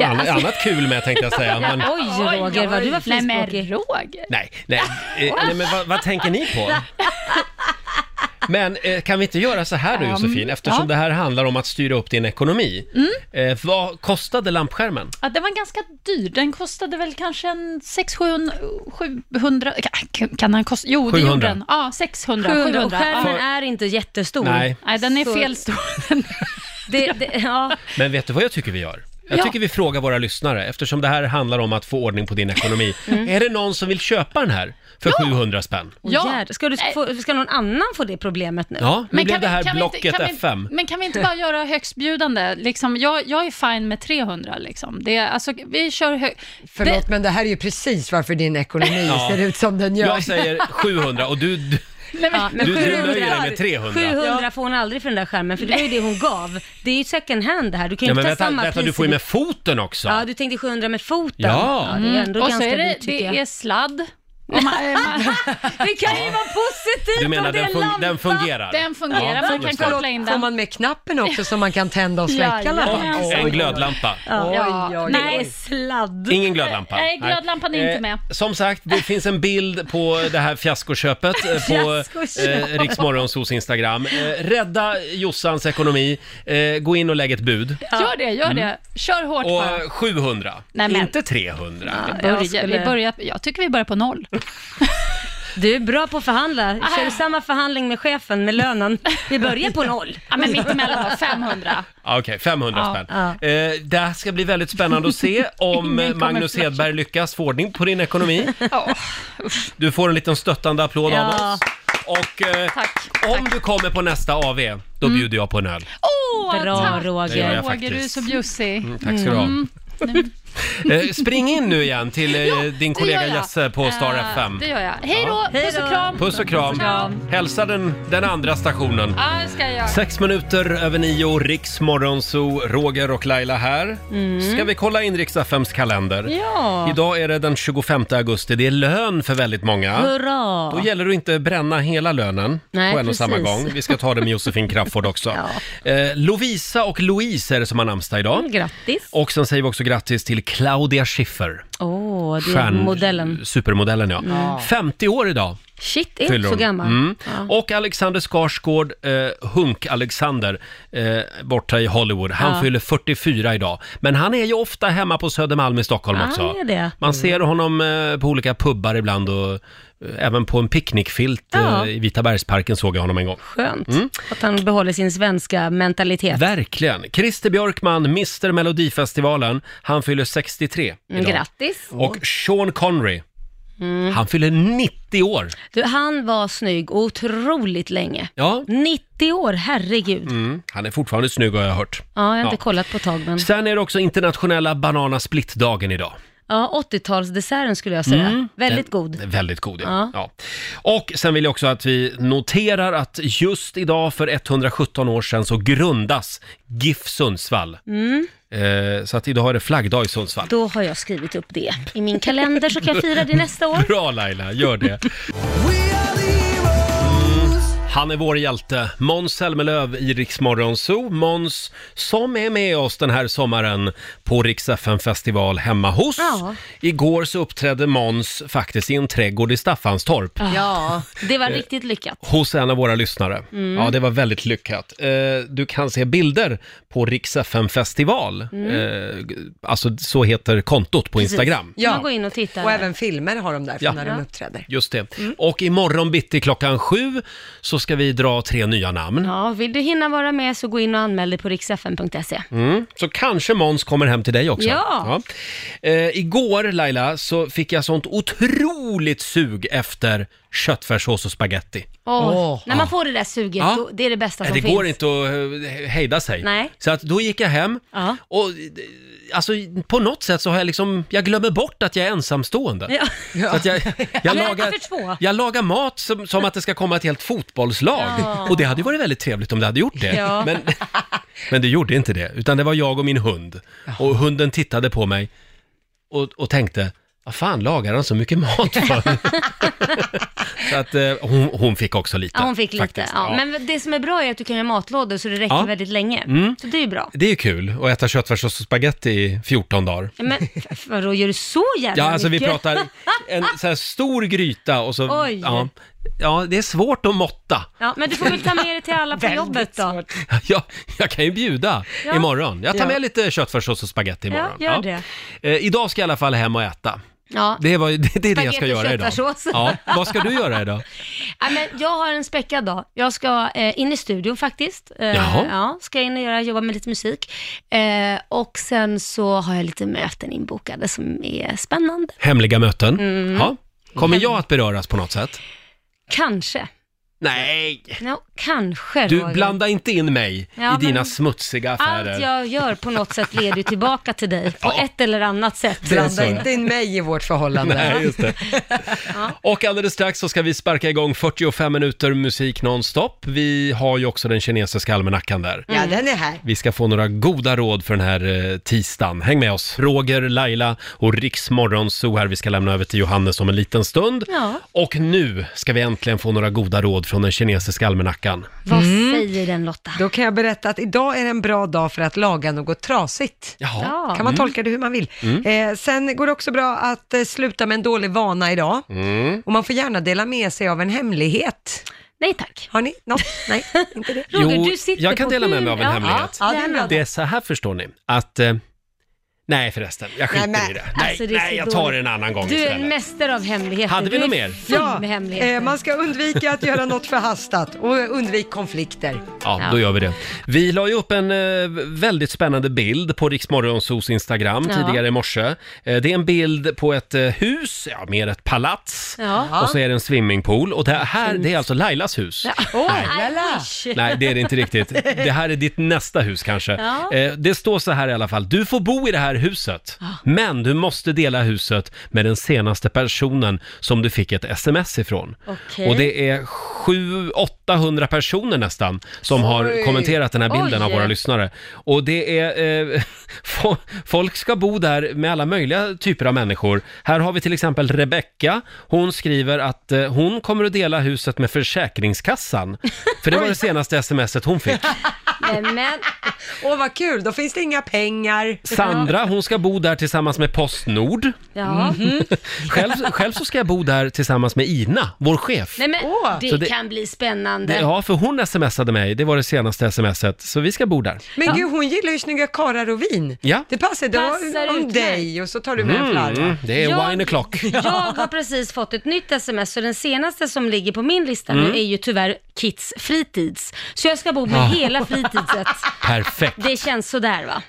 Speaker 12: Ja,
Speaker 1: annat,
Speaker 12: alltså-
Speaker 1: annat kul med tänkte jag
Speaker 12: *laughs*
Speaker 1: säga. Men,
Speaker 4: *laughs* Oj, Roger, vad du var
Speaker 12: Nej, men
Speaker 4: frispråkig.
Speaker 12: Roger.
Speaker 1: nej, nej, eh, nej, men vad, vad tänker ni på? Men eh, kan vi inte göra så här då
Speaker 12: Ja,
Speaker 1: Josefin,
Speaker 12: mm,
Speaker 1: eftersom
Speaker 12: ja.
Speaker 1: det här handlar om att styra upp din ekonomi. Eh, vad kostade lampskärmen?
Speaker 12: Mm. Ja, den var ganska dyr. Den kostade väl kanske en 600, 700, kan- kan den kosta? Jo, det
Speaker 1: 700.
Speaker 12: gjorde den. Ja, 600,
Speaker 4: 700.
Speaker 12: 700.
Speaker 4: Och skärmen
Speaker 12: ja.
Speaker 4: är inte jättestor.
Speaker 1: Nej.
Speaker 12: Nej, den är fel stor.
Speaker 4: *laughs* det, det, ja.
Speaker 1: Men vet du vad jag tycker vi gör? Jag
Speaker 4: Ja.
Speaker 1: tycker vi frågar våra lyssnare, eftersom det här handlar om att få ordning på din ekonomi.
Speaker 4: Mm.
Speaker 1: Är det någon som vill köpa den här för 700 spänn?
Speaker 4: Ja. Ska, du få, ska någon annan få det problemet nu?
Speaker 1: Ja, nu
Speaker 12: Men
Speaker 1: blev
Speaker 12: kan
Speaker 1: det
Speaker 12: vi-
Speaker 1: här
Speaker 12: kan vi inte-
Speaker 1: Blocket
Speaker 12: kan vi-
Speaker 1: FM.
Speaker 12: Men kan vi inte bara göra högstbjudande? Liksom, jag, jag är fine med 300 liksom. Det, är- alltså, vi kör hög...
Speaker 2: Förlåt, men det här är ju precis varför din ekonomi
Speaker 1: Ja.
Speaker 2: ser ut som den gör.
Speaker 1: Jag säger 700 och du... du
Speaker 4: Ja,
Speaker 1: Du- du nöjer dig med 300.
Speaker 4: 700 får hon aldrig för den där skärmen, för det var ju det hon gav. Det är ju second hand det här, du kan ju
Speaker 1: ja,
Speaker 4: inte
Speaker 1: men vänta,
Speaker 4: ta samma
Speaker 1: vänta,
Speaker 4: pris.
Speaker 1: du får ju
Speaker 4: i-
Speaker 1: med foten också.
Speaker 4: Ja, du tänkte 700 med foten.
Speaker 1: Ja.
Speaker 4: det är ändå
Speaker 12: Mm. Och så
Speaker 4: ganska
Speaker 12: är det,
Speaker 4: dyrt tycker jag.
Speaker 12: det är sladd. Om man-
Speaker 4: *laughs* det kan ju vara positivt
Speaker 1: Du menar den, fun- den fungerar?
Speaker 12: Den fungerar,
Speaker 1: Ja,
Speaker 12: man kan
Speaker 1: just det.
Speaker 12: koppla in
Speaker 2: Får
Speaker 12: den.
Speaker 2: man med knappen också som man kan tända och släcka
Speaker 12: Ja,
Speaker 2: lampan?
Speaker 1: Och en glödlampa.
Speaker 2: Oj, oj, oj.
Speaker 12: Nej, sladd.
Speaker 1: Ingen glödlampa.
Speaker 12: Nej, glödlampan är inte med.
Speaker 1: Eh, som sagt, det finns en bild på det här fiaskoköpet eh, på
Speaker 12: Fiaskoköp.
Speaker 1: eh, Riksmorgonsos Instagram. Eh, rädda Jossans ekonomi. Eh, gå in och lägg ett bud.
Speaker 12: Gör det, gör
Speaker 1: Mm.
Speaker 12: det. Kör hårt bara.
Speaker 1: Och eh, 700,
Speaker 12: Nej, men-
Speaker 1: inte 300.
Speaker 12: Vi börjar, vi börjar, jag tycker vi börjar på noll.
Speaker 4: Du är bra på att förhandla.
Speaker 12: Ah.
Speaker 4: Kör du samma förhandling med chefen, med lönen. Vi börjar på noll.
Speaker 12: Ja, men mittemellan var 500.
Speaker 1: Ja, Okej, 500
Speaker 4: Ja,
Speaker 1: spänn.
Speaker 4: ja.
Speaker 1: Eh, det här ska bli väldigt spännande att
Speaker 12: *laughs*
Speaker 1: se om
Speaker 12: Ingen kommer
Speaker 1: Magnus
Speaker 12: flasha.
Speaker 1: Hedberg lyckas få ordning på din ekonomi. Du får en liten stöttande applåd av
Speaker 12: Ja.
Speaker 1: oss. Och eh, om du kommer på nästa AV, då
Speaker 12: Mm.
Speaker 1: bjuder jag på en öl.
Speaker 12: Åh,
Speaker 1: Bra,
Speaker 12: tack!
Speaker 1: Roger. Det gör jag
Speaker 12: Roger, du är
Speaker 1: faktiskt.
Speaker 12: så bjussig.
Speaker 1: Mm, tack ska du ha. Eh, spring in nu igen till eh, din kollega
Speaker 12: gör jag.
Speaker 1: Jesse på Star
Speaker 12: Eh,
Speaker 1: FM.
Speaker 12: Det gör jag. Hej då,
Speaker 4: Hej
Speaker 12: puss och
Speaker 4: då.
Speaker 12: kram.
Speaker 1: Puss och kram. Hälsa den, den andra stationen.
Speaker 12: Ja, det ska jag göra.
Speaker 1: Sex minuter över nio, Riks Morgonzoo, Roger och Laila här.
Speaker 4: Mm.
Speaker 1: Ska vi kolla in Rix FMs kalender?
Speaker 4: Ja.
Speaker 1: Idag är det den 25 augusti, det är lön för väldigt många.
Speaker 4: Hurra!
Speaker 1: Då gäller det att inte bränna hela lönen
Speaker 4: Nej,
Speaker 1: på en och samma
Speaker 4: precis.
Speaker 1: gång. Vi ska ta det med Josefin Crafoord också. eh, Lovisa och Louise är det som har namnsdag idag.
Speaker 4: Mm, grattis.
Speaker 1: Och sen säger vi också grattis till Claudia Schiffer.
Speaker 4: Åh, det är modellen.
Speaker 1: Supermodellen ja.
Speaker 4: Mm.
Speaker 1: 50 år idag.
Speaker 4: Shit, är
Speaker 1: fyller
Speaker 4: hon så
Speaker 1: hon.
Speaker 4: gammal?
Speaker 1: Mm.
Speaker 4: Ja.
Speaker 1: Och Alexander Skarsgård, eh, Hunk-Alexander, eh, borta i Hollywood. Han
Speaker 4: Ja.
Speaker 1: fyller 44 idag. Men han är ju ofta hemma på Södermalm i Stockholm
Speaker 4: Ja,
Speaker 1: också.
Speaker 4: han är Ah, det.
Speaker 1: Man ser honom eh, på olika pubbar ibland och även på en picknickfilt
Speaker 4: Ja.
Speaker 1: eh, i Vita bergsparken såg jag honom en gång.
Speaker 4: Skönt
Speaker 1: Mm.
Speaker 4: att han behåller sin svenska mentalitet.
Speaker 1: Verkligen. Christer Björkman, Mr Melodifestivalen, han fyller 63
Speaker 4: Mm,
Speaker 1: idag.
Speaker 4: Grattis.
Speaker 1: Och Sean Connery,
Speaker 4: Mm.
Speaker 1: han fyller 90 år.
Speaker 4: Du, han var snygg otroligt länge.
Speaker 1: Ja.
Speaker 4: 90 år, herregud.
Speaker 1: Mm, han är fortfarande snygg har jag hört.
Speaker 4: Ja, jag har inte
Speaker 1: Ja.
Speaker 4: kollat på ett tag men...
Speaker 1: Sen är det också internationella banana split-dagen idag.
Speaker 4: Ja, 80-talsdesserten skulle jag säga.
Speaker 1: Mm.
Speaker 4: Väldigt
Speaker 1: Den-
Speaker 4: god.
Speaker 1: den är Väldigt god, ja.
Speaker 4: Ja.
Speaker 1: ja. Och sen vill jag också att vi noterar att just idag för 117 år sedan så grundas GIF Sundsvall.
Speaker 4: Mm.
Speaker 1: Eh, så att idag är det flaggdag i Sundsvall.
Speaker 4: Då har jag skrivit upp det i min kalender så kan jag fira det nästa år.
Speaker 1: Bra Mm. Laila, gör *laughs* det. Han är vår hjälte, Måns Zelmerlöw i Rix Morgon Zoo. Måns som är med oss den här sommaren på Rix festival hemma hos.
Speaker 4: Ja.
Speaker 1: Igår så uppträdde Måns faktiskt i en trädgård i Staffanstorp.
Speaker 4: Ja, det var
Speaker 1: Eh,
Speaker 4: riktigt lyckat.
Speaker 1: Hos en av våra lyssnare.
Speaker 4: Mm.
Speaker 1: Ja, det var väldigt lyckat. Eh, du kan se bilder på Rix festival
Speaker 4: Mm.
Speaker 1: eh, Alltså, så heter kontot på Instagram.
Speaker 2: Ja.
Speaker 4: Man går in och tittar.
Speaker 2: Och även filmer har de där från
Speaker 1: Ja.
Speaker 2: när
Speaker 1: Ja.
Speaker 2: de uppträder.
Speaker 1: Just det.
Speaker 4: Mm.
Speaker 1: Och imorgon bitti klockan sju så ska vi dra tre nya namn.
Speaker 4: Ja, vill du hinna vara med så gå in och anmäl dig på riksfn.se.
Speaker 1: Mm. Så kanske Måns kommer hem till dig också.
Speaker 4: Ja.
Speaker 1: Ja. Eh, igår Laila så fick jag sånt otroligt sug efter köttfärssås och spaghetti.
Speaker 4: Åh,
Speaker 1: Åh.
Speaker 4: När man får det där suget,
Speaker 1: Ja.
Speaker 4: då, det är det bästa
Speaker 1: Nej,
Speaker 4: som
Speaker 1: det
Speaker 4: finns.
Speaker 1: går inte att eh, hejda sig.
Speaker 4: Nej.
Speaker 1: Så att då gick jag hem
Speaker 4: Ja.
Speaker 1: och eh, alltså, på något sätt så har jag liksom, jag glömmer bort att jag är ensamstående.
Speaker 4: Ja.
Speaker 1: Så
Speaker 4: *laughs*
Speaker 1: att jag, jag,
Speaker 4: Vi äter
Speaker 1: lagar,
Speaker 4: för två.
Speaker 1: jag lagar mat som, som att det ska komma ett helt fotbollslag.
Speaker 4: Ja.
Speaker 1: Och det hade varit väldigt trevligt om det hade gjort det.
Speaker 4: Ja.
Speaker 1: Men, men det gjorde inte det, utan det var jag och min hund. Och hunden tittade på mig och, och tänkte, vad fan lagar han så mycket mat
Speaker 4: *laughs*
Speaker 1: för? så att eh, hon, hon fick också lite.
Speaker 4: Ja, hon fick lite.
Speaker 1: faktiskt.
Speaker 4: Ja.
Speaker 1: Ja.
Speaker 4: Men det som är bra är att du kan göra matlådor så det räcker
Speaker 1: Ja.
Speaker 4: väldigt länge.
Speaker 1: Mm.
Speaker 4: Så det är ju bra.
Speaker 1: Det är ju kul att äta köttfärssås och spagetti i 14 dagar.
Speaker 4: Men f- vadå, gör du så jävla
Speaker 1: Ja, alltså vi
Speaker 4: mycket? *laughs*
Speaker 1: pratar en så här stor gryta och så...
Speaker 4: Ah! Oj.
Speaker 1: Ja, ja, det är svårt att måtta. *laughs*
Speaker 4: Ja, men du får väl ta med det till alla på jobbet då.
Speaker 1: Ja, jag kan ju bjuda
Speaker 4: Ja.
Speaker 1: imorgon. Jag tar
Speaker 4: Ja.
Speaker 1: med lite köttfärssås och spagetti
Speaker 4: Ja,
Speaker 1: imorgon.
Speaker 4: gör det.
Speaker 1: Eh, idag ska jag i alla fall hem och äta.
Speaker 4: Ja.
Speaker 1: Det, var, ju- *laughs* det, det är det jag ska
Speaker 4: Spagetti och
Speaker 1: göra idag.
Speaker 4: köttfärssås.
Speaker 1: Ja, vad ska du göra idag?
Speaker 4: Ja, men jag har en späckad dag. Jag ska eh, in i studion faktiskt. Eh,
Speaker 1: Jaha.
Speaker 4: Ja, ska in och göra, jobba med lite musik. Eh, och sen så har jag lite möten inbokade som är spännande.
Speaker 1: Hemliga möten.
Speaker 4: Mm.
Speaker 1: Ja. Kommer jag att beröras på något sätt?
Speaker 4: Kanske.
Speaker 1: Nej!
Speaker 4: Ja, kanske
Speaker 1: Du,
Speaker 4: Roger.
Speaker 1: blanda inte in mig
Speaker 4: Ja,
Speaker 1: i dina
Speaker 4: men-
Speaker 1: smutsiga affärer.
Speaker 4: Allt jag gör på något sätt leder ju tillbaka till dig på ett eller annat sätt.
Speaker 1: Det är så. Blanda inte
Speaker 2: in mig i vårt förhållande.
Speaker 1: Nej, just
Speaker 4: *laughs*
Speaker 1: det. Och alldeles strax så ska vi sparka igång 45 minuter musik nonstop. Vi har ju också den kinesiska almanackan där.
Speaker 2: Ja, den är här.
Speaker 1: Vi ska få några goda råd för den här eh, tisdagen. Häng med oss! Roger, Laila och Riksmorgonzoo här. Vi ska lämna över till Johannes om en liten stund.
Speaker 4: Ja.
Speaker 1: Och nu ska vi äntligen få några goda råd från den kinesiska almanackan.
Speaker 4: Vad
Speaker 1: Mm.
Speaker 4: säger den Lotta?
Speaker 2: Då kan jag berätta att idag är en bra dag för att laga något trasigt.
Speaker 1: Jaha. Ja.
Speaker 2: Kan man
Speaker 1: Mm.
Speaker 2: tolka det hur man vill.
Speaker 1: Mm.
Speaker 2: Eh, sen går det också bra att eh, sluta med en dålig vana idag.
Speaker 1: Mm.
Speaker 2: Och man får gärna dela med sig av en hemlighet.
Speaker 4: Nej tack.
Speaker 2: Har ni något? Nej, inte det.
Speaker 1: jag kan dela med mig av en hemlighet.
Speaker 2: Ja, ja, det är en bra
Speaker 1: det är så här förstår ni, att... Eh, nej förresten, jag skiter
Speaker 2: Nej, men-
Speaker 1: i det. Nej,
Speaker 4: Alltså, det är så
Speaker 1: nej jag tar det
Speaker 4: dåligt.
Speaker 1: en annan gång
Speaker 4: Du är
Speaker 1: istället.
Speaker 4: en mästare av hemligheter.
Speaker 1: Hade vi
Speaker 4: du
Speaker 1: något mer?
Speaker 4: är full med hemligheter.
Speaker 2: eh, man ska undvika att göra något förhastat och undvik konflikter.
Speaker 1: Ja, då gör vi det. Vi la ju upp en eh, väldigt spännande bild på Riksmorgonsos Instagram
Speaker 4: Ja.
Speaker 1: tidigare i morse. Eh, det är en bild på ett eh, hus, ja mer ett palats.
Speaker 4: Ja.
Speaker 1: Och så är det en swimmingpool. Och det här, det är alltså Lailas hus.
Speaker 4: Ja.
Speaker 2: Nej.
Speaker 1: Nej, det är
Speaker 2: *laughs*
Speaker 1: det inte riktigt. Det här är ditt nästa hus kanske.
Speaker 4: Ja.
Speaker 1: Eh, det står så här i alla fall. Du får bo i det här huset, men du måste dela huset med den senaste personen som du fick ett sms ifrån.
Speaker 4: Okej.
Speaker 1: Och det är 700-800 personer nästan som har
Speaker 4: Oj.
Speaker 1: kommenterat den här bilden
Speaker 4: Oj.
Speaker 1: av våra lyssnare. Och det är... Eh, *laughs* fo- folk ska bo där med alla möjliga typer av människor. Här har vi till exempel Rebecka. Hon skriver att eh,
Speaker 4: *laughs*
Speaker 1: hon kommer att dela huset med Försäkringskassan. För det var det senaste smset hon fick.
Speaker 4: Men...
Speaker 2: Åh, vad kul. Då finns det inga pengar.
Speaker 1: Sandra, hon ska bo där tillsammans med Postnord.
Speaker 4: Ja.
Speaker 1: Mhm. *laughs* själv, själv så ska jag bo där tillsammans med Ina, vår chef.
Speaker 4: Nej men det,
Speaker 1: Så det-
Speaker 4: kan bli spännande.
Speaker 1: Ja, för hon smsade mig, det var det senaste smset, så vi ska bo där.
Speaker 2: Men gud, hon gillar ju snygga karlar och vin.
Speaker 1: Ja.
Speaker 2: Det passar, det
Speaker 4: Passar
Speaker 2: var om
Speaker 4: utmärkt.
Speaker 2: dig och så tar du med en
Speaker 1: Mm,
Speaker 2: flarra.
Speaker 1: det är
Speaker 4: Jag-
Speaker 1: wine o'clock.
Speaker 4: Jag har precis fått ett nytt sms så den senaste som ligger på min lista
Speaker 1: Mm.
Speaker 4: nu är ju tyvärr Kits fritids. Så jag ska bo med
Speaker 1: Ja.
Speaker 4: hela fritidset.
Speaker 1: Perfekt.
Speaker 4: Det känns sådär va?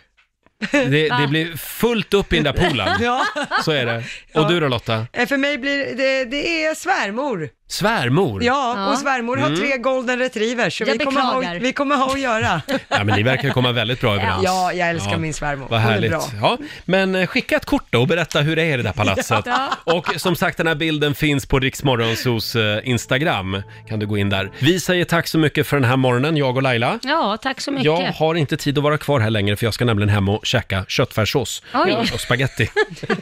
Speaker 1: Det,
Speaker 4: Va?
Speaker 1: det blir fullt upp i den där poolen.
Speaker 2: *laughs* Ja.
Speaker 1: Så är det. Och du då Lotta?
Speaker 2: Eh, För mig blir det, det är svärmor.
Speaker 1: Svärmor?
Speaker 2: Ja, och svärmor har
Speaker 1: Mm.
Speaker 2: tre golden retrievers, så
Speaker 4: Jag
Speaker 2: vi kommer, ha,
Speaker 4: beklagar.
Speaker 2: vi kommer ha att göra.
Speaker 1: Ja, men ni verkar ju komma väldigt bra överens.
Speaker 2: Ja, jag älskar min svärmor.
Speaker 1: Vad
Speaker 2: Hon är
Speaker 1: härligt.
Speaker 2: bra.
Speaker 1: Ja, men eh, skicka ett kort då och berätta hur det är i det där palatset.
Speaker 2: *laughs* Ja.
Speaker 1: Och som sagt, den här bilden finns på Riksmorgonsos eh, Instagram. Kan du gå in där. Vi säger tack så mycket för den här morgonen, jag och Laila.
Speaker 4: Ja, tack så mycket.
Speaker 1: Jag har inte tid att vara kvar här längre för jag ska nämligen hem och käka köttfärssås
Speaker 4: Oj.
Speaker 1: och spaghetti.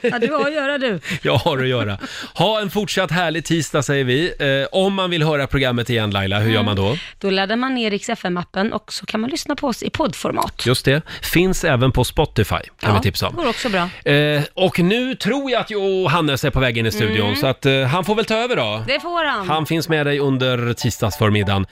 Speaker 4: Ja, du har att göra du.
Speaker 1: *laughs* Jag har att göra. Ha en fortsatt härlig tisdag säger vi. Eh, om man vill höra programmet igen Laila, hur gör man då?
Speaker 4: Då laddar man ner Rix FM-appen och så kan man lyssna på oss i poddformat.
Speaker 1: Just det. Finns även på Spotify, kan vi tipsa
Speaker 4: Det
Speaker 1: om.
Speaker 4: går också bra.
Speaker 1: Eh, och nu tror jag att Johannes är på väg in i studion,
Speaker 4: Mm.
Speaker 1: så att eh, han får väl ta över då.
Speaker 4: Det får han.
Speaker 1: Han finns med dig under tisdagsförmiddagen.